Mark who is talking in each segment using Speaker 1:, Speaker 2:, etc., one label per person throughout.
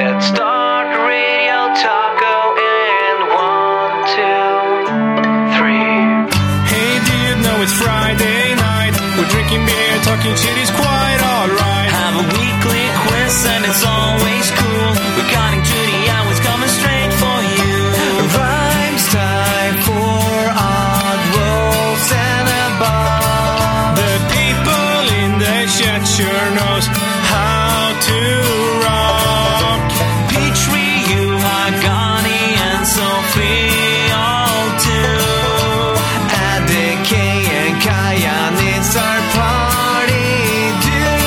Speaker 1: Let's start Radio Taco in one, two, three.
Speaker 2: Hey, do you know it's Friday night? We're drinking beer, talking shit is quite alright.
Speaker 1: Have a weekly quiz and it's always cool. We're counting to the hours coming straight for you. Rhymes time for odd rolls and above.
Speaker 2: The people in the chat sure knows how to rock.
Speaker 1: Petrie, you, Agani, and Sophie all too. Adek and Kayan, it's our party due.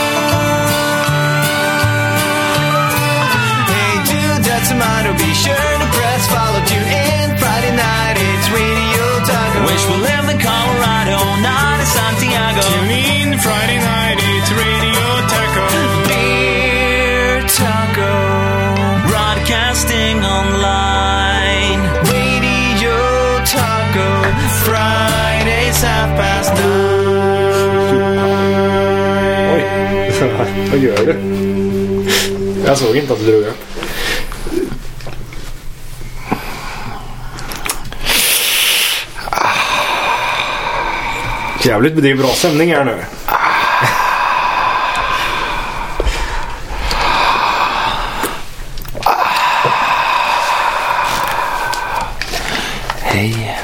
Speaker 1: Hey dude, that's a motto. Be sure to press follow to in Friday night. It's Radio Taco. Wish we live in Colorado, not in Santiago.
Speaker 2: Tune in Friday night, it's Radio Taco.
Speaker 1: Beer Taco. Broadcasting online. Radio Taco. Fridays half past nine.
Speaker 3: Vad gör du? Jag såg inte att du drog upp. Ah. Jävligt, men det är bra stämning här nu.
Speaker 4: Hej.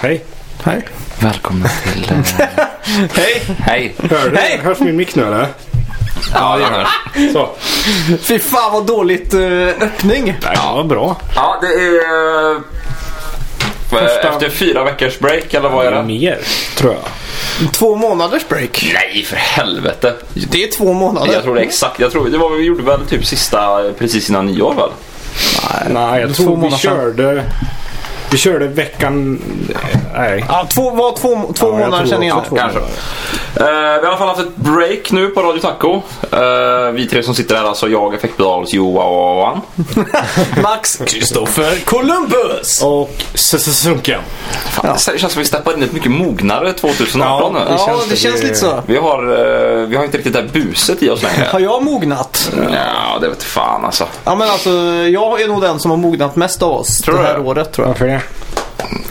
Speaker 3: Hej!
Speaker 4: Hej. Välkomna till... eh,
Speaker 3: Hej!
Speaker 4: Hej.
Speaker 3: Hör du? Hörs min mick nu eller?
Speaker 4: Ja, det hörs.
Speaker 3: Så.
Speaker 5: Fy fan vad dåligt eh, öppning.
Speaker 3: Nej, ja. vad bra.
Speaker 4: Ja, det är... eh,
Speaker 3: Första- Mm.
Speaker 4: Efter fyra veckors break eller vad är det?
Speaker 3: Mer, tror jag.
Speaker 5: Två månaders break.
Speaker 4: Nej, för helvete.
Speaker 5: Det är två månader.
Speaker 4: Jag tror det är exakt. Jag tror det var vi gjorde väl typ sista, precis innan nyår väl?
Speaker 3: Nej, jag
Speaker 5: Två
Speaker 3: tror vi
Speaker 5: månader sedan.
Speaker 3: körde... Vi körde veckan... Nej.
Speaker 5: Ja, två, var två, två
Speaker 3: jag
Speaker 5: månader
Speaker 3: tror
Speaker 5: sedan igen.
Speaker 3: också två.
Speaker 4: Kanske. Eh, vi har i alla fall haft ett break nu på Radio Taco. Eh, vi tre som sitter här, alltså jag, effektbedals, Johan.
Speaker 5: Max Kristoffer Columbus.
Speaker 3: Och s- s- Sunken.
Speaker 4: Fan, Det känns som vi steppar in i ett mycket mognare 2018
Speaker 3: Ja,
Speaker 4: nu.
Speaker 3: det
Speaker 5: Ja,
Speaker 3: känns
Speaker 5: det
Speaker 3: det-
Speaker 5: känns lite så.
Speaker 4: Vi har, eh, vi har inte riktigt det där buset i oss längre.
Speaker 5: Har jag mognat?
Speaker 4: Ja, det vet fan alltså.
Speaker 5: Ja men alltså jag är nog den som har mognat mest av oss
Speaker 4: Tror
Speaker 5: det
Speaker 4: du
Speaker 5: här
Speaker 4: det?
Speaker 5: året tror jag.
Speaker 3: Varför det?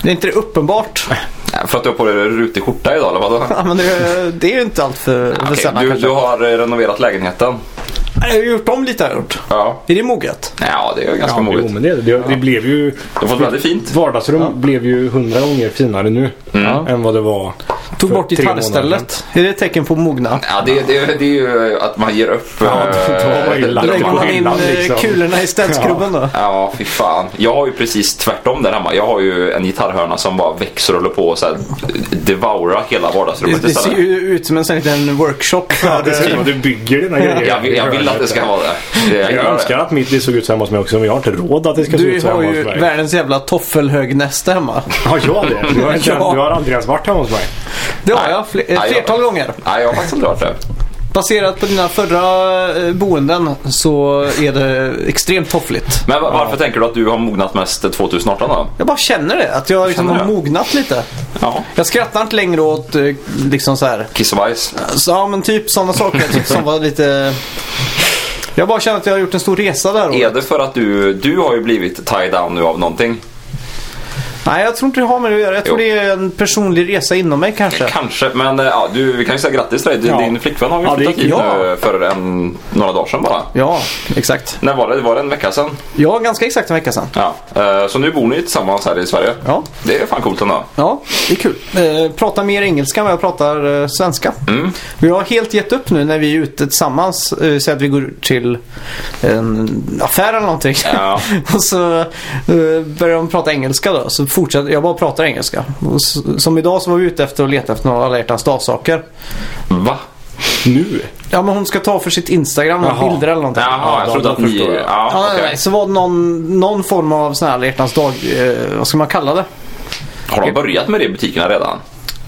Speaker 5: Det är inte det uppenbart.
Speaker 4: Nej, För att du har på dig rutig skjorta idag eller vadå?
Speaker 5: Ja, men det, det är ju inte allt för för
Speaker 4: Okej,
Speaker 5: sällan
Speaker 4: du,
Speaker 5: kanske.
Speaker 4: du har eh, renoverat lägenheten.
Speaker 5: Jag har gjort om lite har jag gjort.
Speaker 4: Ja.
Speaker 5: Är det moget?
Speaker 4: Ja, det är ju ganska
Speaker 3: Ja, jo,
Speaker 4: moget.
Speaker 3: men det, det, det blev ju...
Speaker 4: Du har fått väldigt fint.
Speaker 3: Vardagsrum blev ju hundra gånger finare nu
Speaker 4: Mm.
Speaker 3: än vad det var
Speaker 5: Tog
Speaker 3: för
Speaker 5: bort
Speaker 3: tre månader
Speaker 5: gitarrstället. Är det ett tecken på mogna?
Speaker 4: Ja, det, det, det är ju eh, att man ger upp.
Speaker 3: Ja,
Speaker 4: eh,
Speaker 3: då har man ju lagt
Speaker 4: det-
Speaker 3: det
Speaker 5: Lägger
Speaker 3: på
Speaker 5: man in
Speaker 3: hyllan
Speaker 5: eh,
Speaker 3: liksom.
Speaker 5: kulorna i städskrubben då?
Speaker 4: Ja, fy fan. Jag har ju precis tvärtom där hemma. Jag har ju en gitarrhörna som bara växer och håller på och så här eh, devourar hela
Speaker 5: Det,
Speaker 4: vardagsrummet
Speaker 5: det ser ju ut som en sån här liten workshop.
Speaker 3: Ja, det ser ut som att du bygger dina grejer.
Speaker 4: Jag, vill- jag vill att det ska vara det. Det-
Speaker 3: Jag,
Speaker 4: gillar det.
Speaker 3: önskar att mitt såg ut så hemma hos mig också men jag har inte råd att det ska se
Speaker 5: Du
Speaker 3: ut så
Speaker 5: har
Speaker 3: hemma
Speaker 5: ju
Speaker 3: hos mig.
Speaker 5: världens jävla toffelhögnäste hemma.
Speaker 3: Har jag det? Du har, inte,
Speaker 5: Ja.
Speaker 3: du har aldrig ens varit hemma hos mig.
Speaker 5: Det har
Speaker 4: Nej.
Speaker 5: jag fler,
Speaker 4: Nej,
Speaker 5: ett
Speaker 4: jag-
Speaker 5: flertal gånger.
Speaker 4: Nej, jag har faktiskt aldrig varit det.
Speaker 5: Baserat på dina förra eh, boenden så är det extremt toffligt.
Speaker 4: Men va- varför tänker du att du har mognat mest 2018 då?
Speaker 5: Jag bara känner det, att jag liksom
Speaker 4: Känner
Speaker 5: har
Speaker 4: du?
Speaker 5: mognat lite.
Speaker 4: Ja.
Speaker 5: Jag skrattar inte längre åt eh, liksom så här.
Speaker 4: Kiss och bajs.
Speaker 5: Så, ja men typ sådana saker jag tyckte som var lite... Jag bara känner att jag har gjort en stor resa där.
Speaker 4: Är det för att du, du har ju blivit tied down nu av någonting?
Speaker 5: Nej jag tror inte det har med det att göra. Jag tror
Speaker 4: Jo.
Speaker 5: det är en personlig resa inom mig kanske.
Speaker 4: Kanske, men eh, ja, du, vi kan ju säga grattis till dig. Du-
Speaker 3: Ja.
Speaker 4: Din flickvän har ju
Speaker 3: Ja, det
Speaker 4: flyttat
Speaker 3: gick-
Speaker 4: hit
Speaker 5: ja.
Speaker 4: nu för en, några dagar sedan bara.
Speaker 5: Ja, exakt.
Speaker 4: När var det? Var det en vecka sedan?
Speaker 5: Ja, ganska exakt en vecka sedan.
Speaker 4: Ja. eh, Så nu bor ni tillsammans här i Sverige?
Speaker 5: Ja.
Speaker 4: Det är fan coolt ändå.
Speaker 5: Ja, det är kul. Eh, prata mer engelska än vad jag pratar eh, svenska.
Speaker 4: Mm.
Speaker 5: Vi har helt gett upp nu när vi är ute tillsammans. Eh, Säg att vi går ut till en affär eller någonting.
Speaker 4: Ja.
Speaker 5: och så eh, börjar de prata engelska då. Så fortsätter jag bara pratar engelska. Och s- som idag så var vi ute efter att leta efter några alla hjärtans dagsaker.
Speaker 4: Va?
Speaker 3: Nu?
Speaker 5: Ja men hon ska ta för sitt Instagram
Speaker 3: Jaha.
Speaker 5: och bilder eller någonting.
Speaker 4: Jaha, jag
Speaker 3: då-
Speaker 4: trodde
Speaker 3: då
Speaker 4: att ni...
Speaker 3: förstår jag.
Speaker 4: Ja,
Speaker 5: Ja, nej,
Speaker 4: okej.
Speaker 5: nej. Så var det någon, någon form av sån här alla hjärtans dag, eh, vad ska man kalla det?
Speaker 4: Har de börjat med det i butikerna redan?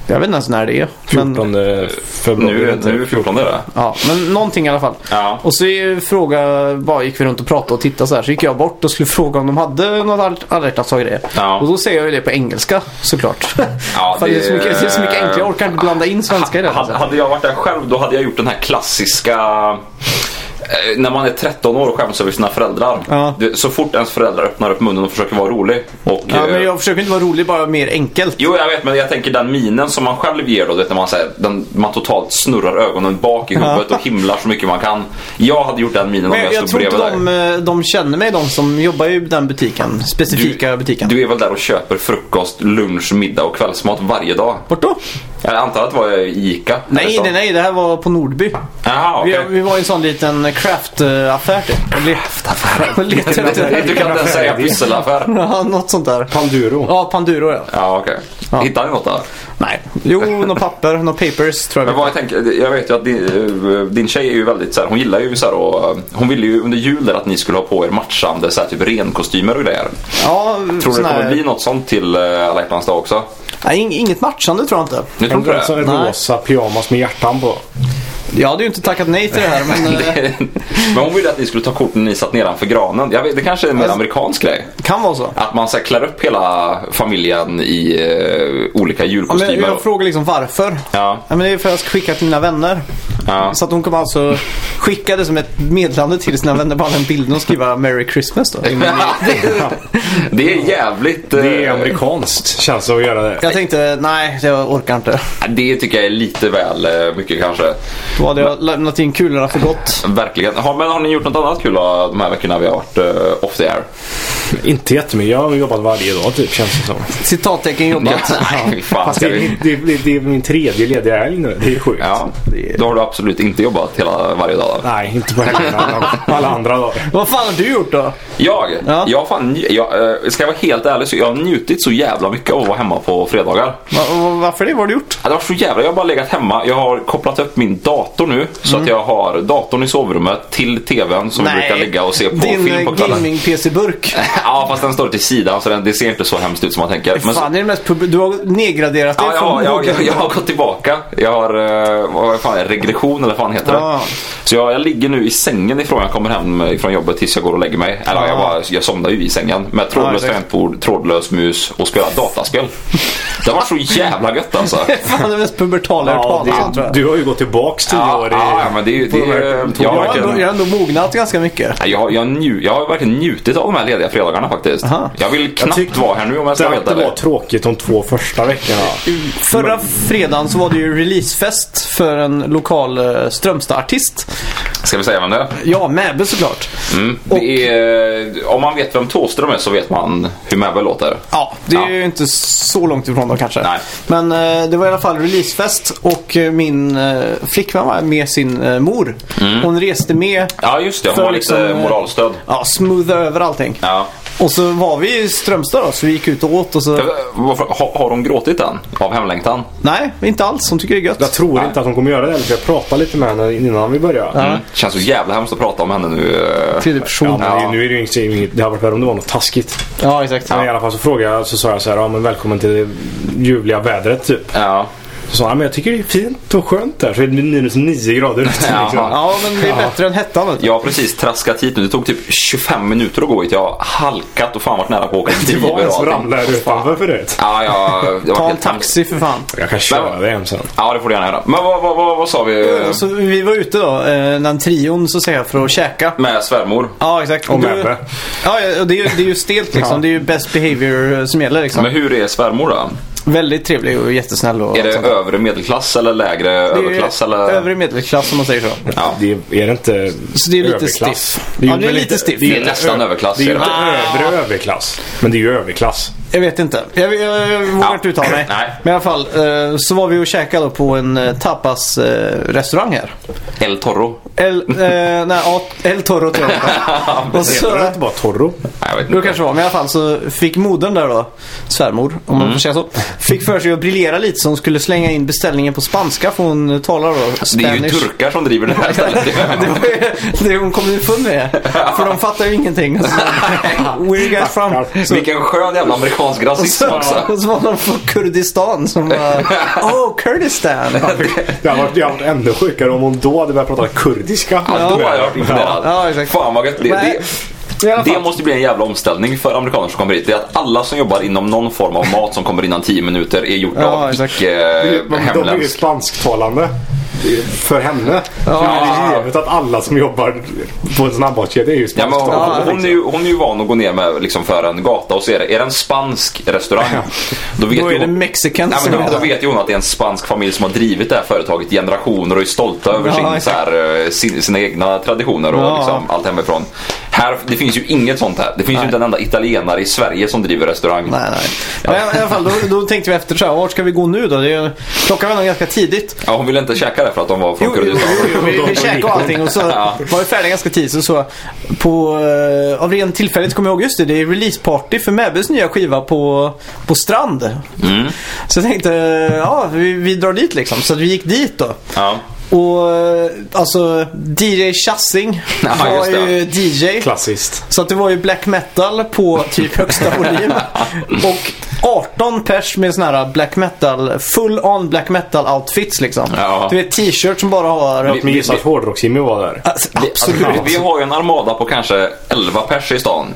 Speaker 5: Jag vet inte ens när det är.
Speaker 4: Typ
Speaker 5: men-
Speaker 3: 14
Speaker 4: eh,
Speaker 3: februari.
Speaker 4: Nu, nu är 14 är det.
Speaker 5: Ja, men någonting i alla fall.
Speaker 4: Ja.
Speaker 5: Och så är fråga, bara gick vi runt och pratade och tittade så här. Så gick jag bort och skulle fråga om de hade något all- alla hjärtans dag i det.
Speaker 4: Ja.
Speaker 5: Och då säger jag ju det på engelska såklart.
Speaker 4: Ja,
Speaker 5: För det... är
Speaker 4: det-
Speaker 5: så mycket, det är så mycket enklare. Jag orkar inte blanda in svenska i det.
Speaker 4: Hade,
Speaker 5: Alltså.
Speaker 4: hade jag varit där själv då hade jag gjort den här klassiska eh, när man är 13 år och skäms över sina föräldrar.
Speaker 5: Ja.
Speaker 4: Det, så fort ens föräldrar öppnar upp munnen och försöker vara rolig. Och,
Speaker 5: Ja,
Speaker 4: eh,
Speaker 5: men jag försöker inte vara rolig, bara mer enkelt.
Speaker 4: Jo, jag vet, men jag tänker den minen som man själv ger då, du vet, när man, så här, den, man totalt snurrar ögonen bak i huvudet och himlar så mycket man kan. Jag hade gjort den minen om
Speaker 5: Men jag,
Speaker 4: jag,
Speaker 5: jag
Speaker 4: stod
Speaker 5: tror inte
Speaker 4: bredvid dig.
Speaker 5: de, eh, de känner mig, de som jobbar i den butiken. Specifika butiken.
Speaker 4: Du är väl där och köper frukost, lunch, middag och kvällsmat varje dag?
Speaker 5: Bort då?
Speaker 4: Jag antar att det var i Ica? eller
Speaker 5: Nej,
Speaker 4: så.
Speaker 5: nej, nej. Det här var på Nordby.
Speaker 4: Jaha, okej.
Speaker 5: Vi, vi var i en sån liten craft-affär typ. Och Craft-affär? Och letade efter
Speaker 4: Du kan inte ens säga pysselaffär.
Speaker 5: Ja, något sånt där.
Speaker 3: Panduro.
Speaker 5: Ja, Panduro ja.
Speaker 4: Ja, okej. Hittade ni något där?
Speaker 5: Nej. Jo, något papper, något papers tror jag.
Speaker 4: Men vad jag tänker, jag vet ju att din, eh, din tjej är ju väldigt så här, hon gillar ju så här och eh, hon ville ju under jul där att ni skulle ha på er matchande så här, typ renkostymer och grejer.
Speaker 5: Ja,
Speaker 4: Tror du
Speaker 5: sån
Speaker 4: det kommer
Speaker 5: här-
Speaker 4: bli något sånt till eh, alla hjärtans dag också?
Speaker 5: Nej, ing- inget matchande tror jag inte.
Speaker 4: Nu tror inte
Speaker 3: En
Speaker 4: det.
Speaker 3: sån
Speaker 5: Nej.
Speaker 3: rosa pyjamas med hjärtan på.
Speaker 5: Jag hade ju inte tackat nej till det här men eh, det
Speaker 4: Men hon ville att ni skulle ta kort när ni satt nedanför granen. Jag vet, det kanske är en mer
Speaker 5: Alltså-
Speaker 4: amerikansk grej.
Speaker 5: kan vara så.
Speaker 4: Att man så här, klär upp hela familjen i eh, olika
Speaker 5: Ja, men
Speaker 4: julkostymer.
Speaker 5: jag frågar liksom varför.
Speaker 4: Ja.
Speaker 5: men det är för att jag ska skicka till mina vänner.
Speaker 4: Ja.
Speaker 5: Så att hon kommer alltså skicka det som ett meddelande till sina vänner. Bara en bild och skriva Merry Christmas då.
Speaker 4: det är jävligt... eh,
Speaker 3: Det är amerikanskt känns det att göra det.
Speaker 5: Jag tänkte, nej jag orkar inte.
Speaker 4: det tycker jag är lite väl eh, mycket kanske.
Speaker 5: Då hade jag lämnat in kulorna för gott.
Speaker 4: Verkligen. Har, men har ni gjort något annat kul då, de här veckorna vi har varit eh, off the air?
Speaker 3: Inte jättemycket. Jag har jobbat varje dag typ känns det som.
Speaker 5: Citattecken jobbat.
Speaker 4: Nej, fy fan
Speaker 3: Fast
Speaker 4: ska
Speaker 3: det,
Speaker 4: vi...
Speaker 3: det, det, det är min tredje lediga helg nu. Det är sjukt.
Speaker 4: Ja, då har du absolut inte jobbat hela varje dag. då.
Speaker 3: Nej, inte på helgerna. men Alla andra dagar.
Speaker 5: Vad fan har du gjort då?
Speaker 4: Jag?
Speaker 5: Ja.
Speaker 4: Jag, fan, nj- jag, eh, ska jag vara helt ärlig så jag har njutit så jävla mycket av att vara hemma på fredagar.
Speaker 5: Va- va- varför det? Vad har du gjort?
Speaker 4: Ja, Det var så jävla, jag har bara legat hemma. Jag har kopplat upp min dator nu så
Speaker 5: Mm.
Speaker 4: att jag har datorn i sovrummet till tvn som vi brukar ligga och se på
Speaker 5: Din eh,
Speaker 4: film på kvällen.
Speaker 5: gaming-PC-burk.
Speaker 4: Ja, fast den står till sidan så den, det ser inte så hemskt ut som man tänker. Men så-
Speaker 5: Fan, det är det mest pub- Du har nedgraderat det
Speaker 4: Ja, jag,
Speaker 5: från
Speaker 4: jag, jag,
Speaker 5: boken.
Speaker 4: jag har gått tillbaka. Jag har eh, vad fan, är det? regression eller vad fan heter det.
Speaker 5: Ja.
Speaker 4: Så jag, jag ligger nu i sängen ifrån jag kommer hem från jobbet tills jag går och lägger mig. Eller jag, bara, jag somnar ju i sängen. Med trådlöst
Speaker 5: Ja, exakt.
Speaker 4: tangentbord, trådlös mus och spelar dataspel. Det var så jävla gött alltså.
Speaker 5: Fan, det mest pubertala jag hört
Speaker 3: Ja,
Speaker 5: talas om tror
Speaker 3: det,
Speaker 5: jag.
Speaker 3: du har ju gått tillbaks tio
Speaker 4: Ja,
Speaker 3: år i...
Speaker 4: ja, men det är ju... det är- Jag
Speaker 5: Jag
Speaker 4: har
Speaker 5: har ändå, jag
Speaker 4: verkligen-
Speaker 5: har ändå mognat ganska mycket.
Speaker 4: Nej, jag, jag, nju, jag har verkligen njutit av de här lediga fredagarna faktiskt.
Speaker 5: Aha.
Speaker 4: Jag vill knappt
Speaker 3: tyckte-
Speaker 4: vara här nu om jag
Speaker 3: Det
Speaker 4: ska vara
Speaker 3: har
Speaker 4: helt
Speaker 3: inte
Speaker 4: ärlig.
Speaker 3: varit tråkigt de två första veckorna.
Speaker 5: Förra fredagen så var det ju releasefest för en lokal eh, Strömstad-artist.
Speaker 4: Ska vi säga vem det är?
Speaker 5: Ja, Mäbe såklart.
Speaker 4: Mm. Det är, eh, om man vet vem Thåström är så vet man hur Mäbel låter.
Speaker 5: Ja, det är
Speaker 4: Ja.
Speaker 5: ju inte så långt ifrån då kanske.
Speaker 4: Nej.
Speaker 5: Men eh, det var i alla fall releasefest och eh, min eh, flickvän var med sin eh, mor.
Speaker 4: Mm.
Speaker 5: Hon reste med.
Speaker 4: Ja just det,
Speaker 5: För
Speaker 4: hon har lite
Speaker 5: liksom, eh,
Speaker 4: moralstöd.
Speaker 5: Ja, smootha över allting.
Speaker 4: Ja.
Speaker 5: Och så var vi i Strömstad då, så vi gick ut och åt och så...
Speaker 4: Jag vet- Eh, Varför, har, har hon gråtit än? Av hemlängtan?
Speaker 5: Nej, inte alls. Hon tycker det är gött.
Speaker 3: Jag tror inte att de kommer göra det. För jag pratade lite med henne innan vi började.
Speaker 5: Ja.
Speaker 4: Mm. Känns så jävla hemskt att prata om henne nu. eh.
Speaker 5: Tredje person.
Speaker 3: Ja,
Speaker 5: Ja,
Speaker 3: men det-
Speaker 4: Ja.
Speaker 3: Nu är det ju inte- inget, det har varit värre om det var något taskigt.
Speaker 5: exakt.
Speaker 3: Men i alla fall så frågade jag så sa jag så här, ja men välkommen till det ljuvliga vädret typ.
Speaker 4: Ja.
Speaker 3: Så sa han, men jag tycker det är fint och skönt där. Så är det minus 9 grader ute.
Speaker 4: Ja.
Speaker 3: Liksom.
Speaker 5: Ja, men det är bättre än hettan. vet du.
Speaker 4: Jag har precis traskat hit nu. Det tog typ 25 minuter att gå hit. Jag har halkat och fan varit nära på att åka
Speaker 3: Det
Speaker 4: driver
Speaker 3: var en
Speaker 4: och
Speaker 3: som
Speaker 4: allting.
Speaker 3: ramlade här utanför förut.
Speaker 4: Ja, jag, jag var
Speaker 5: Ta en
Speaker 4: helt-
Speaker 5: taxi för fan.
Speaker 3: Jag kan köra det hem sen.
Speaker 4: Ja, det får du gärna göra. Men vad, vad, vad, vad sa vi? eh,
Speaker 5: Så vi var ute då, eh, den trion så att säga, för att käka.
Speaker 4: eh, Med svärmor?
Speaker 5: Ja, exakt.
Speaker 3: Och
Speaker 5: Du-
Speaker 3: Mäbe.
Speaker 5: Ja, ja, och det är, ju- det är ju stelt liksom. Det är ju best behavior eh, som gäller liksom.
Speaker 4: Men hur är svärmor då?
Speaker 5: Väldigt trevlig och jättesnäll och
Speaker 4: Är det
Speaker 5: allt sånt där.
Speaker 4: övre medelklass eller lägre
Speaker 5: Det är ju
Speaker 4: överklass? Eller?
Speaker 5: Övre medelklass om man säger så.
Speaker 4: Ja.
Speaker 3: Det är, är det inte
Speaker 5: Så det är lite
Speaker 3: överklass?
Speaker 5: stiff.
Speaker 3: ju
Speaker 5: Ja, det är
Speaker 3: väl
Speaker 5: lite
Speaker 3: inte-
Speaker 5: stiff.
Speaker 4: Det
Speaker 3: ju
Speaker 4: är
Speaker 3: inte
Speaker 4: nästan
Speaker 3: ö-
Speaker 4: överklass,
Speaker 3: Det är
Speaker 4: är
Speaker 3: ju
Speaker 4: det.
Speaker 3: inte övre överklass. Men det är ju överklass.
Speaker 5: Jag vet inte. Jag, jag, jag vågar
Speaker 4: Ja.
Speaker 5: inte uttala mig.
Speaker 4: Nej.
Speaker 5: Men i alla fall eh, så var vi och käkade då på en eh, tapas eh, restaurang här.
Speaker 4: El Toro?
Speaker 5: El, eh, nej, ja, El Toro tror jag det var. Och
Speaker 3: Heter det
Speaker 5: så,
Speaker 3: inte bara Torro?
Speaker 4: Nej, jag vet
Speaker 5: Då
Speaker 4: inte.
Speaker 5: kanske det var. Men i alla fall så fick modern där då, svärmor om
Speaker 4: Mm.
Speaker 5: man får säga så. Fick för sig att briljera lite så hon skulle slänga in beställningen på spanska för hon talar då
Speaker 4: Det är
Speaker 5: spanish.
Speaker 4: ju turkar som driver det här stället.
Speaker 5: Det var ju det hon kom underfund med. För de fattar ju ingenting. Och Så, where you guys from? Så,
Speaker 4: Vilken skön jävla amerikansk rasism också.
Speaker 5: och så var de från Kurdistan som var Oh, Kurdistan!
Speaker 3: Det hade varit det hade varit ännu sjukare om hon då hade börjat prata kurdiska.
Speaker 4: Ja, då har jag varit imponerad.
Speaker 5: Ja, exakt.
Speaker 4: Fan vad gött. Det,
Speaker 5: Men-
Speaker 4: det,
Speaker 5: I alla
Speaker 4: det
Speaker 5: fall.
Speaker 4: måste bli en jävla omställning för amerikaner som kommer hit. Det är att alla som jobbar inom någon form av mat som kommer innan 10 minuter är gjort
Speaker 5: Ja,
Speaker 4: av
Speaker 5: exakt.
Speaker 3: Ja. De är ju
Speaker 4: icke-hemländsk.
Speaker 3: spansktalande. för henne.
Speaker 5: Ja.
Speaker 3: Men det är givet att alla som jobbar på en snabbmatskedja är ju liksom.
Speaker 4: Ja, men
Speaker 3: spanska.
Speaker 4: hon,
Speaker 5: Ja,
Speaker 4: hon, är ju, hon är ju van att gå ner med, liksom, för en gata och se det. Är det en spansk restaurang? Då vet
Speaker 5: Då
Speaker 4: ju
Speaker 5: är det
Speaker 4: hon-
Speaker 5: mexican
Speaker 4: Nej,
Speaker 5: som
Speaker 4: men
Speaker 5: är
Speaker 4: då, då
Speaker 5: där.
Speaker 4: vet ju hon att det är en spansk familj som har drivit det här företaget i generationer och är stolta över
Speaker 5: Ja,
Speaker 4: sin, så
Speaker 5: exakt.
Speaker 4: här, eh, sin, sina egna traditioner och
Speaker 5: Ja.
Speaker 4: liksom, allt hemifrån. Här, det finns ju inget sånt här. Det finns ju inte en enda italienare i Sverige som driver restaurang.
Speaker 5: Nej, nej. Men i alla fall, då, då tänkte vi efter så här, vart ska vi gå nu då? Det är, klockan var nog ganska tidigt.
Speaker 4: Ja, hon ville inte käka det för att de var från
Speaker 5: Jo, jo,
Speaker 4: Kurdistan.
Speaker 5: jo, jo, vi, vi käkade och allting och så
Speaker 4: Ja.
Speaker 5: var vi färdiga ganska tidigt. Så, så på, eh, av ren tillfälligt kommer jag ihåg, just det, det är releaseparty för Mäbys nya skiva på, på Strand. Mm. Så jag tänkte, eh, ja vi, vi drar dit liksom. Så att vi gick dit då.
Speaker 4: Ja.
Speaker 5: Och eh, alltså DJ Chassing
Speaker 4: Ja,
Speaker 5: var
Speaker 4: just det.
Speaker 5: ju DJ.
Speaker 3: Klassiskt.
Speaker 5: Så att det var ju black metal på typ högsta volym. Och 18 pers med såna här black metal, full on black metal outfits liksom.
Speaker 4: Ja.
Speaker 5: Du vet t-shirt som bara har...
Speaker 3: Men gissa att hårdrocks-Jimmy var där.
Speaker 5: Alltså, absolut.
Speaker 4: Alltså, vi, vi har ju en armada på kanske 11 pers i stan.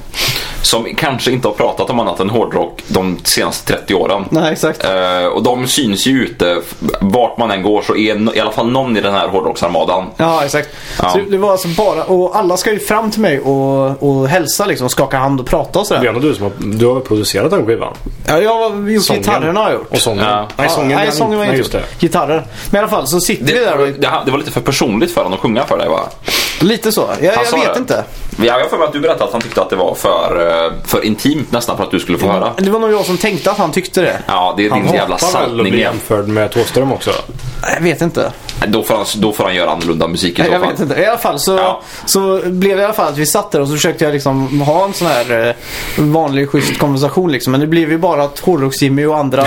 Speaker 4: Som kanske inte har pratat om annat än hårdrock de senaste 30 åren.
Speaker 5: Nej, exakt.
Speaker 4: Eh, och de syns ju ute. Vart man än går så är no- i alla fall någon i den här hårdrocksarmadan.
Speaker 5: Ja, exakt.
Speaker 4: Ja.
Speaker 5: Så det var alltså bara, och alla ska ju fram till mig och, och hälsa liksom, skaka hand och prata och sådär.
Speaker 3: Björn och du som har, du har producerat den skivan.
Speaker 5: Ja, jag har gjort
Speaker 3: Sången.
Speaker 5: gitarrerna har jag gjort.
Speaker 3: Och sången.
Speaker 4: Ja.
Speaker 3: Nej, sången,
Speaker 5: ja, nej,
Speaker 3: den-
Speaker 5: sången var
Speaker 3: nej,
Speaker 5: inte
Speaker 3: just det.
Speaker 5: Gitarrer. Men i alla fall så sitter vi där
Speaker 4: Det,
Speaker 5: och,
Speaker 4: det, det var lite för personligt för honom att sjunga för dig va?
Speaker 5: lite så. Jag,
Speaker 4: Han sa
Speaker 5: jag vet
Speaker 4: det.
Speaker 5: inte.
Speaker 4: Ja, jag har för mig att du berättade att han tyckte att det var för, eh, för intimt nästan för att du skulle få höra.
Speaker 5: Det var nog jag som tänkte att han tyckte det.
Speaker 4: Ja, det är din jävla
Speaker 3: hatar väl att
Speaker 4: saltning
Speaker 3: bli
Speaker 4: igen.
Speaker 3: jämförd med Thåström också.
Speaker 5: Jag vet inte.
Speaker 4: Då får, han, då får han göra annorlunda musik i
Speaker 5: Nej,
Speaker 4: så
Speaker 5: Jag
Speaker 4: fall.
Speaker 5: vet inte. I alla fall så,
Speaker 4: Ja.
Speaker 5: så blev det i alla fall att vi satt där och så försökte jag liksom ha en sån här eh, vanlig schysst konversation liksom. Men det blev ju bara att Hårdrocks-Jimmy och andra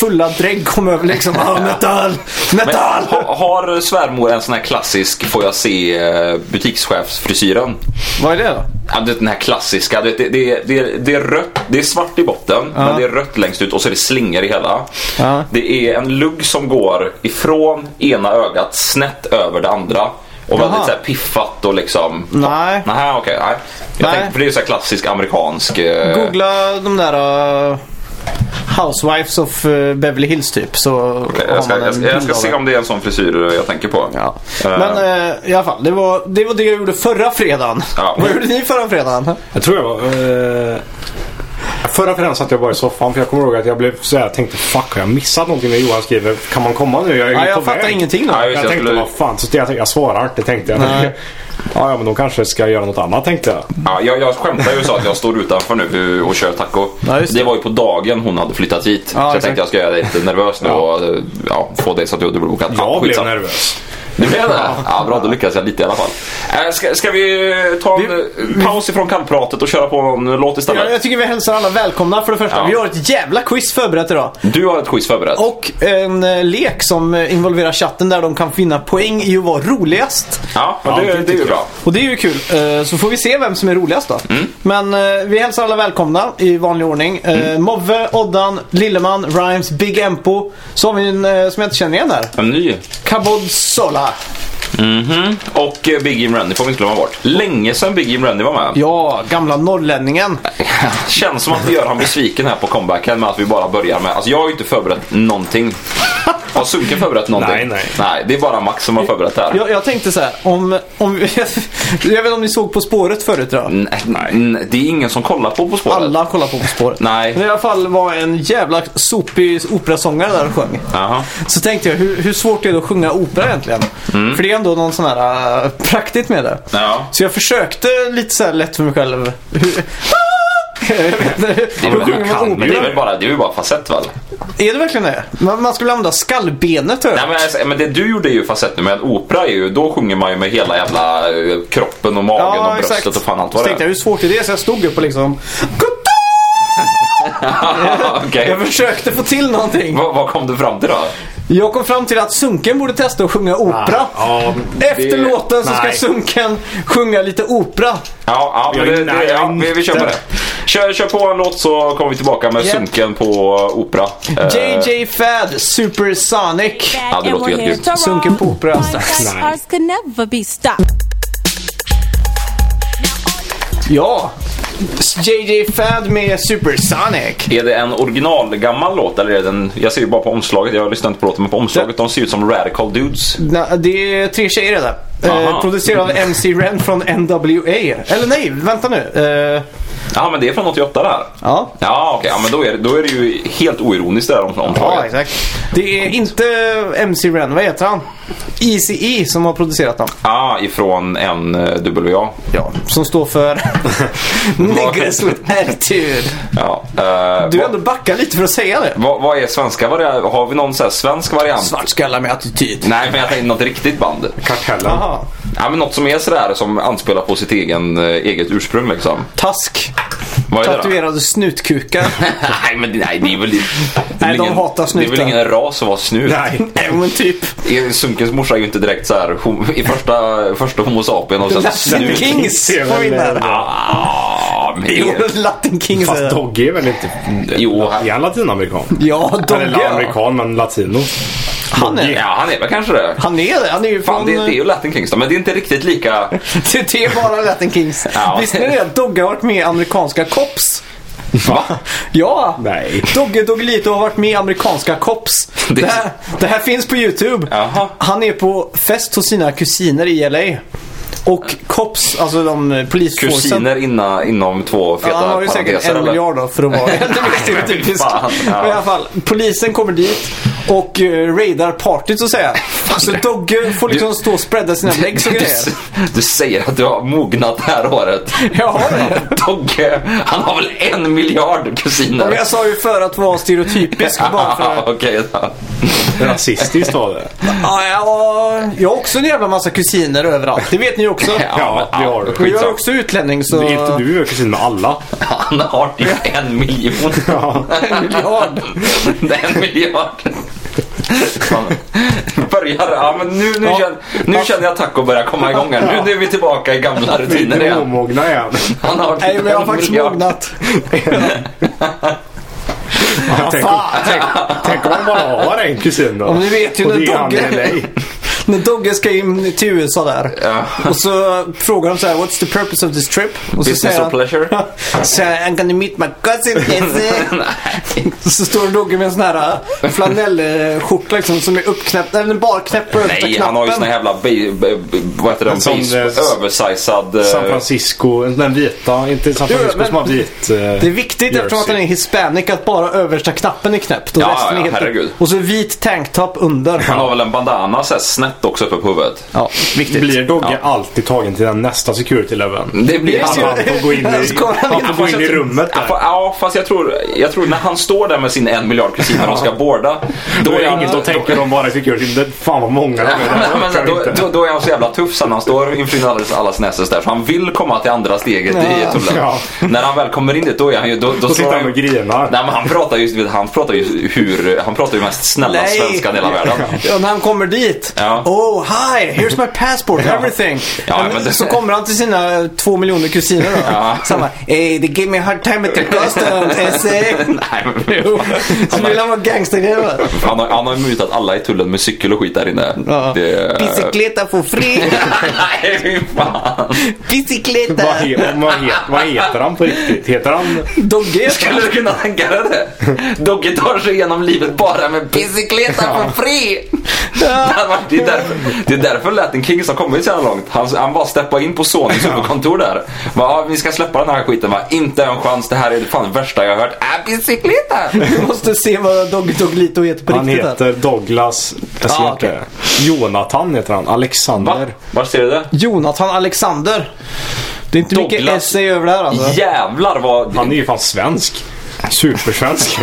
Speaker 5: fulla drägg kom över liksom. Ah, metal!
Speaker 4: Men,
Speaker 5: Metal!
Speaker 4: ha, har svärmor en sån här klassisk får jag se eh, butikschefsfrisyren?
Speaker 5: Vad är det då?
Speaker 4: Ja, du vet, den här klassiska. Du vet, det, det, det, det är rött, det är svart i botten men det är rött längst ut och så är det slingor i hela.
Speaker 5: Ja.
Speaker 4: Det är en lugg som går ifrån ena ögat snett över det andra. Och väldigt
Speaker 5: Jaha.
Speaker 4: så här piffat och liksom...
Speaker 5: Nej.
Speaker 4: Nähä, okej. nej. Jag
Speaker 5: Nej.
Speaker 4: tänkte, för det är ju så här klassisk amerikansk... eh,
Speaker 5: Googla de där eh, Housewives of eh, Beverly Hills typ. Så
Speaker 4: Okej,
Speaker 5: har
Speaker 4: jag, ska,
Speaker 5: man en
Speaker 4: jag, ska- jag
Speaker 5: bild
Speaker 4: ska
Speaker 5: av
Speaker 4: se
Speaker 5: det.
Speaker 4: om det är en sån frisyr jag tänker på.
Speaker 5: Ja.
Speaker 4: Eh,
Speaker 5: Men eh, i alla fall, det var, det var det jag gjorde förra fredagen.
Speaker 4: Ja.
Speaker 5: Vad gjorde ni förra fredagen?
Speaker 3: Jag tror jag var... Eh, förra fredagen satt jag bara i soffan för jag kommer ihåg att jag blev så här, tänkte fuck har jag missat någonting när Johan skriver kan man komma nu? Jag, är
Speaker 5: Ja,
Speaker 3: ju på
Speaker 5: jag fattar
Speaker 3: väg."
Speaker 5: ingenting då.
Speaker 4: Ja,
Speaker 3: Jag,
Speaker 4: just det, jag
Speaker 3: tänkte
Speaker 4: skulle-
Speaker 3: vad fan, så jag, tänkte, jag svarar inte tänkte jag.
Speaker 5: Nej.
Speaker 3: Ja, ja, men då kanske ska jag göra något annat tänkte jag.
Speaker 4: Ja, jag, jag skämtar ju och sa att jag står utanför nu och kör taco.
Speaker 5: Ja, just
Speaker 4: det.
Speaker 5: det.
Speaker 4: var ju på dagen hon hade flyttat hit. så jag
Speaker 5: exakt.
Speaker 4: tänkte jag ska göra dig lite nervös nu och eh, ja, få dig så att du har dubbelbokat. Ja,
Speaker 3: Jag blev
Speaker 4: skitsamma.
Speaker 3: nervös.
Speaker 4: Det blev det? Ja, bra, då lyckades jag lite i alla fall. Eh, Ska, ska vi ta en eh, paus ifrån kallpratet och köra på en låt
Speaker 5: Ja,
Speaker 4: istället?
Speaker 5: jag tycker vi hälsar alla välkomna för det första.
Speaker 4: Ja.
Speaker 5: Vi har ett jävla quiz förberett idag.
Speaker 4: Du har ett quiz förberett.
Speaker 5: Och en eh, lek som eh, involverar chatten där de kan finna poäng i att vara roligast.
Speaker 4: Ja, men det,
Speaker 3: Ja,
Speaker 4: det är ju bra.
Speaker 5: Och det är ju kul. Eh, Så får vi se vem som är roligast då. Men eh, vi hälsar alla välkomna i vanlig ordning. Eh, Mobbe, Oddan, Lilleman, Rhymes, Big Empo. Så har vi en eh, som jag inte känner igen här.
Speaker 4: En ny.
Speaker 5: Kabod Sola.
Speaker 4: Och eh, Big Jim Rennie får vi inte glömma bort. Länge sedan Big Jim Rennie var med.
Speaker 5: Ja, gamla norrlänningen.
Speaker 4: Känns som att vi gör han besviken här på comebacken med att vi bara börjar med... Alltså jag har ju inte förberett någonting. Har Sunken förberett någonting?
Speaker 3: Nej, nej.
Speaker 4: Nej, det är bara Max som har förberett det här.
Speaker 5: Jag, jag tänkte så här, om... om jag vet inte om ni såg På spåret förut då?
Speaker 4: Nej, nej, det är ingen som kollar på På spåret.
Speaker 5: Alla kollar på På spåret.
Speaker 4: Nej.
Speaker 5: Men i alla fall var en jävla sopig operasångare där och sjöng.
Speaker 4: Jaha.
Speaker 5: Så tänkte jag, hur, hur svårt är det att sjunga opera egentligen?
Speaker 4: Mm.
Speaker 5: För det är ändå någon sån här äh, praktigt med det.
Speaker 4: Ja.
Speaker 5: Så jag försökte lite så här lätt för mig själv. Hur, jag vet inte, hur,
Speaker 4: Men
Speaker 5: hur
Speaker 4: du
Speaker 5: sjunger man
Speaker 4: kan, men det är
Speaker 5: opera?
Speaker 4: väl bara, det är väl bara facett väl?
Speaker 5: Är det verkligen det? Man, man skulle använda skallbenet hör jag.
Speaker 4: Nej, men, alltså, men det du gjorde är ju facett nu, men opera är ju, då sjunger man ju med hela jävla eh, kroppen och magen och bröstet och fan allt
Speaker 5: Så
Speaker 4: vad det
Speaker 5: tänkte jag,
Speaker 4: är.
Speaker 5: hur svårt är det? Så jag stod upp och liksom...
Speaker 4: Ja, Okej.
Speaker 5: Jag försökte få till någonting.
Speaker 4: Vad vad kom du fram till då?
Speaker 5: Jag kom fram till att Sunken borde testa att sjunga opera.
Speaker 3: Ja,
Speaker 5: Efter
Speaker 4: Det-
Speaker 5: låten så ska
Speaker 3: nej.
Speaker 5: Sunken sjunga lite opera.
Speaker 4: Ja, ja,
Speaker 3: Jag
Speaker 4: men
Speaker 3: är
Speaker 4: det,
Speaker 3: inte-
Speaker 4: det,
Speaker 3: jag är
Speaker 4: ja vi, vi kör på
Speaker 3: inte-
Speaker 4: det. Kör, kör på en låt så kommer vi tillbaka med
Speaker 5: Japp.
Speaker 4: sunken på opera. Eh,
Speaker 5: JJ Fad, Supersonic.
Speaker 4: Ja, det låter helt grymt.
Speaker 5: Sunken på opera
Speaker 6: One-size
Speaker 3: Nej.
Speaker 6: ours could never be stopped.
Speaker 5: Ja, JJ Fad med Supersonic.
Speaker 4: Eh, Är det en originalgammal låt eller är det en... Jag ser ju bara på omslaget, jag lyssnar inte på låten, men på omslaget de ser ut som Radical Dudes.
Speaker 5: Na, det är tre tjejer där.
Speaker 4: Aha.
Speaker 5: Eh, producerad av MC Ren från NWA. Eller nej, vänta nu. Eh,
Speaker 4: Ja, men det är från 88 där.
Speaker 5: ja.
Speaker 4: Ja, okej. Ja, men då är, det, då är det ju helt oironiskt det där om,
Speaker 5: Ja,
Speaker 4: omslaget.
Speaker 5: exakt. Det är inte MC Ren, vad heter han? ECE som har producerat dem.
Speaker 4: Ah, ifrån eh, NWA.
Speaker 5: Ja. Som står för Niggas with Attitude.
Speaker 4: Ja. eh,
Speaker 5: Du
Speaker 4: vad-
Speaker 5: har ändå backat lite för att säga det.
Speaker 4: Vad, vad är svenska variant? Har vi någon så här svensk variant?
Speaker 5: Svartskallar med attityd.
Speaker 4: Nej, men jag tänkte något riktigt band.
Speaker 3: Kartellen.
Speaker 5: Jaha.
Speaker 4: Ja, men något som är sådär som anspelar på sitt egen, eh, eget ursprung liksom.
Speaker 5: Task.
Speaker 4: Vad är det då?
Speaker 5: Tatuerade snutkukar.
Speaker 4: nej, men det- nej, det är väl det är
Speaker 5: Nej,
Speaker 4: väl
Speaker 5: de
Speaker 4: ingen,
Speaker 5: hatar
Speaker 4: Det är
Speaker 5: snutar.
Speaker 4: väl ingen ras att vara snut?
Speaker 3: Nej.
Speaker 5: Nej, men typ.
Speaker 4: E- Sunkens morsa är ju inte direkt så här hom- i första, första Homo sapien och sen
Speaker 5: Latin
Speaker 4: snut.
Speaker 5: Kings
Speaker 3: Det är
Speaker 5: får
Speaker 3: väl-
Speaker 5: in där.
Speaker 4: Ah, men,
Speaker 5: Jo, Latin Kings. är-
Speaker 3: Fast Dogge är väl inte...
Speaker 4: jo, han,
Speaker 3: Är han latinamerikan?
Speaker 5: Ja, Dogge.
Speaker 3: Eller
Speaker 5: ja.
Speaker 3: amerikan men latino.
Speaker 5: Han är
Speaker 4: ja, han är väl kanske det.
Speaker 5: Han är det. Han eh, är ju
Speaker 4: Fan,
Speaker 5: från...
Speaker 4: det, det är ju Latin Kings då, men det är inte riktigt lika...
Speaker 5: det, det är bara Latin Kings.
Speaker 4: Ja.
Speaker 5: Visste ni det? att Dogge har varit med i amerikanska Cops.
Speaker 4: Va?
Speaker 5: Ja!
Speaker 3: Nej.
Speaker 5: Dogge Doggelito har varit med i amerikanska Cops.
Speaker 4: Det-
Speaker 5: Det, här, det här finns på YouTube.
Speaker 4: Jaha.
Speaker 5: Han är på fest hos sina kusiner i LA. Och Cops, alltså de eh, polisforcen.
Speaker 4: Kusiner inna, inom två feta
Speaker 5: Ja, han har ju säkert
Speaker 4: parenteser,
Speaker 5: en
Speaker 4: eller?
Speaker 5: miljard då för att vara stereotypisk.
Speaker 4: Fan, ja.
Speaker 5: Men i alla fall, polisen kommer dit och uh, raidar partyt så att säga. Så Dogge får liksom stå och spreada sina legs och
Speaker 4: Du,
Speaker 5: grejer.
Speaker 4: du säger att du har mognat det här året.
Speaker 5: Jag har det.
Speaker 4: Dogge, han har väl en miljard
Speaker 5: Ja, men
Speaker 4: kusiner?
Speaker 5: jag sa ju för att vara stereotypisk bara för
Speaker 4: Ah, Okej då.
Speaker 3: Rasistiskt var det.
Speaker 5: Ja, jag, jag har också en jävla massa kusiner överallt. Det vet ni också.
Speaker 3: Ja, det har du.
Speaker 5: Och jag är
Speaker 4: skitsamma.
Speaker 5: också utlänning så...
Speaker 3: Det är inte du är kusin med alla.
Speaker 4: Han har ju en miljon.
Speaker 3: Ja.
Speaker 5: En miljard.
Speaker 4: Det är en miljard. Fan. Börjar, ja, men nu, nu,
Speaker 5: Ja.
Speaker 4: känner, nu känner jag taco börjar komma igång här. Nu, nu är vi tillbaka i gamla rutiner
Speaker 3: Inte
Speaker 4: igen.
Speaker 3: omogna igen.
Speaker 4: Han har
Speaker 5: Nej, men jag har
Speaker 4: en
Speaker 5: faktiskt
Speaker 4: miljard.
Speaker 5: mognat.
Speaker 3: tänk, tänk, tänk om man bara har en kusin då.
Speaker 5: Ja, men du vet ju
Speaker 3: Och
Speaker 5: när
Speaker 3: det är han i
Speaker 5: Dogge-
Speaker 3: LA.
Speaker 5: När Dogge ska in till USA där. Och så frågar de så här, what's the purpose of this trip? Och så
Speaker 4: Business
Speaker 5: säger
Speaker 4: or
Speaker 5: han,
Speaker 4: pleasure?
Speaker 5: så här, I'm gonna meet my cousin. Jesse." så står Dogge med en sån här äh, flanellskjorta liksom som är uppknäppt, eller bara knäppt på översta
Speaker 4: Nej,
Speaker 5: knappen.
Speaker 4: han har ju sån här jävla be, be, be, vad heter den?
Speaker 3: Som,
Speaker 4: Base,
Speaker 3: eh,
Speaker 4: översizad. eh,
Speaker 3: San Francisco, den vita, inte San
Speaker 5: Jo,
Speaker 3: Francisco
Speaker 5: men-
Speaker 3: som har vit. eh,
Speaker 5: Det är viktigt eftersom att han är hispanic att bara översta knappen är knäppt och
Speaker 4: Ja,
Speaker 5: resten
Speaker 4: ja,
Speaker 5: är helt
Speaker 4: herregud.
Speaker 5: Och så vit tanktop under.
Speaker 4: Han har väl en bandana så här snett också uppe på huvudet.
Speaker 5: Ja, viktigt.
Speaker 3: Blir Dogge alltid tagen till den nästa security leveln?
Speaker 4: Det blir
Speaker 3: Han, han får gå in i,
Speaker 5: Så kommer han
Speaker 3: han
Speaker 5: in
Speaker 3: får gå in i rummet
Speaker 4: Ja, fa-
Speaker 3: där.
Speaker 4: ja, fast jag tror, jag tror när han står där med sin en miljard kusiner och ska boarda.
Speaker 3: Då är det
Speaker 4: han-
Speaker 3: inget, då tänker de bara i security. Det, fan vad många de
Speaker 4: Ja,
Speaker 3: är. Det här
Speaker 4: men- men
Speaker 3: orkar vi
Speaker 4: då,
Speaker 3: inte.
Speaker 4: då, då är han så jävla tuff sen han står inför allas, allas näses där. Så han vill komma till andra steget i tullen.
Speaker 3: Ja.
Speaker 4: När han väl kommer in dit då är han ju... Då, då
Speaker 3: Då
Speaker 4: slår
Speaker 3: sitter
Speaker 4: han
Speaker 3: han och
Speaker 4: ju...
Speaker 3: grinar.
Speaker 4: Nej men han pratar ju, du vet, han pratar ju hur, han pratar ju mest snälla
Speaker 5: Nej.
Speaker 4: svenskan i hela världen.
Speaker 5: Ja, när han kommer dit.
Speaker 4: Ja.
Speaker 5: Oh, hi, here's my passport, everything.
Speaker 4: Ja,
Speaker 5: Men
Speaker 4: men det-
Speaker 5: Så kommer han till sina eh, två miljoner kusiner då.
Speaker 4: Ja.
Speaker 5: Så han bara, hey, they gave me a hard time at the customs, essay.
Speaker 4: Nej, men,
Speaker 5: Så vill han vara gangstergrejer.
Speaker 4: han, har, han har ju mutat alla i tullen med cykel och skit där inne.
Speaker 5: Ja.
Speaker 4: Det...
Speaker 5: Bicicleta for free,
Speaker 4: Nej fy fan.
Speaker 5: bicicleta.
Speaker 3: Vad, he, vad, he, vad heter han på riktigt? Heter han...
Speaker 5: Dogge.
Speaker 4: Skulle du kunna tänka dig det? Dogge tar sig igenom livet bara med bicicleta for free. Det hade varit- Det är därför, det är därför Latin Kings har kommit så här långt. Han, han bara steppade in på Sonys huvudkontor där. Bara, "Ja, vi ska släppa den här skiten. Bara, inte en chans. Det här är det fan värsta jag har hört. Ah, bicicleta!
Speaker 5: Du måste se vad Dogge Doggelito heter på
Speaker 3: Han
Speaker 5: riktigt. här.
Speaker 3: heter Douglas... Jag ser
Speaker 5: Ah,
Speaker 3: inte.
Speaker 5: okej.
Speaker 3: Jonathan heter han.
Speaker 4: Va?
Speaker 3: Alexander.
Speaker 4: Var ser du det?
Speaker 5: Jonathan Alexander. Det är inte mycket
Speaker 4: Douglas.
Speaker 5: essay över det här alltså.
Speaker 4: Jävlar vad...
Speaker 3: Han är ju fan svensk. Supersvensk.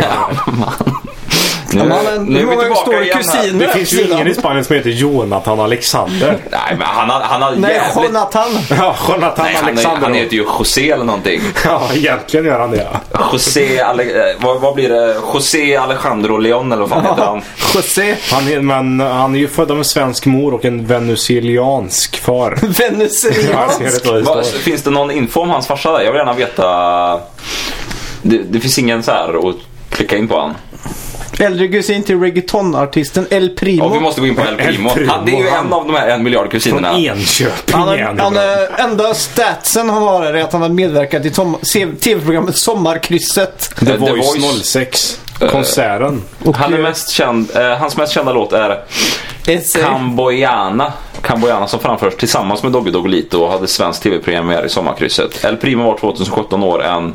Speaker 4: Nu,
Speaker 5: men han-
Speaker 4: nu
Speaker 5: hur
Speaker 4: är vi
Speaker 5: många
Speaker 4: tillbaka
Speaker 5: står
Speaker 4: igen här.
Speaker 5: kusin?
Speaker 3: Det finns ju ingen i Spanien som heter Jonathan Alexander.
Speaker 4: Nej men han har, han har
Speaker 5: Nej,
Speaker 4: jävligt...
Speaker 5: Jonathan.
Speaker 3: Ja, Jonathan
Speaker 4: Nej, han, är,
Speaker 3: Alexander.
Speaker 4: han heter ju José eller någonting.
Speaker 3: Ja, egentligen gör han det.
Speaker 4: José Ale... eh, vad, vad blir det? José Alejandro Leon eller vad fan heter han?
Speaker 5: José
Speaker 3: Han är, men han är ju född av en svensk mor och en venezuelansk far. Ja, jag ser det
Speaker 5: Venezuelansk.
Speaker 3: då det
Speaker 4: Va,
Speaker 3: står.
Speaker 4: finns det någon info om hans farsa där? Jag vill gärna veta. Det, det finns ingen så här att klicka in på han.
Speaker 5: Äldre kusin till reggaetonartisten El Primo.
Speaker 4: Och vi måste gå in på El Primo.
Speaker 3: Primo,
Speaker 4: Han, det är ju en av de här en miljard
Speaker 3: Från E-
Speaker 4: kusinerna.
Speaker 3: Enköping
Speaker 5: Han, har,
Speaker 3: igen.
Speaker 5: han, eh, enda statsen han har är att han har medverkat i tom- se- tv-programmet Sommarkrysset.
Speaker 3: The
Speaker 4: Eh, The
Speaker 3: Voice
Speaker 4: Voice.
Speaker 3: 06. Konserten.
Speaker 5: Och,
Speaker 4: Han är
Speaker 5: eh,
Speaker 4: mest känd, eh, hans mest kända låt är
Speaker 5: Essay.
Speaker 4: Camboyana. Camboyana som framförs tillsammans med Doggy Doggelito och hade svensk tv-premiär i sommarkrysset. El Primo var 2017 år en,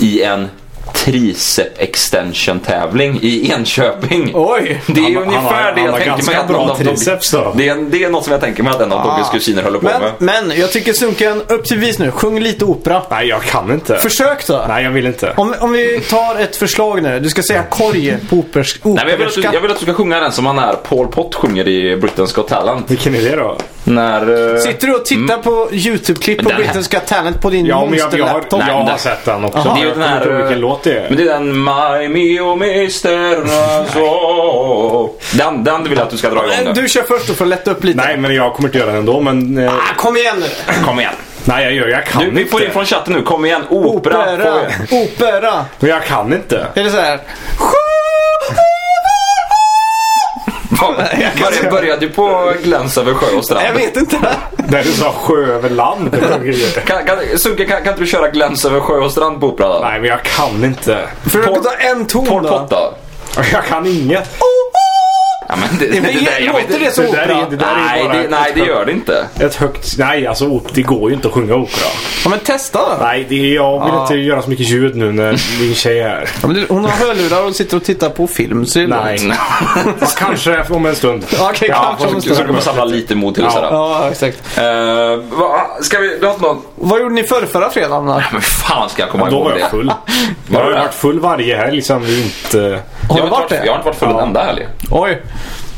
Speaker 4: i en tricep extension tävling i Enköping.
Speaker 5: Oj!
Speaker 4: Det är ju
Speaker 3: Han- han
Speaker 4: ungefär
Speaker 3: har-
Speaker 4: det
Speaker 3: han
Speaker 4: jag
Speaker 3: har
Speaker 4: tänker mig
Speaker 3: ganska
Speaker 4: att någon
Speaker 3: bra
Speaker 4: av Doggy-
Speaker 3: triceps då.
Speaker 4: det, är, det är något som jag tänker mig att en av Doggys kusiner håller på
Speaker 5: Ah. Men,
Speaker 4: med.
Speaker 5: men jag tycker Sunken, upp till bevis nu. Sjung lite opera.
Speaker 3: Nej, jag kan inte.
Speaker 5: Försök då.
Speaker 3: Nej, jag vill inte.
Speaker 5: Om, om vi tar ett förslag nu. Du ska säga korg på opers,
Speaker 4: Nej, men jag, vill att du,
Speaker 5: operska.
Speaker 4: jag vill att du ska sjunga den som han är Paul Pott sjunger i Britain's Got Talent.
Speaker 3: Vilken är det då?
Speaker 4: När... eh,
Speaker 5: Sitter du och tittar på YouTube-klipp på
Speaker 4: Den här-
Speaker 5: Britain's Got Talent på din
Speaker 3: Ja, men jag, jag, har,
Speaker 5: monsterlaptop?
Speaker 3: jag
Speaker 4: Nej,
Speaker 3: har
Speaker 4: den-
Speaker 3: sett den också.
Speaker 4: Aha. Det är ju
Speaker 3: jag
Speaker 4: den
Speaker 3: kommer
Speaker 4: här,
Speaker 3: inte ihåg vilken
Speaker 4: eh,
Speaker 3: låt det är.
Speaker 4: Men det är den My Mio Mister Nazo. Den, den vill jag att du ska dra igång nu.
Speaker 5: Du kör först och får lätta upp lite.
Speaker 3: Nej, men jag kommer inte göra den ändå. Men eh,
Speaker 5: Ah, kom igen nu.
Speaker 4: Kom igen.
Speaker 3: nej, jag, gör, jag kan
Speaker 4: Du, vi får in
Speaker 3: inte.
Speaker 4: från chatten nu. Kom igen. Opera.
Speaker 5: Opera.
Speaker 4: Får vi.
Speaker 5: Opera.
Speaker 3: Men jag kan inte.
Speaker 5: Är det så här?
Speaker 4: Fan, Börja, började du på gläns över sjö och
Speaker 5: Jag
Speaker 4: strand?
Speaker 5: vet inte.
Speaker 3: Där du sa sjö över land.
Speaker 4: Kan, kan, Sunke, kan, kan inte du köra gläns över sjö och strand på opera? då?
Speaker 3: nej, men jag kan inte.
Speaker 5: Försök
Speaker 4: Paul-
Speaker 5: ta en ton
Speaker 4: Paul
Speaker 5: då.
Speaker 4: Pott då?
Speaker 3: Jag kan inget.
Speaker 4: Ja, men det, det,
Speaker 5: Men
Speaker 4: där, jag vet
Speaker 5: Låter det
Speaker 4: inte.
Speaker 5: som
Speaker 3: Det där är-
Speaker 5: opera?
Speaker 3: det där
Speaker 4: Nej,
Speaker 3: bara
Speaker 4: det,
Speaker 3: ett
Speaker 4: nej, det
Speaker 3: högt-
Speaker 4: gör det inte.
Speaker 3: Ett högt... Nej, alltså op- det går ju inte att sjunga opera.
Speaker 5: Ja, men testa då.
Speaker 3: Nej, det, jag vill inte göra så mycket ljud nu när din tjej är här.
Speaker 5: Ja, men du- hon har hörlurar och sitter och tittar på film. Så det är
Speaker 3: Nej.
Speaker 5: lugnt.
Speaker 3: Ja, kanske om en stund.
Speaker 5: Ja, Okej, kanske om en
Speaker 4: Så
Speaker 5: stund.
Speaker 4: du kommer samla lite mod till det.
Speaker 3: Ja.
Speaker 4: sådär.
Speaker 5: Ja, exakt.
Speaker 4: Eh, va, ska vi... Du har inte någon...
Speaker 5: Vad gjorde ni förra, förra fredagen då?
Speaker 4: Men fan ska jag komma
Speaker 3: Ja, då
Speaker 4: ihåg
Speaker 3: var
Speaker 4: det?
Speaker 3: jag full. Jag
Speaker 4: Var
Speaker 3: har
Speaker 4: du
Speaker 3: ju
Speaker 4: det?
Speaker 3: varit full varje helg liksom. Vi inte...
Speaker 5: Har
Speaker 4: jag, har
Speaker 5: du varit
Speaker 4: inte
Speaker 5: det?
Speaker 4: jag har inte varit full en enda helg.
Speaker 5: Oj.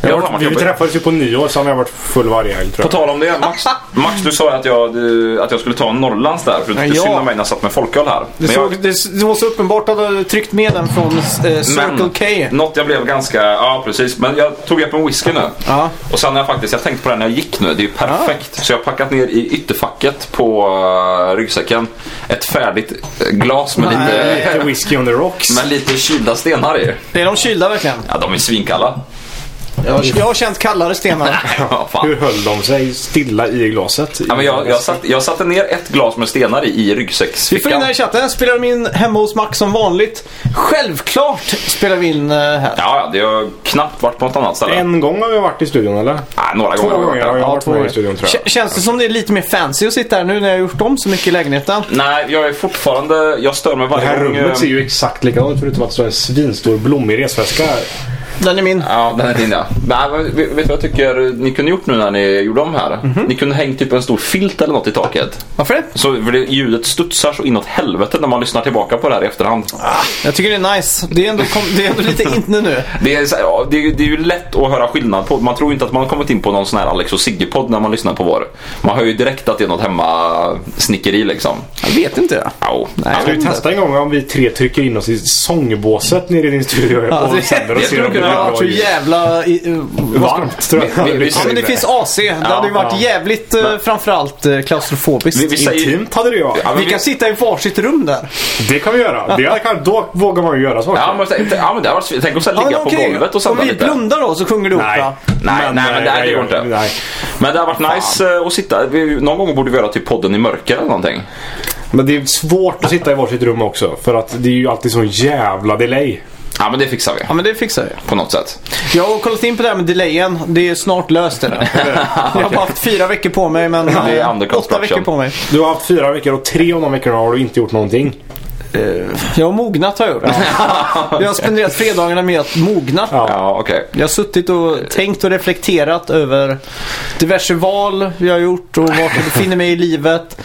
Speaker 4: Jag
Speaker 3: Jag
Speaker 4: har
Speaker 3: har varit,
Speaker 4: fan varit
Speaker 3: vi
Speaker 4: jobbig.
Speaker 3: träffades ju på nyår så har jag varit full varje helg tror
Speaker 4: På
Speaker 3: jag.
Speaker 4: tal om det, Max. Max du sa ju att jag, du, att jag skulle ta en Norrlands där för du tyckte
Speaker 5: Ja.
Speaker 4: synd om mig när jag satt med folköl här.
Speaker 5: Det,
Speaker 4: Men jag,
Speaker 5: såg, det, s- det var så uppenbart att du hade tryckt med den från eh, Circle K.
Speaker 4: men något jag blev ganska, ja precis. Men jag tog upp en whisky nu.
Speaker 5: Ja.
Speaker 4: Och sen har jag faktiskt, jag tänkte på det när jag gick nu. Det är ju perfekt. Så jag har packat ner i ytterfacket på eh, ryggsäcken ett färdigt eh, glas med lite,
Speaker 3: Lite whisky on the rocks.
Speaker 4: med lite kylda stenar i.
Speaker 5: Är de kylda verkligen?
Speaker 4: Ja, de är svinkalla.
Speaker 5: Jag har, jag har känt kallare stenar.
Speaker 4: Ja, fan.
Speaker 3: Hur höll de sig stilla i glaset?
Speaker 4: Ja, men jag, jag, satt, jag satte ner ett glas med stenar i, i
Speaker 5: Vi får in
Speaker 4: ryggsäcksfickan.
Speaker 5: här i chatten. Spelar de in hemma hos Max som vanligt? Självklart spelar vi in eh, här.
Speaker 4: Ja, ja, det har knappt varit på något annat ställe.
Speaker 3: En gång har vi varit i studion eller?
Speaker 4: Nej, Ah, några
Speaker 3: Två
Speaker 4: gånger. har
Speaker 3: gånger
Speaker 4: jag
Speaker 3: har
Speaker 4: varit
Speaker 3: jag
Speaker 4: där.
Speaker 3: varit med i studion tror jag.
Speaker 5: K- känns det som det är lite mer fancy att sitta här nu när jag har gjort om så mycket i lägenheten?
Speaker 4: Nej, jag är fortfarande... Jag stör mig
Speaker 3: Det
Speaker 4: varje
Speaker 3: här
Speaker 4: gång... eh,
Speaker 3: rummet ser ju exakt likadant ut förutom att det står en svinstor blommig resväska här.
Speaker 5: Den är min.
Speaker 4: Ja, den är din ja. Men, eh, vet vet du vad jag tycker ni kunde gjort nu när ni gjorde om här? Ni kunde hängt typ en stor filt eller något i taket.
Speaker 5: Varför det?
Speaker 4: Så för det, ljudet studsar så inåt helvete när man lyssnar tillbaka på det här i efterhand.
Speaker 5: Jag tycker det är nice. Det är ändå, kom, det är ändå lite inne nu.
Speaker 4: Det är, så här, ja, det, är, ju- det är ju lätt att höra skillnad på. Man tror inte att man har kommit in på någon sån här Alex och Sigge-podd när man lyssnar på vår. Man hör ju direkt att det är något hemmasnickeri liksom.
Speaker 5: Jag vet inte jag.
Speaker 4: Au.
Speaker 3: Ska vi testa en gång om vi tre trycker in oss i sångbåset nere i din studio
Speaker 5: Ja,
Speaker 3: och
Speaker 5: det-
Speaker 3: sänder och
Speaker 4: det
Speaker 3: ser
Speaker 4: skulle
Speaker 3: om det blir
Speaker 4: kunna
Speaker 3: bra
Speaker 4: vara
Speaker 5: Så
Speaker 3: ljud?
Speaker 5: jävla... i- eh, vad ska de-
Speaker 3: Varmt tror jag.
Speaker 4: Vi- vi- vi-
Speaker 5: Ja men det finns AC. Det hade ju varit
Speaker 3: ja.
Speaker 5: jävligt eh, framförallt eh, klaustrofobiskt.
Speaker 4: Vi- vi säger-
Speaker 3: Intimt hade det ju varit.
Speaker 4: Ja, men
Speaker 5: Vi kan sitta i varsitt rum där.
Speaker 3: Det kan vi göra. Det kan, då vågar man ju göra saker.
Speaker 4: Ja, men, tänk- ja, men det här var, svin- tänk att så här
Speaker 5: Ja,
Speaker 4: ligga
Speaker 5: men okej.
Speaker 4: på golvet och
Speaker 5: Om
Speaker 4: sända
Speaker 5: vi
Speaker 4: lite.
Speaker 5: blundar då så sjunger du
Speaker 3: Nej.
Speaker 5: opera.
Speaker 4: Nej,
Speaker 3: Men,
Speaker 4: nej, men det, här,
Speaker 3: nej,
Speaker 4: det går
Speaker 3: jag-
Speaker 4: inte.
Speaker 3: nej.
Speaker 4: Men det har varit nice eh, att sitta. Vi, någon gång borde vi göra typ podden i mörker eller någonting.
Speaker 3: Men det är svårt att sitta i varsitt rum också. För att det är ju alltid sån jävla delay.
Speaker 4: Ja, men det fixar vi.
Speaker 5: Ja men det fixar jag.
Speaker 4: På något sätt.
Speaker 5: Jag har kollat in på det här med delayen. Det är snart löst det där. Jag har bara haft fyra veckor på mig men
Speaker 4: är
Speaker 5: eh,
Speaker 4: under
Speaker 5: åtta
Speaker 4: construction.
Speaker 5: veckor på mig.
Speaker 3: Du har haft fyra veckor och tre av de veckorna har du inte gjort någonting.
Speaker 5: Jag har mognat har jag gjort. Jag har spenderat fredagarna med att mogna.
Speaker 3: Ja.
Speaker 4: Ja, okej.
Speaker 5: Jag har suttit och tänkt och reflekterat över diverse val jag har gjort och vart jag befinner mig i livet.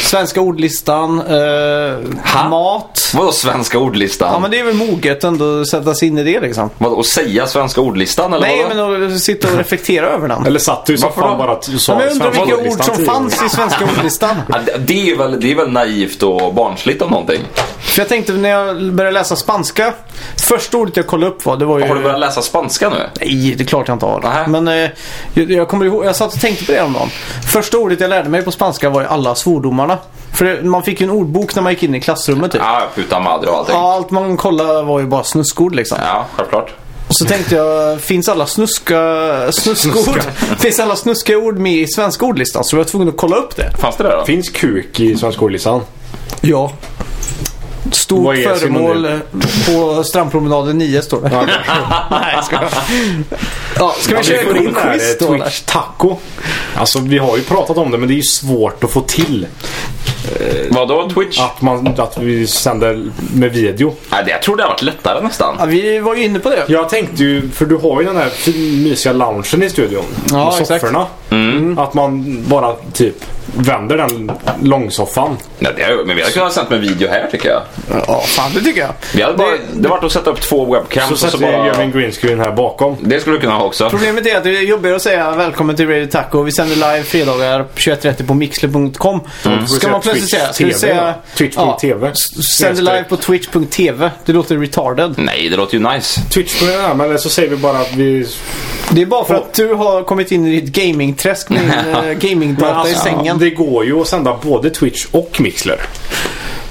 Speaker 5: Svenska ordlistan, eh,
Speaker 4: Ha?
Speaker 5: mat.
Speaker 4: Vadå svenska ordlistan?
Speaker 5: Ja men det är väl moget ändå att sätta sig in i det liksom.
Speaker 4: Vadå, att säga svenska ordlistan eller
Speaker 5: Nej
Speaker 4: vadå?
Speaker 5: men att sitta och reflektera över den.
Speaker 3: Eller satt du i
Speaker 4: Varför
Speaker 3: soffan
Speaker 4: då?
Speaker 3: bara att du sa
Speaker 5: Ja, men jag undrar
Speaker 3: svenska
Speaker 5: vilka ord
Speaker 3: ordlistan
Speaker 5: som
Speaker 3: tio gånger.
Speaker 5: fanns i svenska ordlistan.
Speaker 4: Ja, det, det, är väl, det är väl naivt och barnsligt om någonting.
Speaker 5: För jag tänkte när jag började läsa spanska. Första ordet jag kollade upp var, det var ju...
Speaker 4: Har du börjat läsa spanska nu?
Speaker 5: Nej, det är klart jag inte har.
Speaker 4: Nähä.
Speaker 5: Men eh, jag, jag kommer ihåg, jag satt och tänkte på det häromdagen. Första ordet jag lärde mig på spanska var ju alla svordomarna. För det, man fick ju en ordbok när man gick in i klassrummet typ.
Speaker 4: Ja, puta madre och allting.
Speaker 5: Ja, allt man kollade var ju bara snuskord liksom.
Speaker 4: Ja, självklart.
Speaker 5: Och så tänkte jag, finns alla snuska, snuskord? finns alla snuska ord med i svenska ordlistan? Så jag var tvungen att kolla upp det.
Speaker 4: Fanns det det då?
Speaker 3: Finns kuk i Svenska ordlistan?
Speaker 5: Ja. Stort
Speaker 3: Vad är
Speaker 5: föremål
Speaker 3: synonym?
Speaker 5: på strandpromenaden 9 står det. Nej, jag skojar. Ja, ska vi
Speaker 3: Ja,
Speaker 5: köra
Speaker 3: får in
Speaker 5: en
Speaker 3: det här,
Speaker 5: quiz
Speaker 3: eh,
Speaker 5: då? eller?
Speaker 3: Twitch taco. Alltså vi har ju pratat om det men det är ju svårt att få till.
Speaker 4: Vadå Twitch?
Speaker 3: Att, man, att vi sänder med video.
Speaker 4: Nej, det- jag tror det har varit lättare nästan.
Speaker 5: Ja, vi var ju inne på det.
Speaker 3: Jag tänkte ju, för du har ju den här fin- mysiga loungen i studion.
Speaker 5: Ja,
Speaker 3: med
Speaker 5: exakt. Mm.
Speaker 3: sofforna. Att man bara typ vänder den långsoffan.
Speaker 4: Nej, det har, men vi hade kunnat sänt med video här tycker jag.
Speaker 5: Ja, fan det tycker jag.
Speaker 4: Vi hade bara, det,
Speaker 5: Det-
Speaker 4: var att sätta upp två webcams
Speaker 3: Så
Speaker 4: och så
Speaker 3: sätter vi,
Speaker 4: bara...
Speaker 3: gör vi en green screen här bakom.
Speaker 4: Det skulle du kunna ha också.
Speaker 5: Problemet är att det är jobbigare att säga välkommen till Radio Taco. Vi sänder live fredagar 21.30 på mixler.com. Ska man plötsligt säga... Ska vi säga...
Speaker 3: Twitch.tv.
Speaker 5: s- Sänder live på twitch.tv. Det låter retarded.
Speaker 4: Nej, det låter ju nice.
Speaker 3: Twitch på den men så säger vi bara att vi...
Speaker 5: Det är bara för att du har kommit in i ditt gamingträsk med din eh,
Speaker 3: Men
Speaker 5: gamingdata i
Speaker 3: alltså,
Speaker 5: sängen.
Speaker 3: Det går ju att sända både Twitch och Mixler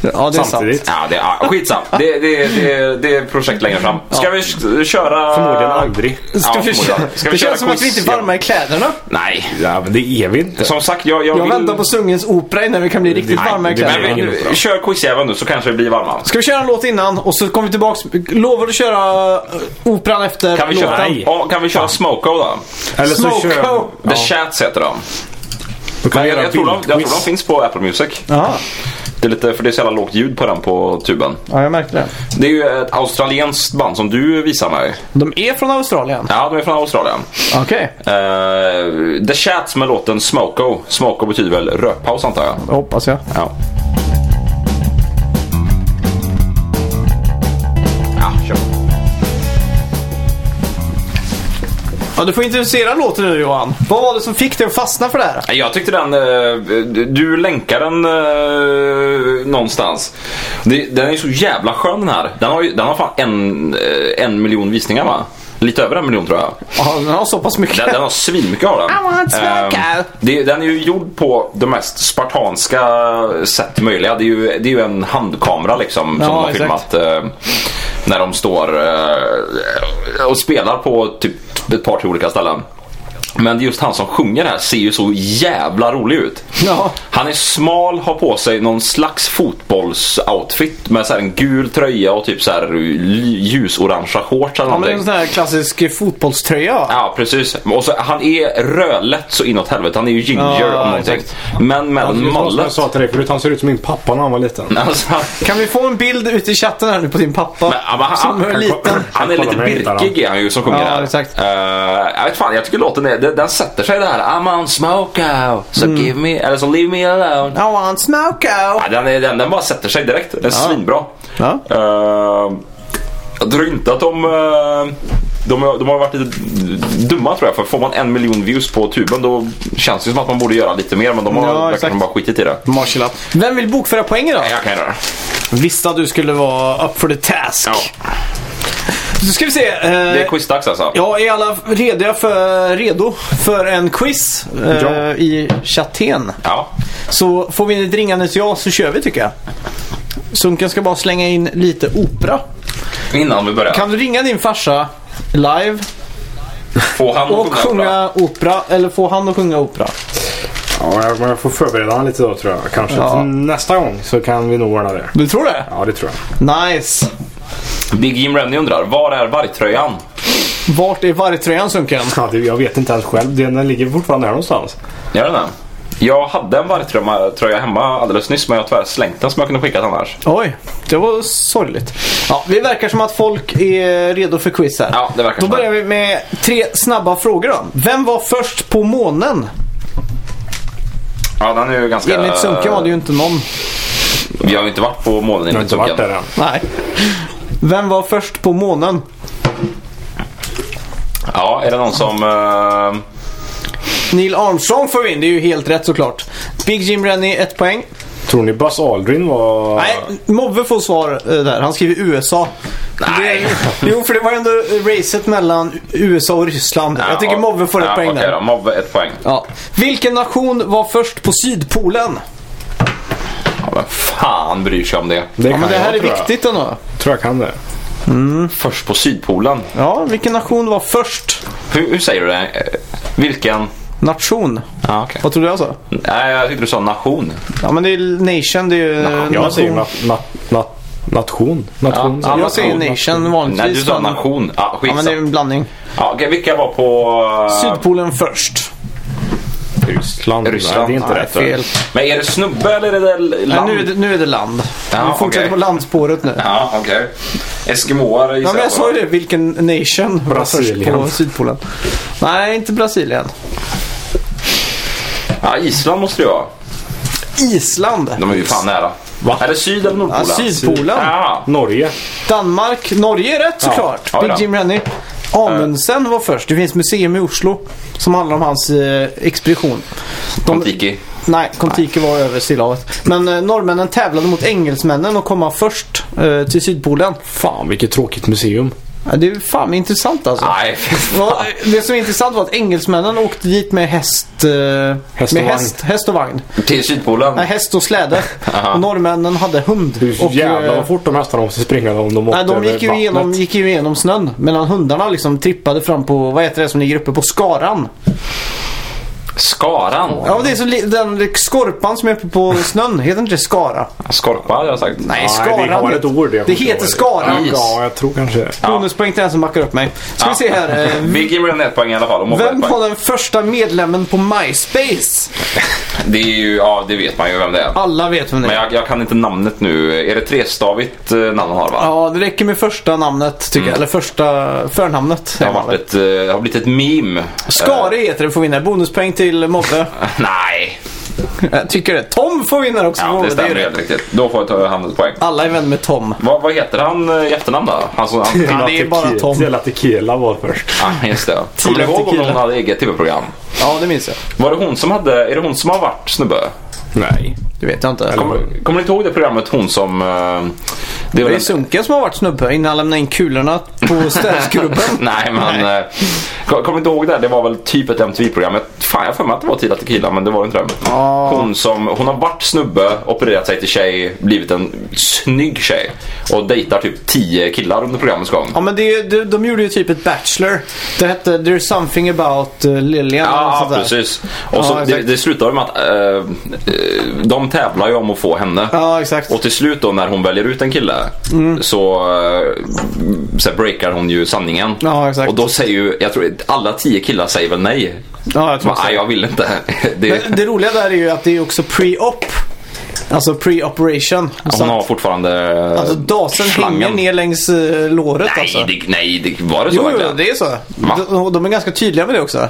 Speaker 5: Ja, det är sant.
Speaker 3: samtidigt.
Speaker 4: Ja, det, ja, skitsam. Det, det, det, det är projekt längre fram. Ska vi k- köra...
Speaker 3: Förmodligen aldrig.
Speaker 5: Ska
Speaker 4: Ja,
Speaker 5: vi
Speaker 4: förmodligen.
Speaker 5: köra,
Speaker 4: Ska vi
Speaker 5: det
Speaker 4: köra
Speaker 5: känns som att vi
Speaker 4: quiz
Speaker 5: inte är varma i kläderna.
Speaker 4: Nej.
Speaker 3: Ja, men det är vi inte.
Speaker 4: Som sagt, jag, jag,
Speaker 5: Jag
Speaker 4: vill...
Speaker 5: väntar på Sungens opera innan vi kan bli riktigt
Speaker 3: Nej,
Speaker 5: varma i
Speaker 3: det blir
Speaker 5: kläderna.
Speaker 4: Men
Speaker 3: Nej,
Speaker 4: vi,
Speaker 3: ingen opera.
Speaker 4: kör quizjäveln nu så kanske vi blir varma.
Speaker 5: Ska vi köra en låt innan och så kommer vi tillbaks. Lovar du köra eh, operan efter
Speaker 4: Kan vi
Speaker 5: låten?
Speaker 4: köra,
Speaker 3: Nej.
Speaker 4: ja, kan vi köra Smoko då?
Speaker 3: Eller så
Speaker 5: Smoko!
Speaker 3: kör... Ja.
Speaker 4: The Chats heter de.
Speaker 3: Då kan
Speaker 4: Men
Speaker 3: vi
Speaker 4: jag,
Speaker 3: göra
Speaker 4: jag, tror de jag tror de
Speaker 3: bildquiz.
Speaker 4: finns på Apple Music.
Speaker 5: Jaha,
Speaker 4: Det är lite, för det är så jävla lågt ljud på den på tuben.
Speaker 5: ja, jag märkte det.
Speaker 4: Det är ju ett australienskt band som du visar mig.
Speaker 5: De är från Australien?
Speaker 4: Ja, de är från Australien.
Speaker 5: Okej,
Speaker 4: Eh, The Chats med låten Smoko. Smoko betyder väl rökpaus antar jag.
Speaker 5: det hoppas jag.
Speaker 4: Ja. Ja, kör.
Speaker 5: Ja, du får introducera låten nu Johan. Vad var det som fick dig att fastna för det här?
Speaker 4: Jag tyckte den... eh, Du länkar den eh, någonstans. Det- Den är ju så jävla skön den här. Den har, ju- den har fan en, eh, en miljon visningar va? Lite över en miljon tror jag.
Speaker 5: Ja, den har så pass mycket.
Speaker 4: Den, den har svinmycket av den.
Speaker 5: I want smoke.
Speaker 4: Ehm, det, den är ju gjord på det mest spartanska sätt möjliga. Det är ju, det är ju en handkamera liksom som
Speaker 5: Ja,
Speaker 4: de har
Speaker 5: exakt.
Speaker 4: filmat. eh, när de står eh, och spelar på typ ett par till olika ställen. Men just han som sjunger här ser ju så jävla rolig ut.
Speaker 5: Ja.
Speaker 4: Han är smal, har på sig någon slags fotbollsoutfit med så här en gul tröja och typ så här ljusorangea shorts eller
Speaker 5: Ja, men det är
Speaker 4: någonting.
Speaker 5: en sån här klassisk eh, fotbollströja. va?
Speaker 4: Ja precis. Och så, han är rödlätt så inåt helvete. Han är ju ginger
Speaker 5: Ja,
Speaker 4: om någonting.
Speaker 5: exakt.
Speaker 4: Men med en
Speaker 3: Det är som jag
Speaker 4: mallet.
Speaker 5: Alltså,
Speaker 3: sa till dig förut, han ser ut som min pappa när han var liten.
Speaker 4: Alltså,
Speaker 5: Kan vi få en bild ute i chatten här nu på din pappa?
Speaker 4: men, ja, men han,
Speaker 5: som är
Speaker 4: han,
Speaker 5: liten.
Speaker 4: han är
Speaker 3: Kolla
Speaker 4: lite
Speaker 3: mig, hittar han.
Speaker 4: birkig är han ju som sjunger
Speaker 5: Ja,
Speaker 4: där.
Speaker 5: exakt.
Speaker 4: Eh, jag vet fan, jag tycker låten är, den, den sätter sig där. I'm on smoke out, so
Speaker 5: Mm.
Speaker 4: give me, eller så leave me alone.
Speaker 5: I want smoke out.
Speaker 4: Ja, den, är, den, den bara sätter sig direkt. Den är svinbra.
Speaker 5: Ja.
Speaker 4: Eh, jag tror inte att de... eh, de, har- de har varit lite dumma tror jag. För får man en miljon views på tuben då känns det som att man borde göra lite mer. Men de har
Speaker 5: Ja, exakt.
Speaker 4: verkligen bara skitit i det.
Speaker 5: Marshall up. Vem vill bokföra poäng idag?
Speaker 4: Jag kan göra det.
Speaker 5: Visste att du skulle vara up for the task.
Speaker 4: Ja.
Speaker 5: Då ska vi se. eh,
Speaker 4: Det är quizdags alltså.
Speaker 5: Ja, är alla rediga för, redo för en quiz eh,
Speaker 3: Ja.
Speaker 5: i chatten?
Speaker 4: Ja.
Speaker 5: Så får vi ett ringandes ja så kör vi tycker jag. Sunken ska bara slänga in lite opera.
Speaker 4: Innan vi börjar.
Speaker 5: Kan du ringa din farsa live
Speaker 4: Få han att
Speaker 5: och sjunga opera? Eller få han att sjunga opera?
Speaker 3: Ja, jag, men jag får förbereda honom lite då tror jag. Kanske
Speaker 5: Ja.
Speaker 3: till nästa gång så kan vi nog ordna det.
Speaker 5: Du tror det?
Speaker 3: Ja, det tror jag.
Speaker 5: Nice.
Speaker 4: Big Jim Rennie undrar, var är vargtröjan?
Speaker 5: Vart är vargtröjan Sunken?
Speaker 3: Ja, det, jag vet inte ens själv. Den, den ligger fortfarande här någonstans.
Speaker 4: Gör den det? Jag hade en vargtröja tröja hemma alldeles nyss men jag har tyvärr slängt den som jag kunde skickat annars.
Speaker 5: Oj, det var sorgligt. Ja, vi verkar som att folk är redo för quiz här.
Speaker 4: Ja, det verkar
Speaker 5: Då
Speaker 4: som det.
Speaker 5: börjar vi med tre snabba frågor då. Vem var först på månen?
Speaker 4: Ja, den är ju ganska...
Speaker 5: Enligt Sunken var det ju inte någon.
Speaker 4: Vi har ju inte varit på månen
Speaker 3: Jag har
Speaker 4: enligt
Speaker 3: inte
Speaker 4: Sunken.
Speaker 3: varit där än.
Speaker 5: Nej. Vem var först på månen?
Speaker 4: Ja, är det någon som... eh,
Speaker 5: Neil Armstrong får vi in, det är ju helt rätt såklart. Big Jim Rennie, ett poäng.
Speaker 3: Tror ni Buzz Aldrin var...
Speaker 5: Nej, Mobbe får svar eh, där. Han skriver USA. Nej. Jo, för det var ändå racet mellan USA och Ryssland. Jag tycker Mobbe får ett
Speaker 4: ja,
Speaker 5: poäng
Speaker 4: Okej
Speaker 5: där.
Speaker 4: då, Mobbe ett poäng.
Speaker 5: Ja. Vilken nation var först på Sydpolen?
Speaker 4: Ja, vem fan bryr sig om det?
Speaker 3: Det
Speaker 5: Ja,
Speaker 3: kan
Speaker 5: men det här
Speaker 3: jag,
Speaker 5: är
Speaker 3: tror
Speaker 5: viktigt ändå.
Speaker 3: Jag. Tror jag kan det.
Speaker 4: Först på Sydpolen.
Speaker 5: Ja, vilken nation var först?
Speaker 4: Hur, hur säger du det? Eh, Vilken?
Speaker 5: Nation.
Speaker 4: Ja, okej.
Speaker 5: Vad tror du jag sa?
Speaker 4: Nej, jag tyckte du sa nation.
Speaker 5: Ja, men det är nation. Det är ju
Speaker 4: Nation.
Speaker 3: Jag säger
Speaker 5: nation.
Speaker 3: nat, nat, nat, nation. Nation.
Speaker 4: ja,
Speaker 5: Jag säger
Speaker 4: nation.
Speaker 5: nation vanligtvis.
Speaker 4: Nej, du sa
Speaker 5: men-
Speaker 4: nation. Ja,
Speaker 5: Ja, men
Speaker 4: skitsamma.
Speaker 5: det är en blandning.
Speaker 4: Ja, okej, vilka var på... eh,
Speaker 5: Sydpolen först.
Speaker 3: Ryssland.
Speaker 4: Ryssland.
Speaker 3: Nej, det är inte
Speaker 4: Nej,
Speaker 3: rätt.
Speaker 5: fel.
Speaker 4: Men är det snubbe eller är det land?
Speaker 5: Nej, nu, är det, nu är det land.
Speaker 4: Ja,
Speaker 5: Vi fortsätter
Speaker 4: okej.
Speaker 5: på landspåret nu.
Speaker 4: Ja, okej. Eskimoar
Speaker 5: Ja,
Speaker 4: gissar
Speaker 5: men jag sa ju det. Vilken nation var först
Speaker 3: Brasilien.
Speaker 5: på Sydpolen? Nej, inte Brasilien.
Speaker 4: Ja, Island måste det vara.
Speaker 5: Island.
Speaker 4: De är ju fan nära.
Speaker 3: Va?
Speaker 4: Är det syd eller
Speaker 5: Ja,
Speaker 4: nordpolen?
Speaker 5: Sydpolen.
Speaker 4: Ja.
Speaker 3: Norge.
Speaker 5: Danmark. Norge är rätt såklart.
Speaker 4: Ja,
Speaker 5: Big
Speaker 4: ja.
Speaker 5: Jim Rennie. Amundsen var först. Det finns museum i Oslo som handlar om hans eh, expedition. De-
Speaker 4: Kontiki.
Speaker 5: Nej, Kontiki var över Stilla havet. Men eh, norrmännen tävlade mot engelsmännen och komma först eh, till Sydpolen.
Speaker 3: Fan vilket tråkigt museum.
Speaker 5: Ja, det är fan intressant alltså.
Speaker 4: Nej, fy fan.
Speaker 5: Ja, det som är intressant var att engelsmännen åkte dit med häst, eh,
Speaker 3: Häst och
Speaker 5: med
Speaker 3: vagn.
Speaker 5: häst, häst och vagn.
Speaker 4: till Sydpolen.
Speaker 5: Nej, häst och släde.
Speaker 4: Aha.
Speaker 5: och norrmännen hade hund.
Speaker 3: Hur
Speaker 5: Och,
Speaker 3: jävlar
Speaker 5: eh,
Speaker 3: vad fort de hästarna måste springa om de åkte
Speaker 5: Nej, de
Speaker 3: över
Speaker 5: gick ju, igenom,
Speaker 3: vattnet.
Speaker 5: gick ju igenom snön. Medan hundarna liksom trippade fram på, vad heter det som ligger uppe på skaran?
Speaker 4: Skaran.
Speaker 5: Ja, det är så li- den skorpan som är uppe på snön. Heter inte det skara?
Speaker 4: Skorpa hade jag sagt.
Speaker 5: Nej,
Speaker 3: Nej, det
Speaker 5: skaran.
Speaker 3: har ett ord. jag
Speaker 5: det
Speaker 3: kommer inte
Speaker 5: heter
Speaker 3: ihåg.
Speaker 5: skaran.
Speaker 4: Is.
Speaker 3: Ja, jag tror kanske det.
Speaker 5: Bonuspoäng till den som backar upp mig. Ska vi se här. eh,
Speaker 4: Vi ger Brian ett poäng i alla fall. och Mobbe
Speaker 5: Vem
Speaker 4: ett
Speaker 5: var
Speaker 4: poäng.
Speaker 5: den första medlemmen på MySpace?
Speaker 4: Det är ju, ja det vet man ju vem det är.
Speaker 5: Alla vet vem det är.
Speaker 4: Men jag, jag kan inte namnet nu. Är det trestavigt eh, namn han har va?
Speaker 5: Ja, det räcker med första namnet tycker jag. Eller första förnamnet.
Speaker 4: Det
Speaker 5: säger
Speaker 4: Mm. har,
Speaker 5: man
Speaker 4: varit
Speaker 5: väl.
Speaker 4: ett, eh, det har blivit ett meme.
Speaker 5: Skare heter det får vinna. Bonuspoäng till Mobbe.
Speaker 4: Eh, Nej,
Speaker 5: jag tycker det. Tom får vinna också. för
Speaker 4: ja,
Speaker 5: Mobbe,
Speaker 4: det
Speaker 5: är ju
Speaker 4: stämmer
Speaker 5: rätt.
Speaker 4: helt riktigt. Då får jag ta hand om ett poäng.
Speaker 5: Alla är vänner med Tom.
Speaker 4: Vad, vad heter han eh, i efternamn då? Han som, han,
Speaker 5: Ja, det är bara
Speaker 3: Tequila-
Speaker 5: Tom.
Speaker 3: Hela Tequila var först.
Speaker 4: ah, just det. Kommer du
Speaker 5: Tio
Speaker 4: ihåg om
Speaker 5: tequila.
Speaker 4: hon hade eget tv-program?
Speaker 5: Ja, det minns jag.
Speaker 4: Var det hon som hade, är det hon som har varit snubbe?
Speaker 3: Nej.
Speaker 5: Det vet jag inte.
Speaker 4: Kommer, kommer ni inte ihåg det programmet hon som... eh, det var
Speaker 5: Det är
Speaker 4: den-
Speaker 5: Sunken som har varit snubbe innan han lämnade in kulorna på städskrubben.
Speaker 4: Nej men, eh, kom- kommer inte ihåg det? Det var väl typ ett MTV-program. Jag- Fan jag har för mig att det var Tila Tequila men det var det inte det.
Speaker 5: Ja.
Speaker 4: Hon som, hon har varit snubbe, opererat sig till tjej, blivit en snygg tjej. Och dejtar typ 10 killar under programmets gång.
Speaker 5: Ja men det, är ju- de, de gjorde ju typ ett Bachelor. Det hette There's something about uh, Lillian eller något
Speaker 4: Ja,
Speaker 5: sånt där.
Speaker 4: precis.
Speaker 5: Ja,
Speaker 4: Och så det,
Speaker 5: exakt.
Speaker 4: det slutar med att eh, eh, de tävlar ju om att få henne.
Speaker 5: Ja, Mm. exakt.
Speaker 4: Och till slut då när hon väljer ut en kille så, eh, så här breakar hon ju sanningen.
Speaker 5: Ja, exakt.
Speaker 4: Och då säger ju, jag tror alla tio killar säger väl nej.
Speaker 5: Ja, jag tror
Speaker 4: Bara,
Speaker 5: också.
Speaker 4: Nej, jag vill inte. Det,
Speaker 5: Men det roliga där är ju att det är också pre-op. Alltså pre-operation. Så
Speaker 4: hon
Speaker 5: att-
Speaker 4: har fortfarande eh,
Speaker 5: Alltså dasen hänger
Speaker 4: slangen.
Speaker 5: ner längs eh, låret alltså.
Speaker 4: Nej, det, nej det, var det så
Speaker 5: Jo, jo,
Speaker 4: verkligen?
Speaker 5: det är så.
Speaker 4: Va?
Speaker 5: De, och de är ganska tydliga med det också.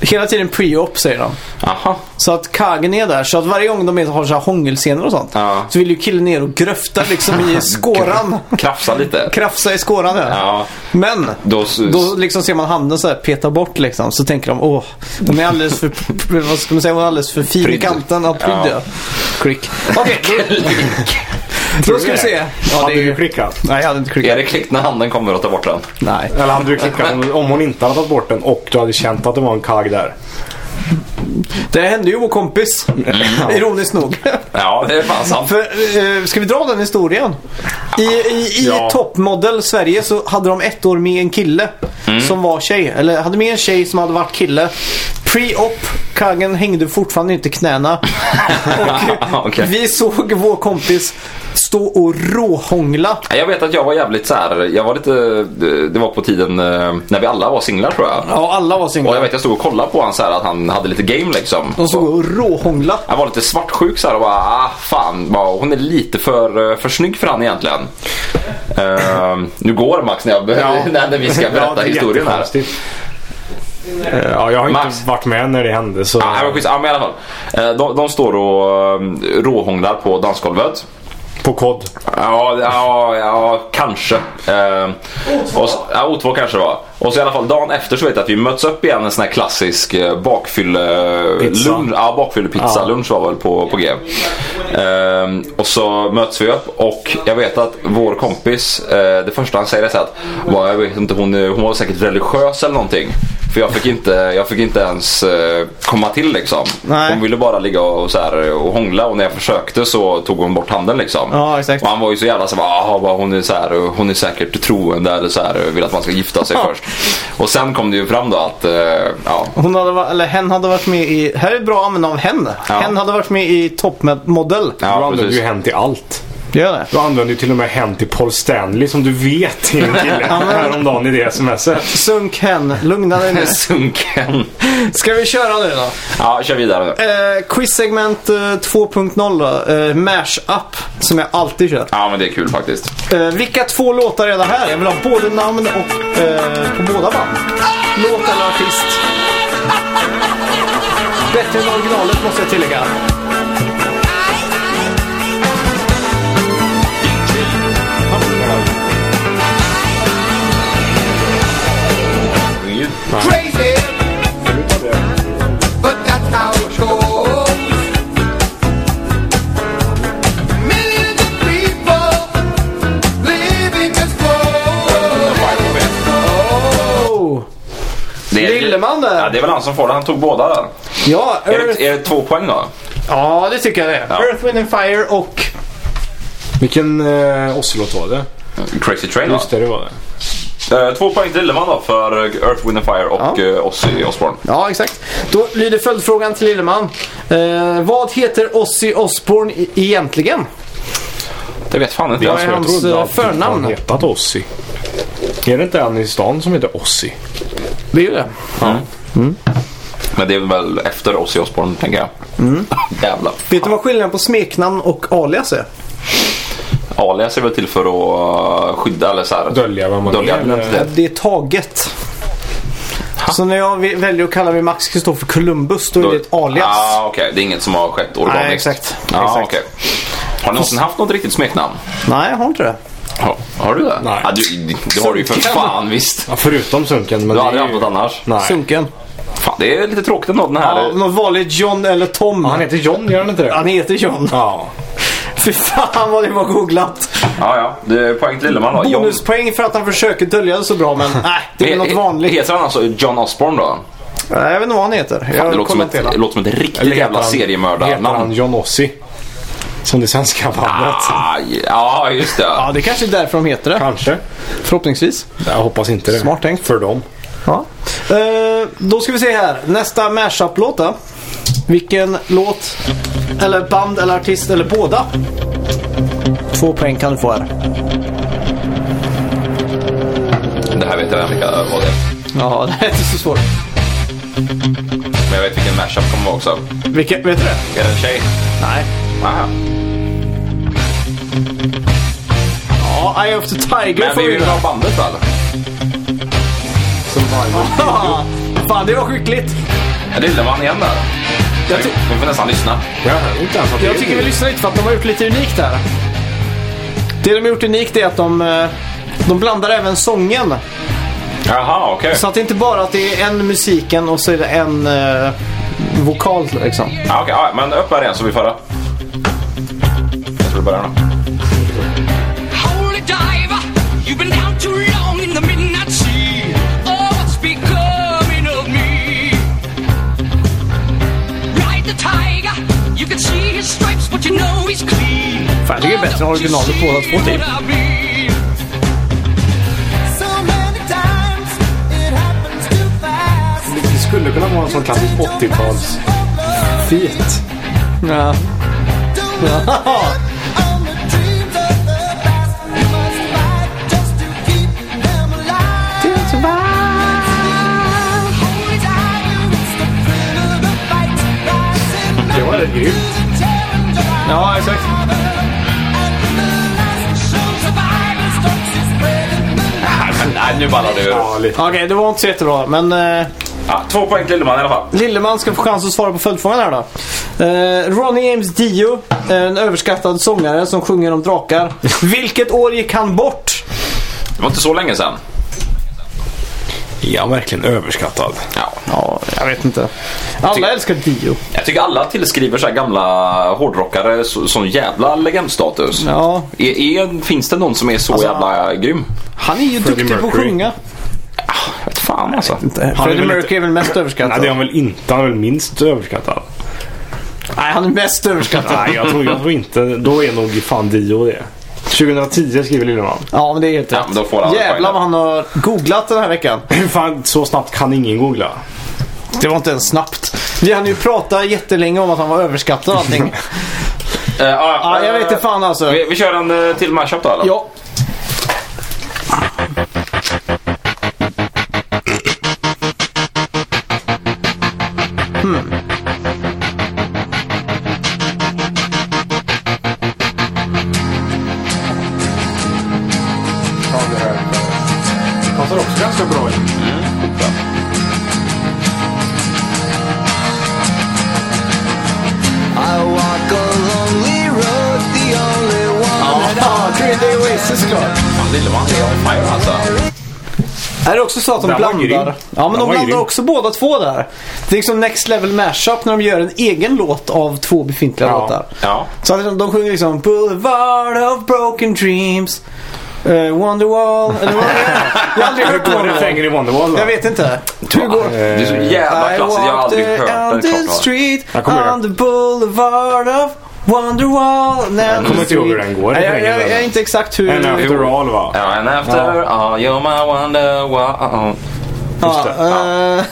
Speaker 5: Hela tiden pre-op säger de.
Speaker 4: Aha.
Speaker 5: Så att kagen är där. Så att varje gång de är- har så här hångelscener och sånt.
Speaker 4: Ja.
Speaker 5: Så vill ju killen ner och gröfta liksom i skåran.
Speaker 4: Krafsa lite.
Speaker 5: Krafsa i skåran ja.
Speaker 4: Ja.
Speaker 5: Men
Speaker 4: Då,
Speaker 5: då liksom ser man handen så här peta bort liksom. Så tänker de åh, de är alldeles för, vad ska man säga, de är alldeles för fin i
Speaker 4: Prydd.
Speaker 5: kanten. Ja, prydd
Speaker 4: Ja.
Speaker 5: ja. Klick. Okej, då, då ska vi se. Ja,
Speaker 3: Hade
Speaker 5: det är
Speaker 3: du
Speaker 5: ju...
Speaker 3: klickat?
Speaker 5: Nej, jag hade inte
Speaker 4: är
Speaker 5: klickat.
Speaker 4: det klick när handen kommer och tar bort den?
Speaker 5: Nej.
Speaker 3: Eller hade du klickat om, om hon inte hade tagit bort den och du hade känt att det var en kagg där?
Speaker 5: Det hände ju vår kompis. Ironiskt nog.
Speaker 4: Ja, det är fan sant.
Speaker 5: För, eh, ska vi dra den historien? I, i, i
Speaker 3: Ja.
Speaker 5: Toppmodell Sverige så hade de ett år med en kille
Speaker 4: Mm.
Speaker 5: som var tjej. Eller hade med en tjej som hade varit kille. Pre-op, kaggen hängde fortfarande inte i knäna. och
Speaker 4: Okej.
Speaker 5: vi såg vår kompis stå och råhångla.
Speaker 4: Ja, Jag vet att jag var jävligt så här. jag var lite, det var på tiden eh, när vi alla var singlar tror jag.
Speaker 5: Ja, alla var
Speaker 4: Och jag
Speaker 5: singlar.
Speaker 4: vet jag stod och kollade på han så här att han hade lite game liksom.
Speaker 5: De stod
Speaker 4: Och
Speaker 5: och råhångla.
Speaker 4: Han var lite svartsjuk så här och bara, ah, fan, bara, hon är lite för, eh, för snygg för han egentligen. Eh, nu går Max när, jag,
Speaker 3: Ja.
Speaker 4: när vi ska berätta
Speaker 3: det är
Speaker 4: historien här.
Speaker 3: jättekonstigt. Eh, Ja, jag har inte
Speaker 4: Max.
Speaker 3: varit med när det hände så...
Speaker 4: Ja, men skits- ja, men i alla fall. Eh, De, de står och eh, råhånglar på dansgolvet.
Speaker 3: På kod.
Speaker 4: Ja, ja, ja kanske. Eh, O2. Och, ja, O2 kanske det var. Och så i alla fall dagen efter så vet jag att vi möts upp igen en sån här klassisk eh,
Speaker 3: Pizza.
Speaker 4: bakfylle-lunch. Ja, bakfyllepizza.
Speaker 3: Ja.
Speaker 4: Lunch var väl på, på G. Ehm, och så möts vi upp och jag vet att vår kompis, eh, det första han säger är så här att "Va, jag vet inte, hon, hon var säkert religiös eller någonting. För jag fick inte, jag fick inte ens eh, komma till liksom.
Speaker 5: Nej.
Speaker 4: Hon ville bara ligga och, så här, och hångla och när jag försökte så tog hon bort handen liksom.
Speaker 5: Ja, exakt.
Speaker 4: Och han var ju så jävla så här, "Ah, vad hon är så här, hon är säkert troende eller så här, vill att man ska gifta sig först. Och sen kom det ju fram då att, eh, ja.
Speaker 5: Hon hade, va- eller hen hade varit med i, här är ett bra användning av hen.
Speaker 4: Ja.
Speaker 5: Hen hade varit med i toppmodell.
Speaker 3: du
Speaker 4: Ja,
Speaker 3: använder
Speaker 4: precis.
Speaker 3: ju hen till allt.
Speaker 5: Det gör det.
Speaker 3: Du använder ju till och med hen till Paul Stanley som du vet är en kille. Häromdagen i det smset.
Speaker 5: Sunk hen, lugna dig nu.
Speaker 4: Sunken.
Speaker 5: Ska vi köra nu då?
Speaker 4: Ja, kör vidare nu.
Speaker 5: Eh, Quiz-segment eh, 2.0 då. Eh, Mash-up, som jag alltid kör.
Speaker 4: Ja, men det är kul faktiskt.
Speaker 5: Eh, vilka två låtar är det här? Jag vill ha både namn och eh, på båda band. Låt eller artist. Bättre än originalet måste jag tillägga.
Speaker 6: crazy, but that's how it goes. Millions of people living just for.
Speaker 5: Oh.
Speaker 4: Det är-
Speaker 5: Lilleman där.
Speaker 4: Ja, det är väl han som får det. Han tog båda där.
Speaker 5: Ja,
Speaker 4: Är det,
Speaker 5: Earth...
Speaker 4: är det två poäng då?
Speaker 5: ja, det tycker jag det är.
Speaker 4: Ja.
Speaker 5: Earth, Wind and Fire och...
Speaker 3: Vilken eh, Oslot var det?
Speaker 4: Crazy Train va?
Speaker 3: Just det, det var det.
Speaker 4: Eh, Två poäng till Lilleman då för eh, Earth, Wind and Fire och
Speaker 5: Ja.
Speaker 4: eh, Ozzy Osbourne.
Speaker 5: Ja, exakt. Då lyder följdfrågan till Lilleman. Eh, vad heter Ozzy Osbourne e- egentligen?
Speaker 4: Det vet fan inte
Speaker 5: Vad är
Speaker 4: jag.
Speaker 5: hans,
Speaker 3: trodde
Speaker 5: eh,
Speaker 3: alltid att
Speaker 5: förnamn?
Speaker 3: Han hetat Ossi. Är det inte en i stan som heter Ossi?
Speaker 5: Det är ju det.
Speaker 4: Men det är väl efter Ozzy Osbourne tänker jag.
Speaker 3: Mm.
Speaker 4: Jävlar.
Speaker 5: Vet du vad skillnaden på smeknamn och alias är?
Speaker 4: Alias är väl till för att eh, skydda eller så här.
Speaker 3: Dölja vad man
Speaker 4: Dölja
Speaker 3: är,
Speaker 4: din
Speaker 3: eller-
Speaker 4: identitet.
Speaker 5: Det är taget. Så när jag vi- väljer att kalla mig Max Kristoffer Columbus, då är det ett alias.
Speaker 4: Ah, okej. Det är inget som har skett organiskt.
Speaker 5: Nej, exakt.
Speaker 4: Ah,
Speaker 5: Exakt.
Speaker 4: okej. Har ni någonsin haft något riktigt smeknamn?
Speaker 5: Nej, jag har inte det.
Speaker 4: Har, har du det?
Speaker 3: Nej.
Speaker 4: Ah, du, det har du ju för
Speaker 5: Sunken.
Speaker 4: fan visst.
Speaker 3: Ja, förutom Sunken. Men
Speaker 4: Du
Speaker 3: det
Speaker 4: har aldrig
Speaker 3: är
Speaker 4: haft
Speaker 3: ju...
Speaker 4: något annars?
Speaker 3: Nej.
Speaker 5: Sunken.
Speaker 4: Eh. Fan, det är lite tråkigt ändå den här...
Speaker 5: Ja, något vanligt John eller Tom.
Speaker 3: Ja,
Speaker 4: Ah.
Speaker 3: Han heter John, gör han inte det?
Speaker 5: Han heter John.
Speaker 3: Ja.
Speaker 5: Fy fan vad det var googlat.
Speaker 4: Ja, ja. Det är poäng till Lilleman då. John-
Speaker 5: Bonuspoäng för att han försöker dölja det så bra, men nej, det är
Speaker 4: He-
Speaker 5: något
Speaker 4: he-
Speaker 5: vanligt.
Speaker 4: Heter han alltså John Osborne då?
Speaker 5: Nej, Jag vet inte vad han heter.
Speaker 4: Det
Speaker 5: Jag
Speaker 4: låter som,
Speaker 5: kollar
Speaker 4: ett,
Speaker 5: inte
Speaker 4: det
Speaker 5: hela.
Speaker 4: låter som ett
Speaker 3: Eller
Speaker 4: riktigt
Speaker 3: heter
Speaker 4: jävla
Speaker 3: han- Heter han
Speaker 4: seriemördarnamn.
Speaker 3: John Ossi? Som det svenska bandet.
Speaker 4: Aj, ja, just det.
Speaker 5: Ja, det kanske är därför de heter det.
Speaker 3: Kanske.
Speaker 5: Förhoppningsvis.
Speaker 3: Jag hoppas inte det.
Speaker 5: Smart tänkt.
Speaker 3: För dem.
Speaker 5: Ja. Eh, då ska vi se här. Nästa mashup-låt då. Vilken låt, eller band, eller artist, eller båda? Två poäng kan du få här.
Speaker 4: Det här vet jag vilka vad det är.
Speaker 5: Ja, det här är inte så svårt.
Speaker 4: Men jag vet vilken mashup kommer vara också.
Speaker 5: Vilken, vet du det?
Speaker 4: Är det en tjej?
Speaker 5: Nej.
Speaker 4: Aha.
Speaker 5: Ja, Eye of the Tiger
Speaker 4: Men
Speaker 5: får
Speaker 4: vi
Speaker 5: vi
Speaker 4: vill
Speaker 5: ju.
Speaker 4: ha bandet väl?
Speaker 5: Ah, Fan, det var skickligt.
Speaker 4: Är det Lilleman igen där?
Speaker 5: Jag, ty-
Speaker 4: Vi får nästan lyssna.
Speaker 3: Jag hör inte ens att det
Speaker 5: jag
Speaker 3: är
Speaker 5: tycker
Speaker 3: det.
Speaker 5: vi lyssnar lite för att de har gjort lite unikt här. Det de har gjort unikt är att de, eh, de blandar även sången.
Speaker 4: Jaha, okej.
Speaker 5: Så att det är inte bara att det är en musiken och så är det en eh, vokal liksom.
Speaker 4: Ja, okej, ja, men upp här igen så vi får höra. Jag tror det börjar nu.
Speaker 7: Holy diver, you've been down too long in the midnight sea. Oh, what's becoming of me? Ride the tiger, you can see his stripes, but you know he's clean.
Speaker 5: Fan, det är ju bättre än originalet båda två, typ.
Speaker 6: So many times it happens too fast.
Speaker 3: Det skulle kunna vara en sån klassisk 80-tals... Fet.
Speaker 5: Ja.
Speaker 3: Det var rätt grymt.
Speaker 5: ja, exakt.
Speaker 4: Nej, men nej, nu ballar det ur.
Speaker 3: Ja, lite.
Speaker 5: Okej, det var inte så jättebra. Men eh,
Speaker 4: Ja, två poäng till Lilleman i alla fall.
Speaker 5: Lilleman ska få chans att svara på följdfrågan här då. Eh, Ronnie James Dio, eh, en överskattad sångare som sjunger om drakar. Vilket år gick han bort?
Speaker 4: Det var inte så länge sedan.
Speaker 3: Ja, verkligen överskattad.
Speaker 4: Ja.
Speaker 5: Ja, jag vet inte. Alla älskar Dio.
Speaker 4: Jag tycker alla tillskriver så här gamla hårdrockare så, sån jävla legendstatus.
Speaker 5: Ja. Alltså,
Speaker 4: Är, är, finns det någon som är så jävla grym?
Speaker 5: Han är ju duktig på att
Speaker 3: Mercury.
Speaker 5: sjunga.
Speaker 4: Vet fan alltså.
Speaker 3: väl
Speaker 5: Freddie
Speaker 3: lite-
Speaker 5: Mercury är väl mest överskattad?
Speaker 3: Nej, det är han väl inte. Han är väl minst överskattad.
Speaker 5: Nej, han är mest överskattad.
Speaker 3: Nej, jag tror, jag tror inte. Då är nog fan Dio det. 2010 skriver Lilleman.
Speaker 5: Ja, men det är helt
Speaker 4: Ja,
Speaker 5: rätt.
Speaker 4: men då får han
Speaker 5: Jävlar
Speaker 4: poäng.
Speaker 5: vad han har googlat den här veckan.
Speaker 3: Hur fan så snabbt kan ingen googla?
Speaker 5: Det var inte ens snabbt. Vi hann ju prata jättelänge om att han var överskattad och allting.
Speaker 4: Eh, ja,
Speaker 5: Ja, jag
Speaker 4: eh,
Speaker 5: vet inte fan alltså.
Speaker 4: Vi, vi kör en eh, till mashup då eller?
Speaker 5: Ja.
Speaker 3: Passar också ganska bra in.
Speaker 1: I walk a lonely road, the only one
Speaker 5: Ja, Three Day Oasis såklart.
Speaker 4: Fan, Lilleman är on fire alltså.
Speaker 5: Är det också så att de
Speaker 3: Den var
Speaker 5: blandar?
Speaker 3: grym.
Speaker 5: Ja, men
Speaker 3: Den
Speaker 5: de
Speaker 3: var
Speaker 5: blandar
Speaker 3: grym.
Speaker 5: också båda två där. Det är liksom Next Level Mashup när de gör en egen låt av två befintliga
Speaker 3: Ja.
Speaker 5: låtar.
Speaker 4: Ja.
Speaker 5: Så att de- de sjunger liksom Boulevard of broken dreams eh, Wonderwall eller vad det är. Jag har aldrig hört
Speaker 3: Går
Speaker 5: Wonderwall.
Speaker 3: refrängen i Wonderwall
Speaker 5: Jag
Speaker 3: då?
Speaker 5: vet inte. Hur går
Speaker 4: Det är så jävla
Speaker 5: I
Speaker 4: klassiskt. Jag har
Speaker 5: walked
Speaker 4: aldrig hört den
Speaker 5: down
Speaker 4: klart.
Speaker 5: the
Speaker 4: va?
Speaker 5: street
Speaker 3: Jag kommer ihåg.
Speaker 5: on the boulevard of Wonderwall. Nej, jag
Speaker 3: kommer inte ihåg hur den går.
Speaker 5: Nej, jag, jag, jag är inte exakt hur...
Speaker 3: En after all va?
Speaker 4: Ja, and after all you're my wonder wow.
Speaker 5: Ja,
Speaker 3: det.
Speaker 5: eh,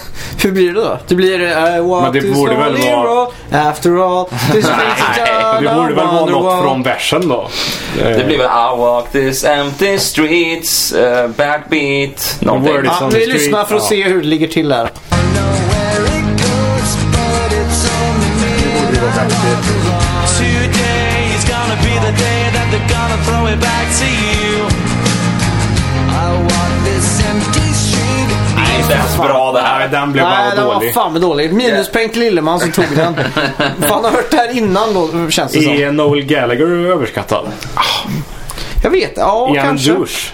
Speaker 5: hur blir det då? Det blir eh, I walk
Speaker 3: Men det
Speaker 5: this
Speaker 3: borde väl
Speaker 5: lonely
Speaker 3: vara-
Speaker 5: road after all this crazy town
Speaker 3: Det borde väl vara något
Speaker 5: Wonderwall.
Speaker 3: från versen då? Eh.
Speaker 4: Det blir väl I walk this empty streets, eh, backbeat, någonting. Ah,
Speaker 3: word is
Speaker 4: Ja.
Speaker 5: Ja, vi lyssnar för att se hur det ligger till där.
Speaker 1: where it goes, but it's only me. Today is gonna be the day that they're gonna throw it back to you. I walk this empty street.
Speaker 4: Det är inte ens bra det här.
Speaker 3: Nej, den blev
Speaker 5: Nej,
Speaker 3: bara
Speaker 5: den var
Speaker 3: dålig.
Speaker 5: fan med dålig. Minuspoäng till Lilleman som tog den. Fan, har hört det här innan då, känns det som.
Speaker 3: Är Noel Gallagher överskattad?
Speaker 5: Jag vet, ja
Speaker 3: Är han
Speaker 5: kanske.
Speaker 3: douche?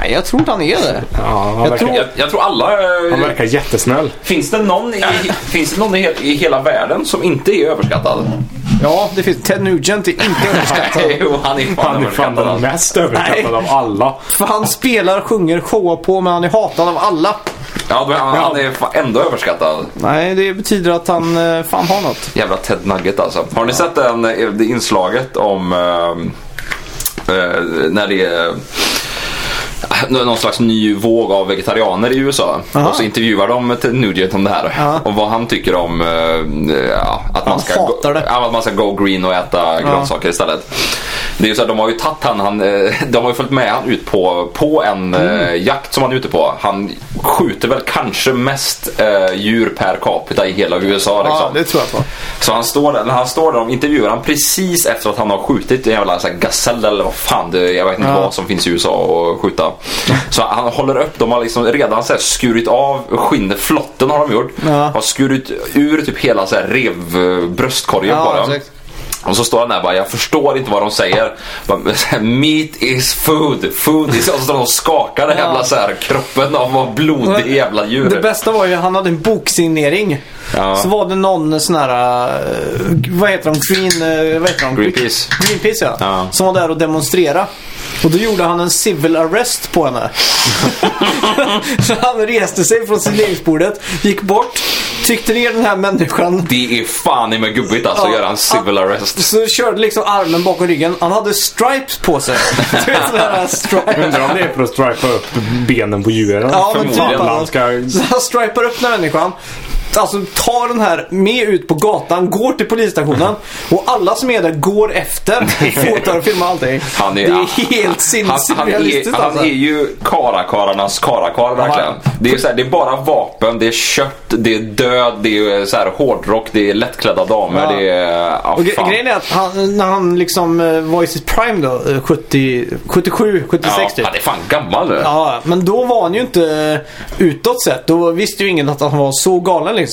Speaker 5: Nej, jag tror inte han är det.
Speaker 3: Ja, han
Speaker 5: Jag
Speaker 3: verkar,
Speaker 5: tror-
Speaker 4: Jag, jag tror alla... eh,
Speaker 3: han verkar jättesnäll.
Speaker 4: Finns det någon, i, finns det någon i, he- i hela världen som inte är överskattad?
Speaker 5: Ja, det finns. Ted Nugent är inte
Speaker 4: Nej,
Speaker 5: överskattad.
Speaker 4: jo, han är fan
Speaker 3: Han är fan
Speaker 4: överskattad.
Speaker 3: den
Speaker 4: alltså.
Speaker 3: mest överskattade av alla.
Speaker 5: För han spelar, sjunger, showar på, men han är hatad av alla.
Speaker 4: Ja, men han, han är fan ändå överskattad.
Speaker 5: Nej, det betyder att han eh, fan har något.
Speaker 4: Jävla Ted Nugget alltså. Har ni sett den, eh, det inslaget om eh, eh, när det är eh, någon slags ny våg av vegetarianer i USA.
Speaker 5: Aha.
Speaker 4: Och så intervjuar de Ted Nugent om det här.
Speaker 5: Ja.
Speaker 4: Och vad han tycker om eh, ja, att, man
Speaker 5: Han
Speaker 4: ska gå,
Speaker 5: hatar det.
Speaker 4: ja, att man ska go green och äta grönsaker istället. Det är ju så här, de har ju tagit han, han eh, de har ju följt med han ut på, på en
Speaker 5: Mm.
Speaker 4: eh, jakt som han är ute på. Han skjuter väl kanske mest eh, djur per capita i hela USA. Liksom.
Speaker 5: Ja, det tror jag på.
Speaker 4: Så han står där, när han står där, de intervjuar han precis efter att han har skjutit en jävla så här, gasell eller vad fan det är, jag vet inte vad som finns i USA att skjuta. Så han håller upp, de har liksom redan så här, skurit av skinnet, flotten har de gjort.
Speaker 5: Ja.
Speaker 4: Har skurit ur typ hela så här, rev, eh, bröstkorgen
Speaker 5: Ja,
Speaker 4: på den.
Speaker 5: exakt.
Speaker 4: Och så står han där och bara, jag förstår inte vad de säger. Bara, så här, Meat is food, food is... Och så står de och skakar den jävla så här, kroppen av vad blodig jävla djur.
Speaker 5: Det bästa var ju, han hade en boksignering.
Speaker 4: Ja.
Speaker 5: Så var det någon sån här, eh, vad heter de, Green, eh, vad heter de?
Speaker 4: Greenpeace.
Speaker 5: Greenpeace ja.
Speaker 4: Ja.
Speaker 5: Som var där och demonstrera. Och då gjorde han en civil arrest på henne. så han reste sig från signeringsbordet, gick bort, tryckte ner den här människan.
Speaker 4: Det är fan i mig gubbigt alltså,
Speaker 5: Ja.
Speaker 4: att göra en civil arrest.
Speaker 5: Så körde liksom armen bakom ryggen. Han hade stripes på sig. Du vet sådana här stripes.
Speaker 3: Undrar om det är för att stripa upp benen på djuren.
Speaker 5: Ja, men typ
Speaker 4: Förmodligen.
Speaker 5: han,
Speaker 3: Han ska...
Speaker 5: så han stripar upp den här människan. Alltså tar den här med ut på gatan, går till polisstationen och alla som är där går efter. Fotar och filmar allting.
Speaker 4: Han är-
Speaker 5: det är helt
Speaker 4: Han, han, är,
Speaker 5: sinnesrealistiskt
Speaker 4: han
Speaker 5: alltså.
Speaker 4: är ju karakarlarnas karakar verkligen. Det är, så här, det är bara vapen, det är kött, det är död, det är så här, hårdrock, det är lättklädda damer.
Speaker 5: Ja.
Speaker 4: Det är, ja,
Speaker 5: Och gre-
Speaker 4: fan.
Speaker 5: grejen är att han, när han liksom eh, var i sitt prime då, eh, 70, 77, 76
Speaker 4: ja,
Speaker 5: typ.
Speaker 4: Han är fan gammal nu.
Speaker 5: Ja, men då var han ju inte eh, utåt sett. Då visste ju ingen att han var så galen liksom.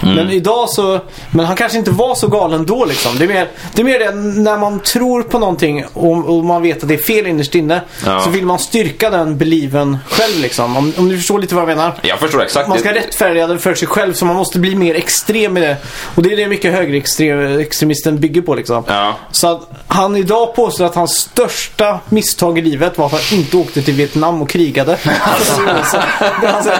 Speaker 5: Men idag så, men han kanske inte var så galen då liksom. Det är mer det, är mer det när man tror på någonting och, och man vet att det är fel innerst inne.
Speaker 4: Ja.
Speaker 5: Så vill man styrka den believen själv liksom. Om, om du förstår lite vad jag menar.
Speaker 4: Jag förstår exakt.
Speaker 5: Man ska
Speaker 4: Det-
Speaker 5: rättfärdiga den för sig själv så man måste bli mer extrem i det. Och det är det mycket högerextremisten bygger på liksom.
Speaker 4: Ja.
Speaker 5: Så att han idag påstår att hans största misstag i livet var att han inte åkte till Vietnam och krigade. Alltså, det är alltså,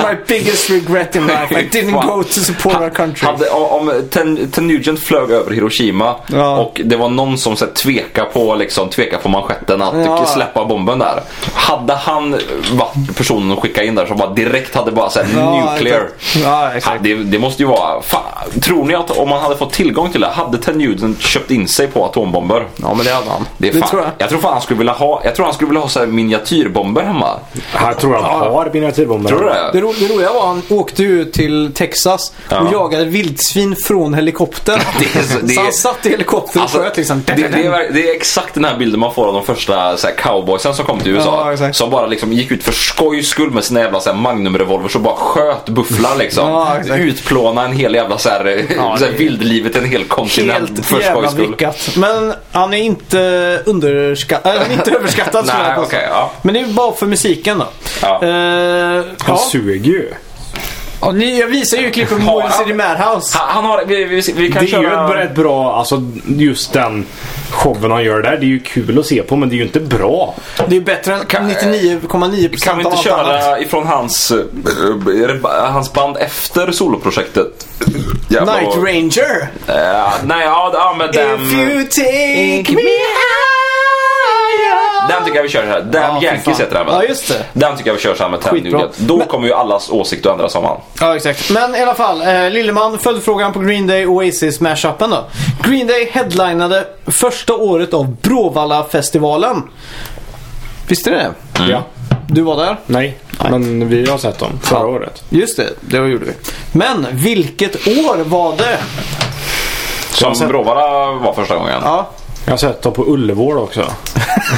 Speaker 5: That's my biggest regret in life. I didn't
Speaker 4: Fan.
Speaker 5: go to support our country.
Speaker 4: Hade, om om Ten, Ten Nugent flög över Hiroshima
Speaker 5: Ja.
Speaker 4: och det var någon som så här, tveka på liksom, tveka på manschetten att
Speaker 5: Ja.
Speaker 4: släppa bomben där. Hade han varit personen att skicka in där som bara direkt hade bara såhär
Speaker 5: Ja,
Speaker 4: nuclear.
Speaker 5: exakt. Ja, exakt.
Speaker 4: det, det måste ju vara, fan, tror ni att om man hade fått tillgång till det, hade Ten Nugent köpt in sig på atombomber?
Speaker 5: Ja men det hade han.
Speaker 4: Det är fan,
Speaker 5: tror
Speaker 4: tror
Speaker 5: jag.
Speaker 4: jag. tror fan han skulle vilja ha, jag tror han skulle vilja ha så här miniatyrbomber hemma.
Speaker 3: Jag tror han har miniatyrbomber.
Speaker 4: Tror du det?
Speaker 5: Det, ro, det roliga var han åkte ju till Texas
Speaker 4: Ja.
Speaker 5: och jagade vildsvin från helikoptern.
Speaker 4: Det är så- det
Speaker 5: så
Speaker 4: är-
Speaker 5: han satt i helikoptern och
Speaker 4: Alltså,
Speaker 5: sköt liksom.
Speaker 4: det, det, är, verk- det är exakt den här bilden man får av de första så här, cowboysen som kom till
Speaker 5: Ja,
Speaker 4: USA.
Speaker 5: exakt.
Speaker 4: som bara liksom gick ut för skojs skull med sina jävla så här, magnumrevolvers och bara sköt bufflar liksom.
Speaker 5: Ja, exakt.
Speaker 4: Utplåna en hel jävla så här, så här,
Speaker 5: det är-
Speaker 4: vildlivet, en hel kontinent
Speaker 5: Helt
Speaker 4: för
Speaker 5: jävla
Speaker 4: skojs skull.
Speaker 5: lyckat. Men han är inte underskattad. Äh, han är inte överskattad skulle jag
Speaker 4: Nej,
Speaker 5: påstå.
Speaker 4: okej. ja.
Speaker 5: Men det är ju bara för musiken då.
Speaker 4: Ja.
Speaker 5: Eh,
Speaker 3: Han
Speaker 5: ja.
Speaker 3: suger ju.
Speaker 5: Ja, ni- Jag visar ju klippet på
Speaker 4: Har han-
Speaker 5: Morris i Madhouse.
Speaker 4: Han, han har, vi, vi, vi
Speaker 3: Det
Speaker 4: kan
Speaker 3: är ju
Speaker 4: köra...
Speaker 3: ett rätt bra, alltså just den showen han gör där. Det är ju kul att se på men det är ju inte bra.
Speaker 5: Det är bättre än
Speaker 4: Kan-
Speaker 5: 99,9%
Speaker 4: Kan vi
Speaker 5: av
Speaker 4: inte
Speaker 5: allt annat.
Speaker 4: köra ifrån hans, eh, eh, hans band efter soloprojektet? Jävlar
Speaker 5: Night
Speaker 4: vad-
Speaker 5: Ranger.
Speaker 4: Eh, nej, ja, ja men den...
Speaker 5: If you take me higher.
Speaker 4: Den tycker jag vi kör så här. Damn
Speaker 5: Ja, fy
Speaker 4: Yankees
Speaker 5: fan.
Speaker 4: heter den
Speaker 5: Ja, just det.
Speaker 4: Den tycker jag vi kör så här med Ten
Speaker 5: Skitbra.
Speaker 4: Nugent. Då kommer ju allas åsikter att ändras om han.
Speaker 5: Ja, exakt. Men i alla fall, eh, Lilleman, följdfrågan på Green Day Oasis mashupen då. Green Day headlinade första året av Bråvalla-festivalen. Visste ni det?
Speaker 3: Ja.
Speaker 5: Du var där?
Speaker 3: Nej. Men vi har sett dem förra
Speaker 5: Ja.
Speaker 3: året.
Speaker 5: Just det, det gjorde vi. Men vilket år var det?
Speaker 4: Som
Speaker 3: sen-
Speaker 4: Bråvalla var första gången.
Speaker 5: Ja,
Speaker 3: Jag har sett dem på Ullevård också.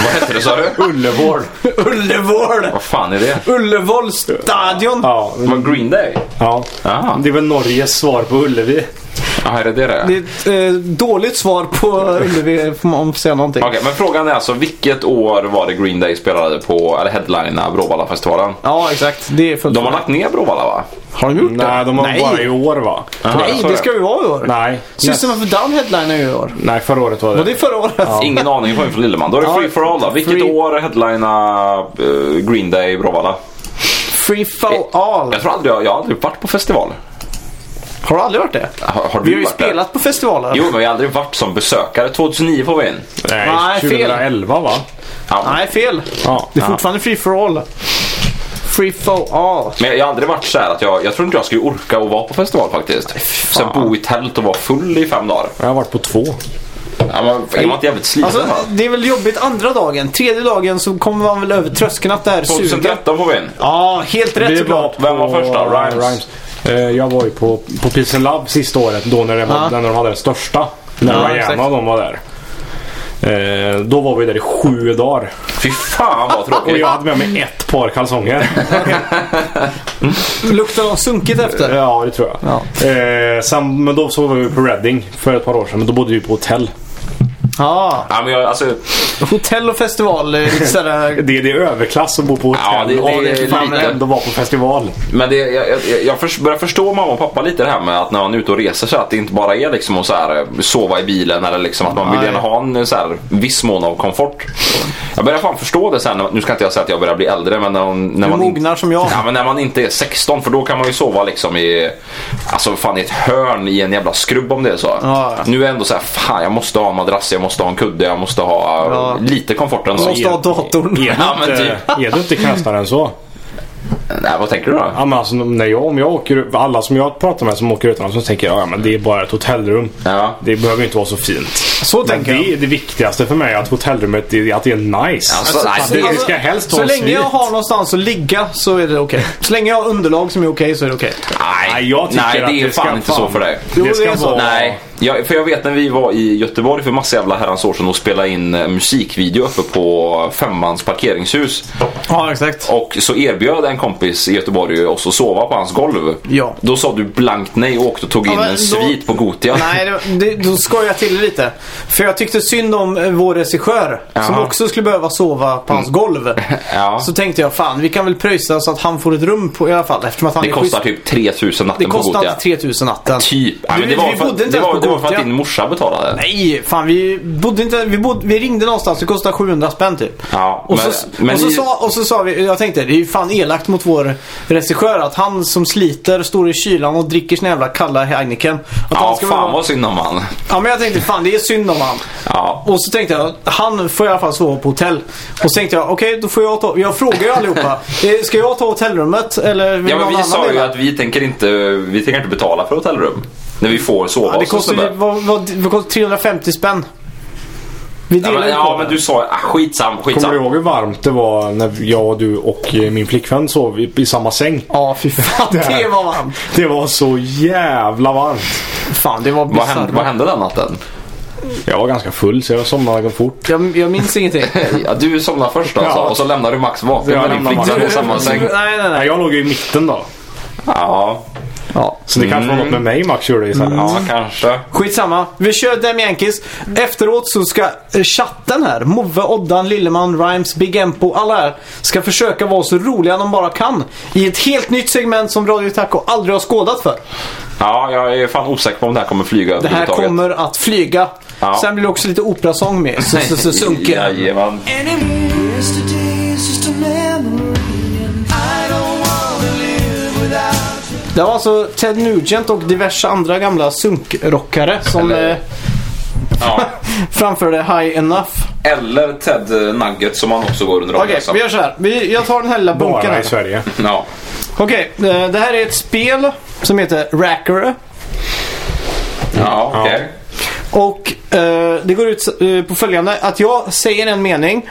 Speaker 4: Vad hette det sa du?
Speaker 3: Ullevård?
Speaker 5: Ullevål!
Speaker 4: Vad fan är det?
Speaker 5: Ullevål stadion!
Speaker 3: Ja.
Speaker 4: Men Green Day?
Speaker 3: ja.
Speaker 4: Ah.
Speaker 3: Det är väl Norges svar på Ullevi.
Speaker 4: Ja, är det det det?
Speaker 5: Det
Speaker 4: Okej,
Speaker 5: är ett eh, dåligt svar på Ullevi, om man får säga någonting.
Speaker 4: men frågan är alltså vilket år var det Green Day spelade på, eller headlinade Bråvallafestivalen?
Speaker 5: Ja, exakt. Det är fullt
Speaker 4: De har lagt ner Bråvalla va?
Speaker 5: Har de gjort
Speaker 3: Nej, de har
Speaker 5: Mm. Nej.
Speaker 3: bara i år va?
Speaker 4: jag
Speaker 5: Nej,
Speaker 4: sa
Speaker 5: det ska vi vara i år.
Speaker 3: Nej.
Speaker 5: System of a Down headliner i år.
Speaker 3: Nej, förra året var det.
Speaker 5: Var det förra året? Ja.
Speaker 4: Ingen aning från från Lilleman. Då är det
Speaker 5: Ja,
Speaker 4: Free for All då. Vilket
Speaker 5: Free-
Speaker 4: år headlinade eh, Green Day Bråvalla?
Speaker 5: Free for all.
Speaker 4: Jag tror aldrig jag, jag har aldrig varit på festival.
Speaker 5: Har du aldrig varit det?
Speaker 4: Har, har
Speaker 5: Vi
Speaker 4: du
Speaker 5: har ju
Speaker 4: varit där?
Speaker 5: spelat på festivaler.
Speaker 4: Jo, men jag har aldrig varit som besökare. 2009 får vi in.
Speaker 5: Nej,
Speaker 3: Nej,
Speaker 5: fel.
Speaker 3: 2011 va?
Speaker 4: Ja.
Speaker 5: Nej, fel.
Speaker 3: Ja.
Speaker 5: Det är fortfarande free for all. Free for all.
Speaker 4: Men jag, jag har aldrig varit så här att jag, jag tror inte jag skulle orka att vara på festival faktiskt. Sen bo i tält och vara full i fem dagar.
Speaker 3: Jag har varit på två.
Speaker 4: Ja, men, är man inte jävligt sliten
Speaker 5: Alltså,
Speaker 4: va?
Speaker 5: det är väl jobbigt andra dagen. Tredje dagen så kommer man väl över tröskeln att det här suger.
Speaker 4: 2013 får vi in.
Speaker 5: Ja, helt rätt
Speaker 3: Vi var
Speaker 5: såklart.
Speaker 4: Vem var först då? Rhymes?
Speaker 3: Eh, Jag var ju på, på Peace and Love sista året då när, det var,
Speaker 5: Ja.
Speaker 3: när de hade den största. När
Speaker 5: Ja,
Speaker 3: Rihanna
Speaker 5: exakt.
Speaker 3: och de var där. Eh, Då var vi där i sju dagar.
Speaker 4: Fy fan vad
Speaker 3: Och
Speaker 4: tråkigt.
Speaker 3: jag hade med mig ett par kalsonger.
Speaker 5: Luktar de sunkigt efter?
Speaker 3: ja, det tror jag. Eh, sen, men då så var vi på Reading för ett par år sedan. Men då bodde vi på hotell.
Speaker 5: Ja.
Speaker 4: Ja, men jag, alltså,
Speaker 5: Hotell och festival är lite sådär...
Speaker 3: Det, det är överklass att bo på hotell.
Speaker 4: Ja, det- det
Speaker 3: och
Speaker 4: är
Speaker 3: fan
Speaker 4: lite-
Speaker 3: ändå vara på festival.
Speaker 4: men det, jag, jag, jag förs- börjar förstå mamma och pappa lite det här med att när man är ute och reser så att det inte bara är liksom att så här, eh, sova i bilen eller liksom att man vill
Speaker 5: Nej.
Speaker 4: gärna ha en eh, så här, viss mån av komfort. Jag börjar fan förstå det sen. när- Nu ska inte jag säga att jag börjar bli äldre men när, man- när
Speaker 5: Du
Speaker 4: man inte-
Speaker 5: mognar som jag.
Speaker 4: Ja men när man inte är 16 för då kan man ju sova liksom i Alltså fan i ett hörn i en jävla skrubb om det är så.
Speaker 5: Ja.
Speaker 4: Nu är jag ändå så här, fan jag måste ha en madrass, jag måste ha en kudde, jag måste ha eh,
Speaker 5: Ja.
Speaker 4: lite komfort ändå.
Speaker 5: Måste ha datorn.
Speaker 3: Är
Speaker 4: Ja, men typ.
Speaker 3: du inte, är du inte knästare än så?
Speaker 4: Nej, vad tänker du då?
Speaker 3: Ja, men alltså, när jag, om jag åker, alla som jag pratar med som åker utomlands så tänker jag ja, men det är bara ett hotellrum.
Speaker 4: Ja.
Speaker 3: Det behöver ju inte vara så fint.
Speaker 5: Så
Speaker 3: Men
Speaker 5: tänker
Speaker 3: det,
Speaker 5: jag.
Speaker 3: är det viktigaste för mig är att hotellrummet är, att det är nice.
Speaker 4: Alltså, nej,
Speaker 3: det
Speaker 4: det-
Speaker 3: ska helst
Speaker 5: Så
Speaker 3: vara en
Speaker 5: länge jag
Speaker 3: svit.
Speaker 5: har någonstans att ligga så är det okej. Så länge jag har underlag som är okej så är det okej.
Speaker 4: Nej,
Speaker 3: jag tycker
Speaker 4: nej
Speaker 3: att
Speaker 4: det är
Speaker 3: det ska
Speaker 4: fan inte
Speaker 3: fan-
Speaker 4: så för dig.
Speaker 3: Jo,
Speaker 5: det
Speaker 3: det ska
Speaker 5: är så.
Speaker 3: vara...
Speaker 4: Nej, jag, för jag vet när vi var i Göteborg för massa jävla herrans år sedan och spelade in eh, musikvideo uppe på femmans parkeringshus.
Speaker 5: Ja, exakt.
Speaker 4: Och så erbjöd en kompis i Göteborg oss att sova på hans golv.
Speaker 5: Ja.
Speaker 4: Då sa du blankt nej och åkte och tog in
Speaker 5: men
Speaker 4: en
Speaker 5: då-
Speaker 4: svit på Gotia.
Speaker 5: Nej, det, det, då skojar jag till det lite. För jag tyckte synd om eh, vår regissör som
Speaker 4: Jaha. Mm.
Speaker 5: också skulle behöva sova på hans golv.
Speaker 4: Ja.
Speaker 5: Så tänkte jag, fan vi kan väl pröjsa så att han får ett rum på, i alla fall. Eftersom att han
Speaker 4: Det
Speaker 5: är
Speaker 4: kostar typ
Speaker 5: schysst.
Speaker 4: 3000
Speaker 5: Det
Speaker 4: natten på
Speaker 5: kostar
Speaker 4: Gotia.
Speaker 5: inte 3000 natten.
Speaker 4: Typ. Nej,
Speaker 5: Du,
Speaker 4: men det var
Speaker 5: vi
Speaker 4: för,
Speaker 5: bodde inte
Speaker 4: det
Speaker 5: ens
Speaker 4: var,
Speaker 5: på
Speaker 4: det var för att
Speaker 5: Gotia.
Speaker 4: din morsa betalade.
Speaker 5: Nej, fan vi bodde inte, vi, bodde, vi ringde någonstans, det kostade 700 spänn typ.
Speaker 4: Ja,
Speaker 5: och,
Speaker 4: men-
Speaker 5: så,
Speaker 4: men
Speaker 5: och, så
Speaker 4: ni-
Speaker 5: sa, och så sa vi, jag tänkte det är ju fan elakt mot vår regissör att han som sliter, står i kylan och dricker sina jävla kalla Heineken. Att han
Speaker 4: Ja,
Speaker 5: ska
Speaker 4: fan
Speaker 5: vara-
Speaker 4: vad synd om han.
Speaker 5: Ja men jag tänkte fan det är synd om han.
Speaker 4: Ja.
Speaker 5: Och så tänkte jag, han får i alla fall sova på hotell. Och så tänkte jag, okej då får jag ta, jag frågar ju allihopa. eh, Ska jag ta hotellrummet eller vill
Speaker 4: Ja,
Speaker 5: någon
Speaker 4: men vi
Speaker 5: annan
Speaker 4: sa ju
Speaker 5: dela?
Speaker 4: att vi tänker inte, vi tänker inte betala för hotellrum. När vi får sova
Speaker 5: Ja, det
Speaker 4: hos en
Speaker 5: kostar
Speaker 4: snubbe.
Speaker 5: ju, vad, vad, vad kostar 350 spänn. Vi
Speaker 4: Ja
Speaker 5: delar
Speaker 4: men,
Speaker 5: ju på
Speaker 4: ja,
Speaker 5: det.
Speaker 4: men du sa ah, skitsam,
Speaker 3: Kommer
Speaker 4: skitsam.
Speaker 3: du ihåg hur varmt det var när jag och du och eh, min flickvän sov i, i samma säng?
Speaker 5: Ja, fy fan. Det var varmt.
Speaker 3: Det var så jävla varmt.
Speaker 5: Fan, det var
Speaker 4: Vad hände, vad
Speaker 5: bisarrt.
Speaker 4: hände den natten?
Speaker 3: Jag var ganska full så jag somnade fort.
Speaker 5: Jag, jag minns ingenting.
Speaker 4: Ja, du somnade först alltså
Speaker 3: Ja.
Speaker 4: och så lämnade du Max vaken
Speaker 3: Jag
Speaker 4: med din
Speaker 3: lämnade
Speaker 4: flickvän
Speaker 3: Max.
Speaker 4: i samma säng.
Speaker 5: Nej, nej, nej.
Speaker 3: Nej, jag låg ju i mitten då.
Speaker 4: Ja,
Speaker 5: Ja.
Speaker 3: Så det kanske var något med mig Max gjorde istället.
Speaker 5: Mm.
Speaker 4: ja kanske.
Speaker 5: Skitsamma. Vi kör Dem Yankees. Efteråt så ska eh, chatten här, Move, Oddan, Lilleman, Rhymes, Big Empo, alla här, ska försöka vara så roliga de bara kan. I ett helt nytt segment som Radio Taco aldrig har skådat för.
Speaker 4: Ja, jag är fan osäker på om det här kommer flyga
Speaker 5: Det här
Speaker 4: överhuvudtaget.
Speaker 5: kommer att flyga.
Speaker 4: Ja.
Speaker 5: Sen blir det också lite operasång med. Så, så, så, sunker.
Speaker 4: Jajamän.
Speaker 6: Yesterday's just a memory, and I don't wanna live without you.
Speaker 5: Det var alltså Ted Nugent och diverse andra gamla sunkrockare som
Speaker 4: Eller-
Speaker 5: eh,
Speaker 4: Ja.
Speaker 5: framförde High Enough.
Speaker 4: Eller Ted Nugget som han också går under
Speaker 5: Okej, vi gör så här. Vi, jag tar den här lilla bunken
Speaker 3: Bara i
Speaker 5: här.
Speaker 3: Sverige.
Speaker 4: Ja.
Speaker 5: Okej, eh, det här är ett spel som heter Racker.
Speaker 4: Ja, okej.
Speaker 5: Och eh, det går ut eh, på följande. Att jag säger en mening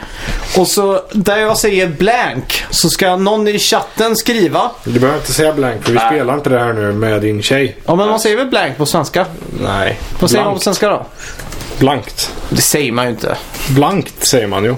Speaker 5: och så där jag säger blank så ska någon i chatten skriva.
Speaker 3: Du behöver inte säga blank för vi spelar inte det här nu med din tjej.
Speaker 5: Ja men man säger väl blank på svenska?
Speaker 3: Nej.
Speaker 5: Vad säger man på
Speaker 3: blankt.
Speaker 5: svenska då?
Speaker 3: blankt.
Speaker 5: Det säger man ju inte.
Speaker 3: Blankt säger man ju.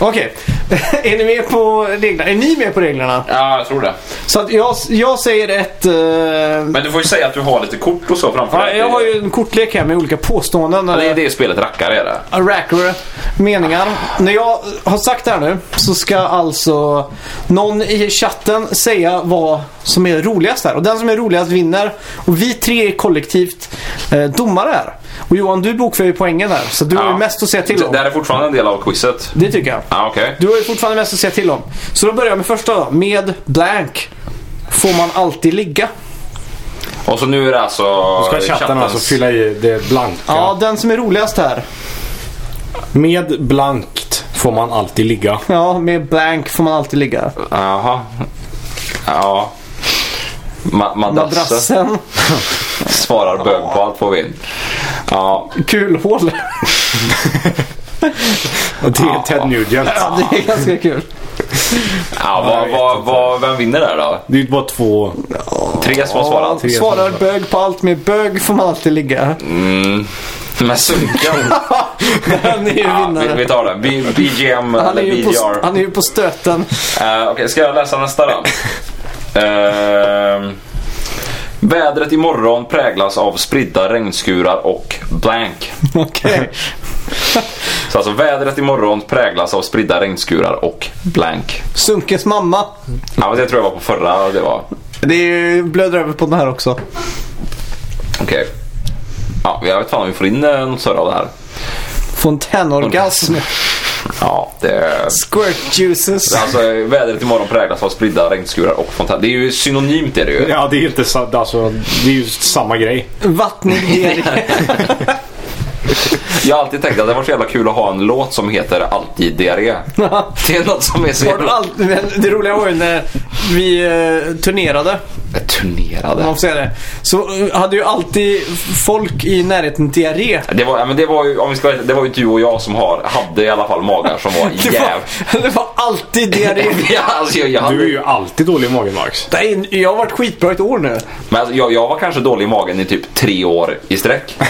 Speaker 5: Okej, är ni med på reglerna? Är ni med på reglerna?
Speaker 4: Ja, jag tror det.
Speaker 5: Så att jag, jag säger ett... eh,
Speaker 4: Men du får ju säga att du har lite kort och så framför
Speaker 5: ja,
Speaker 4: dig.
Speaker 5: jag har ju en kortlek här med olika påståenden.
Speaker 4: Ja, Det är
Speaker 5: eller-
Speaker 4: det spelet rackar är det.
Speaker 5: racker meningar. När jag har sagt det här nu så ska alltså någon i chatten säga vad som är roligast här. Och den som är roligast vinner. Och vi tre är kollektivt eh, domare här. Och Johan, du bokför ju poängen här. Så du har ju
Speaker 4: Ja.
Speaker 5: mest att säga till
Speaker 4: Det, det
Speaker 5: om.
Speaker 4: här är fortfarande en del av quizet.
Speaker 5: Det tycker jag.
Speaker 4: Ja, okej.
Speaker 5: Du har ju fortfarande mest att säga till om. Så då börjar jag med första då. Med blank får man alltid ligga.
Speaker 4: Och så nu är det alltså
Speaker 3: Ska chatten alltså fylla i det blanka.
Speaker 5: Ja, den som är roligast här.
Speaker 3: Med blankt får man alltid ligga.
Speaker 5: Ja, med blank får man alltid ligga.
Speaker 4: Jaha. Ja. Ma- madrassen
Speaker 5: Madrassen.
Speaker 4: svarar bög på allt på vind. Ja.
Speaker 5: Kulhål.
Speaker 3: Och det är Ted Nugent.
Speaker 5: Ja, det är ganska kul.
Speaker 4: ja vad, vad, vad, vem vinner där då?
Speaker 3: Det är ju bara två.
Speaker 4: Tre Mm. som har svarat.
Speaker 3: tre.
Speaker 5: Svarar bög på allt med bög får man alltid ligga.
Speaker 4: Men sunkan.
Speaker 5: Han är ju
Speaker 4: Ja, vi,
Speaker 5: vinnare.
Speaker 4: vi tar den. B- BGM
Speaker 5: Han är,
Speaker 4: eller
Speaker 5: ju på,
Speaker 4: BGR.
Speaker 5: han är ju på stöten.
Speaker 4: Eh, Okej, ska jag läsa nästa då? uh, vädret imorgon präglas av spridda regnskurar och blank.
Speaker 5: Okej.
Speaker 4: Så alltså vädret imorgon präglas av spridda regnskurar och blank.
Speaker 5: Sunkens mamma.
Speaker 4: Ja, men det tror jag var på förra det var.
Speaker 5: Det är ju blöder över på den här också.
Speaker 4: Okej. Ja, jag vet fan om vi får in eh, något större av det här. Mm.
Speaker 5: Fontänorgasm.
Speaker 4: Ja, det...
Speaker 5: Squirt juices.
Speaker 4: Alltså vädret imorgon präglas av spridda regnskurar och fontän. Det är ju synonymt är det ju.
Speaker 3: Ja, det är ju inte sa- alltså, det är ju samma grej.
Speaker 5: Vattnig diarré.
Speaker 4: Jag har alltid tänkt att det var så jävla kul att ha en låt som heter Alltid diarré. Det är något som är så
Speaker 5: Har du
Speaker 4: jävla...
Speaker 5: allt- men Det roliga var ju när vi eh, turnerade
Speaker 4: Turnerade.
Speaker 5: om man får säga det. Så eh, hade ju alltid folk i närheten diarré.
Speaker 4: Det var, ja, men det var ju, om vi ska vara- det var ju inte du och jag som har, hade i alla fall magar som var
Speaker 5: Det var,
Speaker 4: jävligt...
Speaker 5: det var alltid diarré.
Speaker 4: alltså, jag, jag,
Speaker 3: Du är
Speaker 4: hade,
Speaker 3: ju alltid dålig i magen Max.
Speaker 5: Nej, Jag har varit skitbra ett år nu.
Speaker 4: men alltså, jag, jag var kanske dålig i magen i typ tre år i sträck.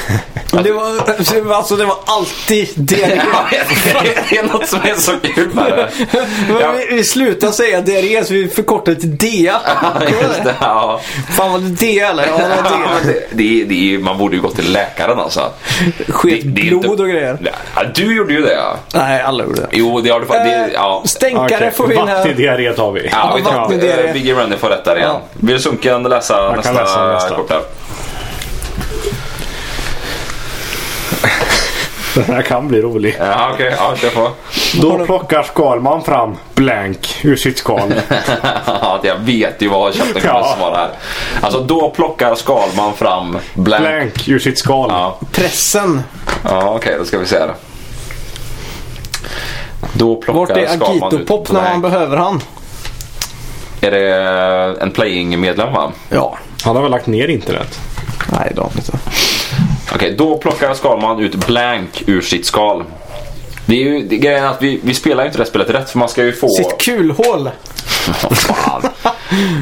Speaker 5: Det var, alltså det var alltid E. diarré.
Speaker 4: Jag vet inte, det är något som är så kul med det. Ja,
Speaker 5: Men vi, vi slutar säga diarré så vi förkortar det till DEA.
Speaker 4: just det, ja.
Speaker 5: Fan var det DEA eller? Ja, det var
Speaker 4: Ja,
Speaker 5: DEA.
Speaker 4: men det, det, är- det, är ju- man borde ju gå till läkaren alltså.
Speaker 5: Sket
Speaker 4: Det- det är
Speaker 5: blod
Speaker 4: inte-
Speaker 5: och grejer.
Speaker 4: Ja, du gjorde ju det ja.
Speaker 5: Nej, alla gjorde det.
Speaker 4: Jo, det har du fa- det,
Speaker 5: Eh,
Speaker 4: ja.
Speaker 5: Stänkare får vi in här.
Speaker 3: Vattendiarré tar vi.
Speaker 4: Ja, vi
Speaker 5: vatten-
Speaker 4: tar
Speaker 5: det är det.
Speaker 4: eh, Biggie Runner får rätt där igen.
Speaker 5: Ja.
Speaker 4: Vill Sunken läsa
Speaker 3: Jag
Speaker 4: nästa,
Speaker 3: kan läsa nästa.
Speaker 4: kort där?
Speaker 3: Den här kan bli rolig.
Speaker 4: Ja, okej. Ja, kör på.
Speaker 3: Då plockar Skalman fram blank ur sitt skal.
Speaker 4: Ja, jag vet ju vad chatten kommer
Speaker 3: Ja.
Speaker 4: svara här. Alltså, då plockar Skalman fram blank.
Speaker 3: Blank ur sitt skal.
Speaker 4: Ja,
Speaker 5: Pressen.
Speaker 4: ja okej. då ska vi se här. Då plockar
Speaker 5: Vart är
Speaker 4: Skalman ut
Speaker 5: Agitopop när
Speaker 4: blank.
Speaker 5: man behöver han?
Speaker 4: Är det eh, en playing-medlem va?
Speaker 5: Ja.
Speaker 3: Han har väl lagt ner internet.
Speaker 5: Nej, liksom. det har han inte.
Speaker 4: Okej, då plockar Skalman ut blank ur sitt skal. Det är ju det, grejen är att vi, vi spelar ju inte det här spelet rätt för man ska ju få...
Speaker 5: Sitt kulhål.
Speaker 4: Fan.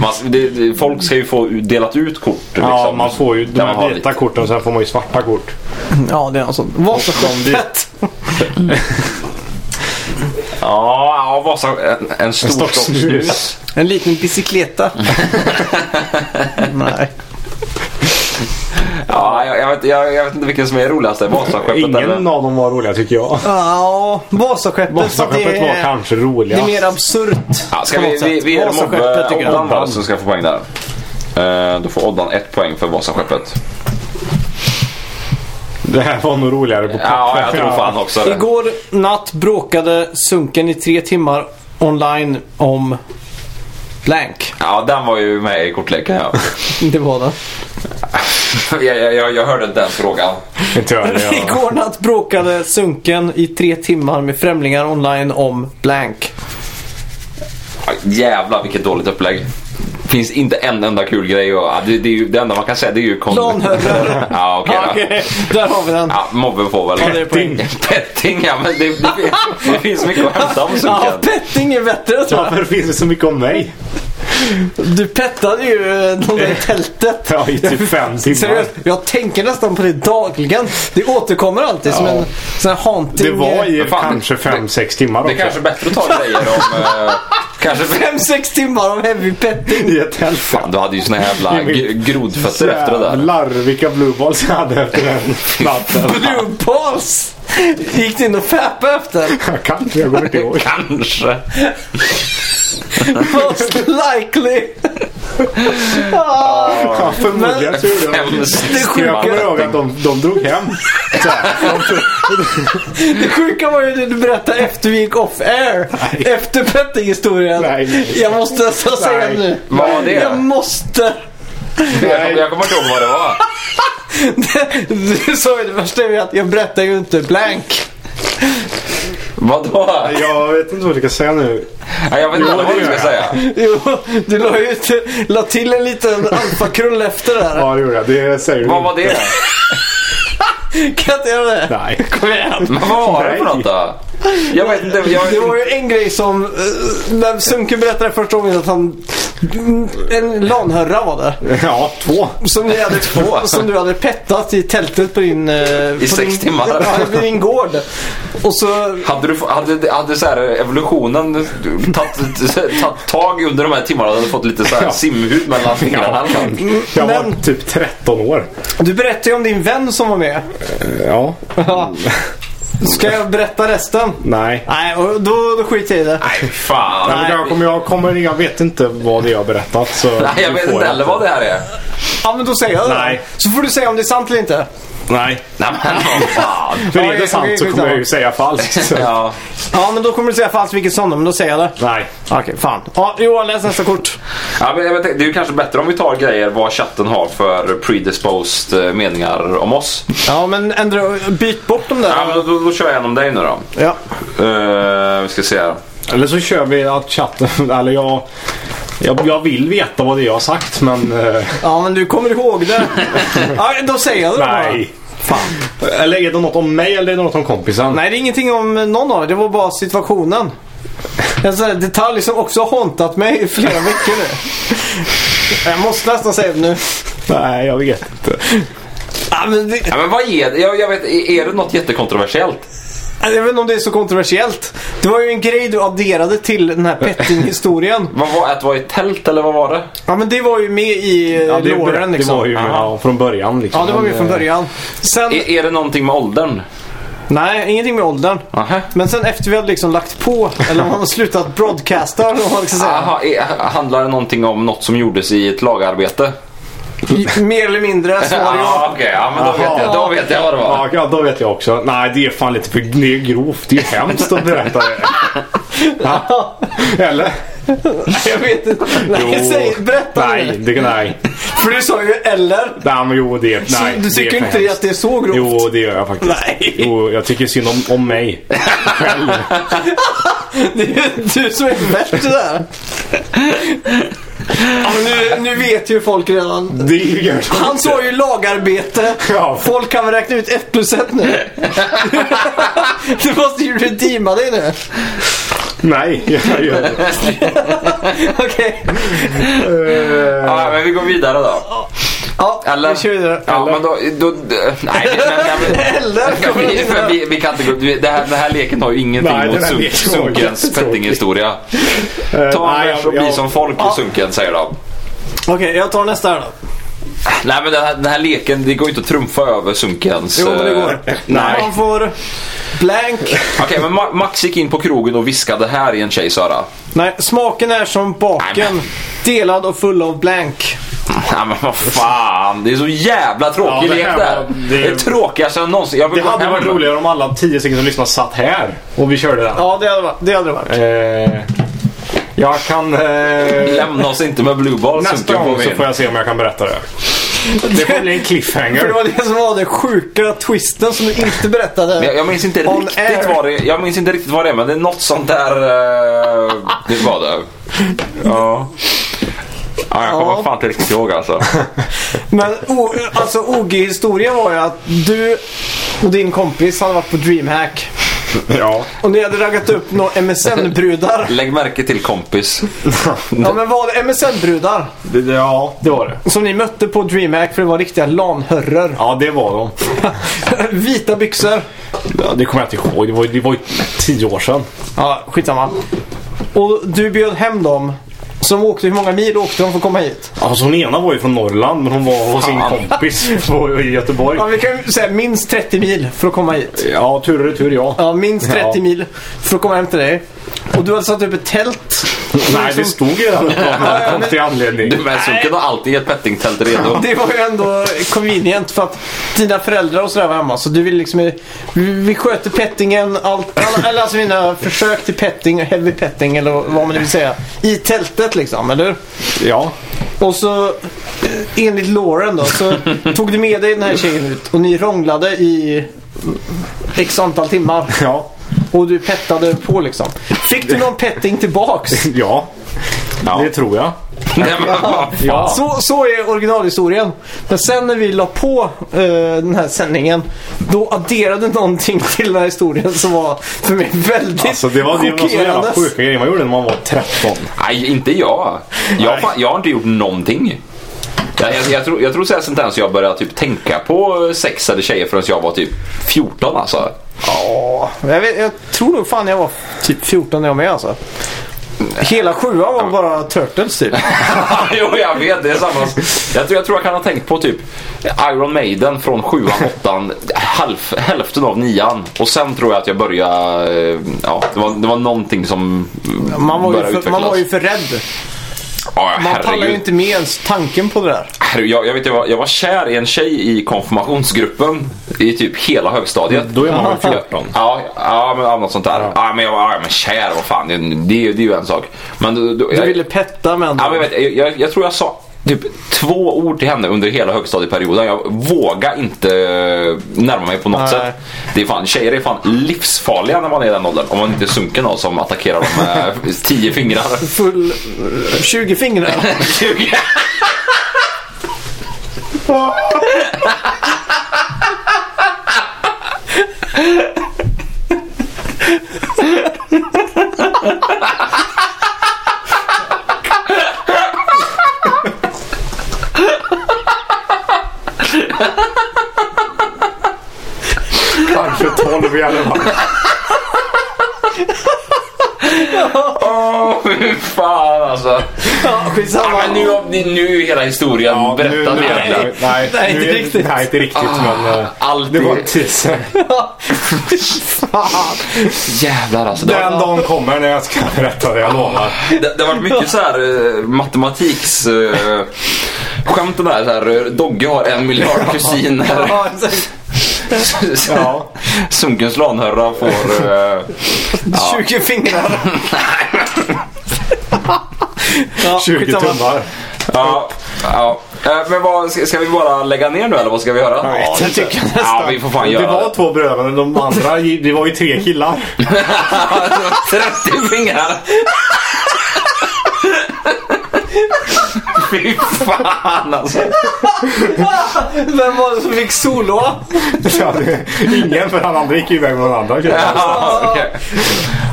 Speaker 4: Man, det, det, folk ska ju få u- delat ut kort. Liksom,
Speaker 3: Ja, man får ju
Speaker 4: där
Speaker 3: de
Speaker 4: man har
Speaker 3: här vita
Speaker 4: lite.
Speaker 3: korten och sen får man ju svarta kort.
Speaker 5: Ja, det är något sånt. Vasaskeppet.
Speaker 4: Ja, ja Vasa, en, en stor
Speaker 3: stock
Speaker 4: stock
Speaker 3: snus.
Speaker 4: snus.
Speaker 5: En liten bicykleta. Nej.
Speaker 4: Ja, jag, jag, vet, jag, jag vet inte vilken som är roligast. där, Vasaskeppet
Speaker 3: Ingen
Speaker 4: eller?
Speaker 3: av dem var roliga tycker jag.
Speaker 5: Ja, Vasaskeppet.
Speaker 3: Vasaskeppet
Speaker 5: det
Speaker 3: var
Speaker 5: är-
Speaker 3: kanske
Speaker 5: Det är
Speaker 3: roligast.
Speaker 5: mer absurt.
Speaker 4: Ja, ska
Speaker 5: på
Speaker 4: vi,
Speaker 5: något
Speaker 4: vi,
Speaker 5: sätt.
Speaker 4: vi är
Speaker 5: Vasaskeppet tycker
Speaker 4: Mobbe
Speaker 5: jag.
Speaker 4: Oddan bara som ska få poäng där. Eh, då får Oddan ett poäng för Vasaskeppet.
Speaker 3: Det här var nog roligare på
Speaker 4: Ja, jag tror fan också det.
Speaker 5: Igår natt bråkade Sunken i tre timmar online om blank.
Speaker 4: Ja, den var ju med i kortleken. Ja.
Speaker 5: Det var det.
Speaker 4: jag, jag- jag, jag hörde den frågan.
Speaker 3: Inte jag, det, ja.
Speaker 5: Igår natt bråkade Sunken i tre timmar med främlingar online om blank.
Speaker 4: Ja, Jävlar vilket dåligt upplägg. Finns inte en enda kul grej. Och, ja, det, det, är ju, det enda man kan säga det är ju... Kon-
Speaker 5: Planhörrar.
Speaker 4: ja, okej då.
Speaker 5: Okej, där har vi den.
Speaker 4: Ja, mobben får väl...
Speaker 5: Ja, det är poäng.
Speaker 4: Petting, ja men det, det, finns- det finns mycket att hämta om
Speaker 5: Ja,
Speaker 4: Sunken.
Speaker 5: petting är bättre tror jag.
Speaker 3: Varför finns det så mycket om mig?
Speaker 5: Du pettade ju eh, någon där i tältet.
Speaker 3: Ja, i typ fem timmar.
Speaker 5: Seriöst, jag tänker nästan på det dagligen. Det återkommer alltid som
Speaker 3: Ja.
Speaker 5: en sån här haunting.
Speaker 3: Det var i
Speaker 4: Men fan,
Speaker 3: kanske
Speaker 4: det-
Speaker 3: fem sex timmar
Speaker 4: Det
Speaker 3: också.
Speaker 4: är kanske är bättre att ta grejer om... Eh, kanske...
Speaker 5: 5-6 timmar av heavy petting.
Speaker 3: I ett tält.
Speaker 4: Fan, du hade ju såna jävla g- grodfötter efter det där.
Speaker 3: Jävlar vilka blue balls jag hade efter den natten.
Speaker 5: Blue balls! Gick du in och fäpade efter?
Speaker 3: Jag kan inte, jag går inte ihåg.
Speaker 4: Kanske.
Speaker 5: Most likely! Ah,
Speaker 3: Ja, förmodligen så gjorde jag
Speaker 4: Fem,
Speaker 3: det.
Speaker 4: sex
Speaker 5: sjuka-
Speaker 4: timmar
Speaker 3: Jag kommer ihåg
Speaker 4: petting.
Speaker 3: att de, de drog hem. Så här, de tog-
Speaker 5: det sjuka var ju det du berättade efter vi gick off air. Efter pettinghistorien.
Speaker 3: Nej, nej.
Speaker 5: Jag måste nästan säga
Speaker 3: Nej.
Speaker 5: nu.
Speaker 4: Vad var det?
Speaker 5: Jag måste.
Speaker 4: Jag kommer- Jag kommer inte ihåg vad det var.
Speaker 5: Du sa ju det värsta är ju att jag berättar ju inte blank.
Speaker 4: Vadå?
Speaker 3: jag vet inte vad jag ska säga nu.
Speaker 4: Ja, Jag vet inte vad du ska säga.
Speaker 5: Jo, du la, ju ut, la till en liten alfakrull efter där.
Speaker 3: Ja, det gjorde jag. Det säger du
Speaker 4: Vad var
Speaker 3: inte.
Speaker 4: det?
Speaker 5: Kan jag inte göra det?
Speaker 3: Nej.
Speaker 5: Kom igen.
Speaker 4: Men vad var det för
Speaker 3: Nej.
Speaker 4: något då? Jag vet inte. Jag vet
Speaker 5: Det var
Speaker 4: inte.
Speaker 5: ju en grej som, eh, när Sunken berättade första gången att han, en lanhörra var det.
Speaker 3: Ja, två.
Speaker 5: Som du hade,
Speaker 4: Två. alltså.
Speaker 5: som du hade pettat i tältet på din... I på
Speaker 4: sex
Speaker 5: din,
Speaker 4: timmar.
Speaker 5: Ja, på din gård. Och så...
Speaker 4: Hade, du, få- hade, hade så här evolutionen tagit tagit tag under de här timmarna och hade fått lite så här simhud mellan fingrarna? eller något?
Speaker 3: Jag var
Speaker 5: Men-
Speaker 3: typ 13 år.
Speaker 5: Du berättade ju om din vän som var med.
Speaker 3: Ja.
Speaker 5: Ja. Ska jag berätta resten?
Speaker 3: Nej.
Speaker 5: Nej, och då, då skiter jag i det.
Speaker 4: Nej, fan.
Speaker 3: Nej, men jag, kommer, jag, kommer, jag vet inte vad det är jag har berättat. Så
Speaker 4: Nej, jag
Speaker 3: du
Speaker 4: vet
Speaker 3: får
Speaker 4: inte heller vad det här är.
Speaker 5: Ja, men då säger jag det.
Speaker 3: Nej.
Speaker 5: Så får du säga om det är sant eller inte.
Speaker 3: Nej.
Speaker 4: Nej, men vad fan.
Speaker 3: För
Speaker 5: Ja,
Speaker 3: är det
Speaker 5: jag-
Speaker 3: sant
Speaker 5: jag-
Speaker 3: så
Speaker 5: jag-
Speaker 3: kommer jag ju säga falskt. Så.
Speaker 4: Ja.
Speaker 5: Ja, men då kommer du säga falskt vilket som, men då säger jag det.
Speaker 3: Nej.
Speaker 5: Okej, fan. Ja, Johan, läs nästa kort.
Speaker 4: Ja, men jag vet, inte, det är ju kanske bättre om vi tar grejer vad chatten har för predisposed eh, meningar om oss.
Speaker 5: Ja, men ändra, byt bort dem där.
Speaker 4: Ja, men då, då, då kör jag igenom dig nu då.
Speaker 5: Ja.
Speaker 4: Eh, vi ska se här.
Speaker 3: Eller så kör vi att chatten, eller jag Jag, jag vill veta vad det är jag har sagt, men... eh,
Speaker 5: Ja, men du kommer ihåg det. ja, då säger jag det bara.
Speaker 3: nej. Fan. Eller är det något om mig eller är det något om kompisen?
Speaker 5: Nej, det är ingenting om någon av er. Det var bara situationen. En sån här detalj som liksom också har håntat mig i flera veckor nu. Jag måste nästan säga det nu.
Speaker 3: Nej, jag vet inte.
Speaker 5: Ja, men det,
Speaker 4: Ja, men vad är det? Jag, jag vet, är det något jättekontroversiellt?
Speaker 5: jag vet inte om det är så kontroversiellt. Det var ju en grej du adderade till den här petting-historien.
Speaker 4: Vad var, att vara i tält eller vad var det?
Speaker 5: Ja, men det var ju med i
Speaker 3: Ja,
Speaker 5: ja,
Speaker 3: det,
Speaker 5: låren
Speaker 3: det
Speaker 5: liksom.
Speaker 3: var ju ja, från början liksom.
Speaker 5: Ja, det var med från början. Sen,
Speaker 4: Är, är det någonting med åldern?
Speaker 5: nej, ingenting med åldern.
Speaker 4: Aha.
Speaker 5: Men sen efter vi hade liksom lagt på, eller man har slutat broadcasta eller vad man ska säga.
Speaker 4: Aha, är, handlar det någonting om något som gjordes i ett lagarbete?
Speaker 5: I- Mer eller mindre svar
Speaker 4: Ja,
Speaker 5: ja.
Speaker 4: okej. Ja, men då vet, jag, då vet jag vad det var.
Speaker 3: Ja, ja, då vet jag också. Nej, det är fan lite för det är grovt. Det är hemskt att berätta det. Ja. Eller?
Speaker 5: Jag vet inte. Nej,
Speaker 3: Jo.
Speaker 5: säg, berätta
Speaker 3: Nej,
Speaker 5: nu.
Speaker 3: det, nej.
Speaker 5: För du sa ju eller.
Speaker 3: Nej, men jo, det är... Nej,
Speaker 5: du tycker
Speaker 3: det är för
Speaker 5: inte
Speaker 3: hemskt.
Speaker 5: att det är så grovt?
Speaker 3: Jo, det gör jag faktiskt.
Speaker 5: Nej.
Speaker 3: Jo, jag tycker synd om, om mig.
Speaker 5: Det är ju du som är värst där. Ja, men nu, nu vet ju folk redan.
Speaker 3: Det är ju gött.
Speaker 5: Han sa ju lagarbete.
Speaker 3: Ja.
Speaker 5: Folk kan väl räkna ut 1 plus 1 nu. Du måste ju redeema dig nu.
Speaker 3: Nej, jag gör det.
Speaker 5: Okej.
Speaker 4: Ja, men vi går vidare då.
Speaker 5: Ja,
Speaker 4: Eller?
Speaker 5: vi kör vidare.
Speaker 4: Ja, men då... då, då nej, men, men, men,
Speaker 5: Eller?
Speaker 4: Ja,
Speaker 5: kommer
Speaker 4: vi,
Speaker 5: det
Speaker 4: för
Speaker 5: här?
Speaker 4: vi, vi kan inte gå, vi- det, här, den här leken har ju ingenting
Speaker 3: Nej,
Speaker 4: mot
Speaker 3: den här
Speaker 4: sunk,
Speaker 3: leken var
Speaker 4: Sunkens
Speaker 3: jättetråkig.
Speaker 4: pettinghistoria. Ta en
Speaker 3: nej,
Speaker 4: vers
Speaker 3: jag-
Speaker 4: och bli
Speaker 3: jag-
Speaker 4: som folk i Sunken säger de.
Speaker 5: Okej, jag tar nästa här då.
Speaker 4: Nej men den här, den här leken, det går ju inte att trumfa över Sunkens...
Speaker 5: Jo, men det
Speaker 4: eh,
Speaker 5: går.
Speaker 3: Nej.
Speaker 5: Man får blank.
Speaker 4: Okej men Ma- Max gick in på krogen och viskade här i en tjejs öra.
Speaker 5: Nej, smaken är som
Speaker 4: Nej,
Speaker 5: baken.
Speaker 4: men-
Speaker 5: Delad och full av blank.
Speaker 4: Nej men vad fan, det är så jävla
Speaker 3: Ja,
Speaker 4: tråkig
Speaker 3: det
Speaker 4: lek
Speaker 3: här
Speaker 4: det här.
Speaker 3: var-
Speaker 4: Det
Speaker 3: det-
Speaker 4: är det tråkigaste jag någonsin... Jag vill
Speaker 3: Det
Speaker 4: gå
Speaker 3: hade
Speaker 4: hem.
Speaker 3: varit roligare om alla tio sekunder som lyssnar satt här och vi körde den.
Speaker 5: Ja, det hade varit- det hade det varit.
Speaker 3: Eh, jag kan... Eh,
Speaker 4: Lämna oss inte med blue ball
Speaker 3: nästa
Speaker 4: Sunken
Speaker 3: gång
Speaker 4: på
Speaker 3: så
Speaker 4: min.
Speaker 3: får jag se om jag kan berätta det. Det får bli en
Speaker 5: För det
Speaker 3: cliffhanger.
Speaker 5: var det som var den sjuka twisten som du inte
Speaker 4: Men
Speaker 5: berättade.
Speaker 4: Jag, jag minns inte
Speaker 5: On
Speaker 4: riktigt
Speaker 5: air.
Speaker 4: vad det Jag minns inte riktigt vad det är men det är något sånt där... eh, det var det. Ja. ja jag kommer
Speaker 5: Ja.
Speaker 4: fan inte riktigt ihåg alltså.
Speaker 5: Men o, alltså OG-historien var ju att du och din kompis hade varit på DreamHack.
Speaker 3: Ja.
Speaker 5: Och ni hade raggat upp några MSN-brudar.
Speaker 4: Lägg märke till kompis.
Speaker 5: Ja men var det MSN-brudar?
Speaker 3: Det, det- ja, det var det.
Speaker 5: Som ni mötte på DreamHack för det var riktiga lanhörror.
Speaker 3: Ja, det var de.
Speaker 5: Vita byxor.
Speaker 3: Ja, det kommer jag inte ihåg. Det var, det var ju tio år sedan.
Speaker 5: Ja, skitsamma. Och du bjöd hem dem. Som åkte, hur många mil åkte de för att komma hit?
Speaker 3: Alltså hon ena var ju från Norrland men hon var hos sin kompis på- i Göteborg.
Speaker 5: Ja, vi kan ju säga minst 30 mil för att komma hit.
Speaker 3: Ja, tur och retur ja.
Speaker 5: Ja, minst 30
Speaker 3: Ja.
Speaker 5: mil för att komma hem till dig. Och du hade satt upp ett tält.
Speaker 3: Nej, det stod ju redan uppe av någon konstig anledning.
Speaker 4: Du med Sunken har alltid ett pettingtält redo.
Speaker 5: Det var ju ändå convenient för att dina föräldrar och sådär var hemma. Så du vill liksom... Vi vi sköter pettingen, allt, alla, eller alltså mina försök till petting, heavy petting eller vad man nu vill säga. I tältet liksom, eller hur?
Speaker 3: Ja.
Speaker 5: Och så eh, enligt Lauren då så tog du med dig den här tjejen ut och ni rånglade i x antal timmar.
Speaker 3: Ja.
Speaker 5: Och du pettade på liksom. Fick du någon petting tillbaks?
Speaker 3: Ja. Det tror jag.
Speaker 4: Nej, men, vad fan.
Speaker 3: Ja.
Speaker 5: Så, så är originalhistorien. Men sen när vi la på eh, den här sändningen. Då adderade någonting till den här historien som var för mig väldigt
Speaker 3: Alltså det var, det var så jävla
Speaker 5: chockerande.
Speaker 3: sjuka grejer man gjorde när man var 13.
Speaker 4: Nej, inte jag. Jag, fan, jag har inte gjort någonting. Jag, jag, jag tror, jag tror såhär, sånt där så jag började typ tänka på sex eller tjejer förrän jag var typ 14 alltså.
Speaker 5: Ja, jag, vet, jag tror nog fan jag var typ 14 när jag var med alltså. Hela sjuan var bara Turtles typ.
Speaker 4: jo, jag vet. Det är samma. Jag tror, jag tror jag kan ha tänkt på typ Iron Maiden från sjuan, åttan, halv, hälften av nian. Och sen tror jag att jag började... eh, Ja, det, var, det var någonting som
Speaker 5: Man var,
Speaker 4: började
Speaker 5: ju för, man var ju för rädd.
Speaker 4: ja,
Speaker 5: Man pallar ju
Speaker 4: herregud.
Speaker 5: inte med ens tanken på det där.
Speaker 4: Herre, jag, jag, vet, jag, var, jag var kär i en tjej i konfirmationsgruppen i typ hela högstadiet.
Speaker 3: Då är man väl 14?
Speaker 4: Ja, ja, men ja, något sånt där. Ja. men jag var ja, men kär, vad fan. Det, det, är ju- det är ju en sak. Men, då, då,
Speaker 5: Du
Speaker 4: jag,
Speaker 5: ville petta men...
Speaker 4: ja, men jag, vet, jag, jag, jag tror jag sa typ två ord till henne under hela högstadieperioden. Jag vågar inte eh, närma mig på något
Speaker 5: Nej.
Speaker 4: sätt. Det är fan, tjejer är fan livsfarliga när man är i den åldern. Om man inte sunker någon som attackerar dem med tio fingrar.
Speaker 5: Full... eh, 20 fingrar.
Speaker 4: 20.
Speaker 3: Kanske 12 i alla fall.
Speaker 4: Åh, fy fan alltså.
Speaker 5: Ja, skitsamma.
Speaker 4: Men nu, har ni- nu är ju hela historien berättad egentligen.
Speaker 3: nej, nej,
Speaker 5: Nej, inte
Speaker 3: nu-
Speaker 5: riktigt. Ah.
Speaker 3: Nej, inte riktigt. men, eh,
Speaker 4: Allt
Speaker 3: det var
Speaker 4: är...
Speaker 3: en teaser.
Speaker 5: Fan.
Speaker 4: Jävlar alltså. Det
Speaker 3: Den
Speaker 4: var,
Speaker 3: dagen kommer när jag ska berätta det, jag lovar.
Speaker 5: Ah,
Speaker 4: det, det var mycket så här eh, matematiks... Eh, skämten där. Så här, eh, Dogge har en miljard kusiner.
Speaker 5: Ja, exakt.
Speaker 3: Ja.
Speaker 4: Sunkens lanhörra får... eh,
Speaker 5: 20 fingrar. Ja,
Speaker 3: 20
Speaker 5: skitsamma.
Speaker 3: tummar.
Speaker 4: ja, ja. Eh, Men vad, ska, ska vi bara lägga ner nu eller vad ska vi göra?
Speaker 3: vet
Speaker 4: ja,
Speaker 3: inte.
Speaker 4: det- ja, vi får fan
Speaker 3: Det
Speaker 4: göra
Speaker 3: var två bröder, men de andra, det var ju tre killar.
Speaker 4: 30 fingrar! Fy fan alltså.
Speaker 5: Vem var det som fick soloa?
Speaker 3: Ja, det, eh, ingen, för han andra gick ju iväg med den andra killen.
Speaker 4: Ja, okej.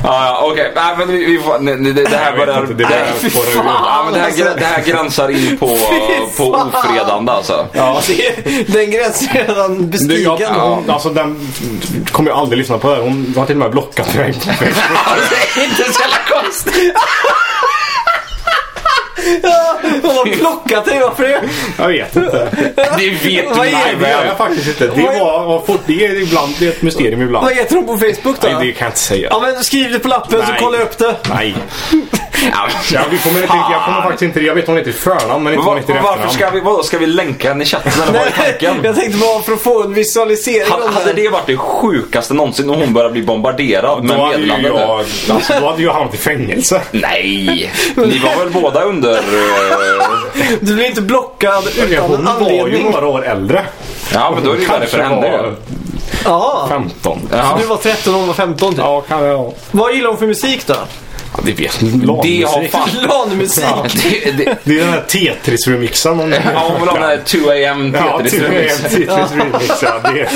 Speaker 4: Ja, ja, okej. Nej, men vi, vi får... nej, nej, Det, det här
Speaker 3: Jag vet
Speaker 4: börjar...
Speaker 3: inte, det
Speaker 4: det här-
Speaker 3: börjar
Speaker 4: fy
Speaker 3: spåra ur.
Speaker 4: fan, alltså. Ja, men det, här, grä- det här gränsar in på,
Speaker 5: Fy
Speaker 4: på
Speaker 5: fan.
Speaker 4: ofredande alltså.
Speaker 5: Ja. Den gränsen är redan
Speaker 3: Du,
Speaker 5: bestigen.
Speaker 3: jag, hon, alltså den kommer jag aldrig lyssna på. det. Hon har till och med blockat mig.
Speaker 4: Det är inte så jävla konstigt.
Speaker 5: Hon har plockat dig, varför det?
Speaker 3: Jag vet inte.
Speaker 4: Det vet du
Speaker 5: Vad är
Speaker 3: Nej, det gör jag faktiskt inte. Det, var, var fort, det, är ibland, det är ett mysterium ibland.
Speaker 5: Vad heter hon på Facebook då?
Speaker 3: Nej, det kan jag inte säga.
Speaker 5: Ja men skriv det på lappen så
Speaker 3: Nej.
Speaker 5: kollar jag upp det.
Speaker 3: Nej. Ja, vi kommer inte, jag kommer faktiskt inte... Jag vet hon heter i förnamn, men inte hon
Speaker 4: Var,
Speaker 3: heter i
Speaker 4: varför
Speaker 3: efternamn.
Speaker 4: ska vi, vadå, ska vi länka henne i chatten eller vad är
Speaker 5: jag
Speaker 4: tanken?
Speaker 5: tänkte bara för att få en visualisering
Speaker 4: Hade,
Speaker 5: av
Speaker 4: hade det varit det sjukaste någonsin om hon började bli bombarderad med
Speaker 3: Då hade, ju
Speaker 4: meddelanden?
Speaker 3: jag, alltså, då hade jag hamnat i fängelse.
Speaker 4: Nej, ni var väl båda under... eh,
Speaker 5: Du blir inte blockad
Speaker 3: Ja, Hon
Speaker 5: utan en
Speaker 3: var ju
Speaker 5: anledning.
Speaker 3: några år äldre.
Speaker 4: Ja, men då är det ju värre för
Speaker 3: Kanske
Speaker 4: henne.
Speaker 3: var
Speaker 4: ju.
Speaker 3: 15.
Speaker 5: Så
Speaker 4: Ja.
Speaker 5: du var 13 och hon var 15 typ.
Speaker 3: Ja, kan jag.
Speaker 5: Vad gillar hon för musik då?
Speaker 3: Ja, det vet
Speaker 4: Det har
Speaker 3: jag.
Speaker 4: fan...
Speaker 5: Lanmusik.
Speaker 4: Det, det,
Speaker 3: Det är den här Tetris-remixen. om-
Speaker 4: ja, hon vill ha den här 2 AM
Speaker 3: Ja,
Speaker 4: Tetris remix.
Speaker 3: Tetris-remix. Ja, det,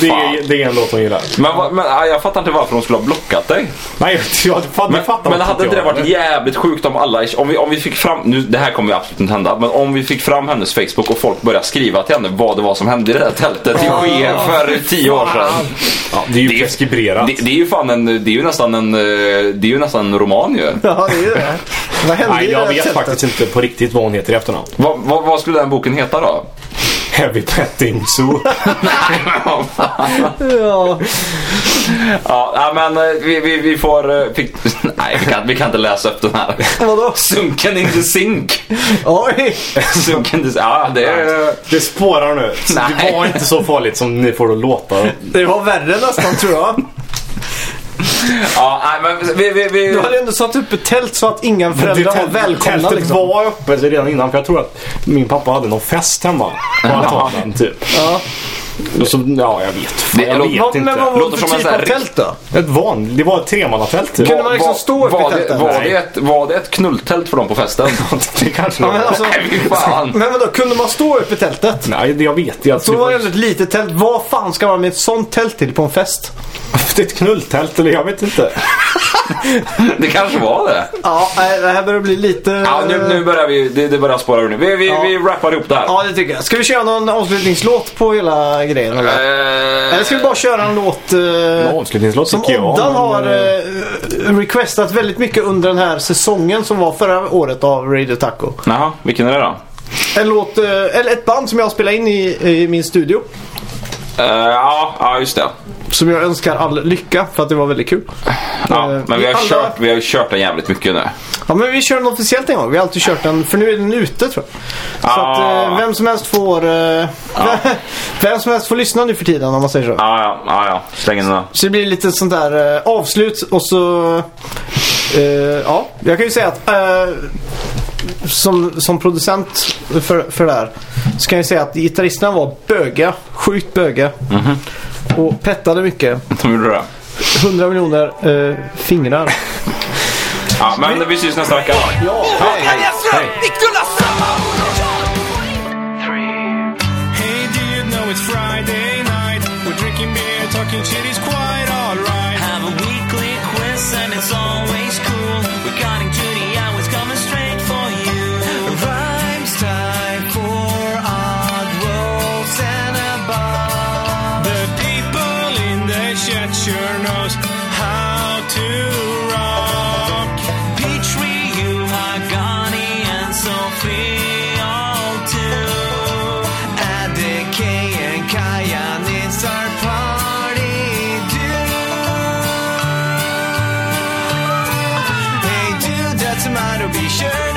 Speaker 3: det, är- det är en låt hon gillar.
Speaker 4: Men, vad- men ja, jag fattar inte varför hon skulle ha blockat dig.
Speaker 3: Nej, jag fattar
Speaker 4: Men,
Speaker 3: fattar
Speaker 4: men
Speaker 3: inte
Speaker 4: hade inte det
Speaker 3: jag.
Speaker 4: varit jävligt sjukt om alla, om vi, om vi fick fram, nu, det här kommer ju absolut inte hända, men om vi fick fram hennes Facebook och folk började skriva till henne vad det var som hände i det där tältet i Ske för tio år sedan.
Speaker 3: Ja, det är ju preskriberat.
Speaker 4: Det, det är ju fan en, det är ju nästan en, eh, det är ju nästan en roman ju.
Speaker 5: Ja det är ju det. Vad hände
Speaker 3: Nej,
Speaker 5: i det
Speaker 3: jag
Speaker 5: här
Speaker 3: vet
Speaker 5: tältet?
Speaker 3: faktiskt inte på riktigt vad hon heter i efternamn.
Speaker 4: Vad, vad, vad skulle den boken heta då?
Speaker 3: Heavy Petting Zoo.
Speaker 5: Ja.
Speaker 4: Ja, nej, men eh, vi, vi, vi får, eh, fick, nej vi kan, vi kan inte läsa upp den här.
Speaker 5: Vadå?
Speaker 4: Sunken in the sink.
Speaker 5: Oj.
Speaker 4: Sunken in the, ja det är...
Speaker 3: Det spårar nu. Så Det
Speaker 4: Nej.
Speaker 3: var inte så farligt som ni får det att låta.
Speaker 5: Det var värre nästan tror jag.
Speaker 4: Ja, nej, men vi, vi, vi...
Speaker 5: Du hade ändå satt upp ett tält så att inga föräldrar var
Speaker 3: tält-
Speaker 5: välkomna
Speaker 3: tältet
Speaker 5: liksom.
Speaker 3: var uppe redan innan för jag tror att min pappa hade någon fest hemma på altanen typ.
Speaker 5: Ja.
Speaker 3: Och så, ja, jag vet. Fan,
Speaker 4: Det-
Speaker 3: jag
Speaker 4: låt-
Speaker 3: vet
Speaker 5: Vad-
Speaker 3: inte.
Speaker 5: Men vad var
Speaker 4: Låter
Speaker 5: det för
Speaker 4: som en
Speaker 5: typ
Speaker 4: sån här
Speaker 5: av tält då?
Speaker 3: Ett van, det var ett tremannatält typ.
Speaker 5: Kunde man liksom
Speaker 4: Var-
Speaker 5: stå upp i
Speaker 4: var det,
Speaker 5: tältet?
Speaker 4: var, det ett, var det ett knulltält för dem på festen?
Speaker 3: Det kanske
Speaker 5: men alltså-
Speaker 4: Nej, fy fan.
Speaker 5: Men vadå, kunde man stå upp i tältet?
Speaker 3: Nej, det- jag vet. Jag
Speaker 5: Så var det ändå ett litet tält. Vad fan ska man med ett sånt tält till på en fest?
Speaker 3: haft ett knulltält eller jag vet inte.
Speaker 4: Det kanske var det.
Speaker 5: Ja, nej, det här börjar bli lite...
Speaker 4: Ja, nu, nu börjar vi, det, det börjar spåra ur nu. Vi, vi,
Speaker 5: Ja.
Speaker 4: vi rappar ihop det här.
Speaker 5: Ja, det tycker jag. Ska vi köra någon avslutningslåt på hela grejen? Eller,
Speaker 4: Eh,
Speaker 5: eller ska vi bara köra en låt... eh,
Speaker 3: Avslutningslåt
Speaker 5: Som
Speaker 3: tycker jag.
Speaker 5: Oddan
Speaker 3: men,
Speaker 5: har
Speaker 3: eh,
Speaker 5: eh, requestat väldigt mycket under den här säsongen som var förra året av Radio Taco.
Speaker 4: Jaha, vilken är det då?
Speaker 5: En låt, eh, eller ett band som jag spelade in i, i min studio.
Speaker 4: Eh, ja, ja, just det.
Speaker 5: Som jag önskar all lycka för att det var väldigt kul.
Speaker 4: Ja,
Speaker 5: Eh,
Speaker 4: men vi har,
Speaker 5: alla-
Speaker 4: kört, vi har ju kört den jävligt mycket nu.
Speaker 5: Ja men vi kör den officiellt en gång. Vi har alltid kört den, för nu är den ute tror jag. Så
Speaker 4: Ah.
Speaker 5: att eh, vem som helst får eh, Vem som helst får lyssna nu för tiden om man säger så.
Speaker 4: Ja, ja, ja, ja. Släng in den då.
Speaker 5: Så det blir lite sånt där eh, avslut och så... eh, ja, jag kan ju säga att eh, som, som producent för, för det här så kan jag säga att gitarristerna var böga. Sjukt böga. Och pettade mycket.
Speaker 4: De gjorde det.
Speaker 5: 100 miljoner eh, fingrar.
Speaker 4: Ja, men vi syns nästa vecka då.
Speaker 2: Hey, do you know it's Friday night? We're drinking beer, talking shit is quite alright.
Speaker 1: Have a weekly quiz and it's always cool. Regarding Judy, I was coming straight for you. Rhymes time for odd roles and a bar.
Speaker 2: The people in the chat sure knows how to rock.
Speaker 1: Petri, you, Hagani, and Sophie all too. Adek and Kayan, it's our party do. Hey, dude, that's a motto, be sure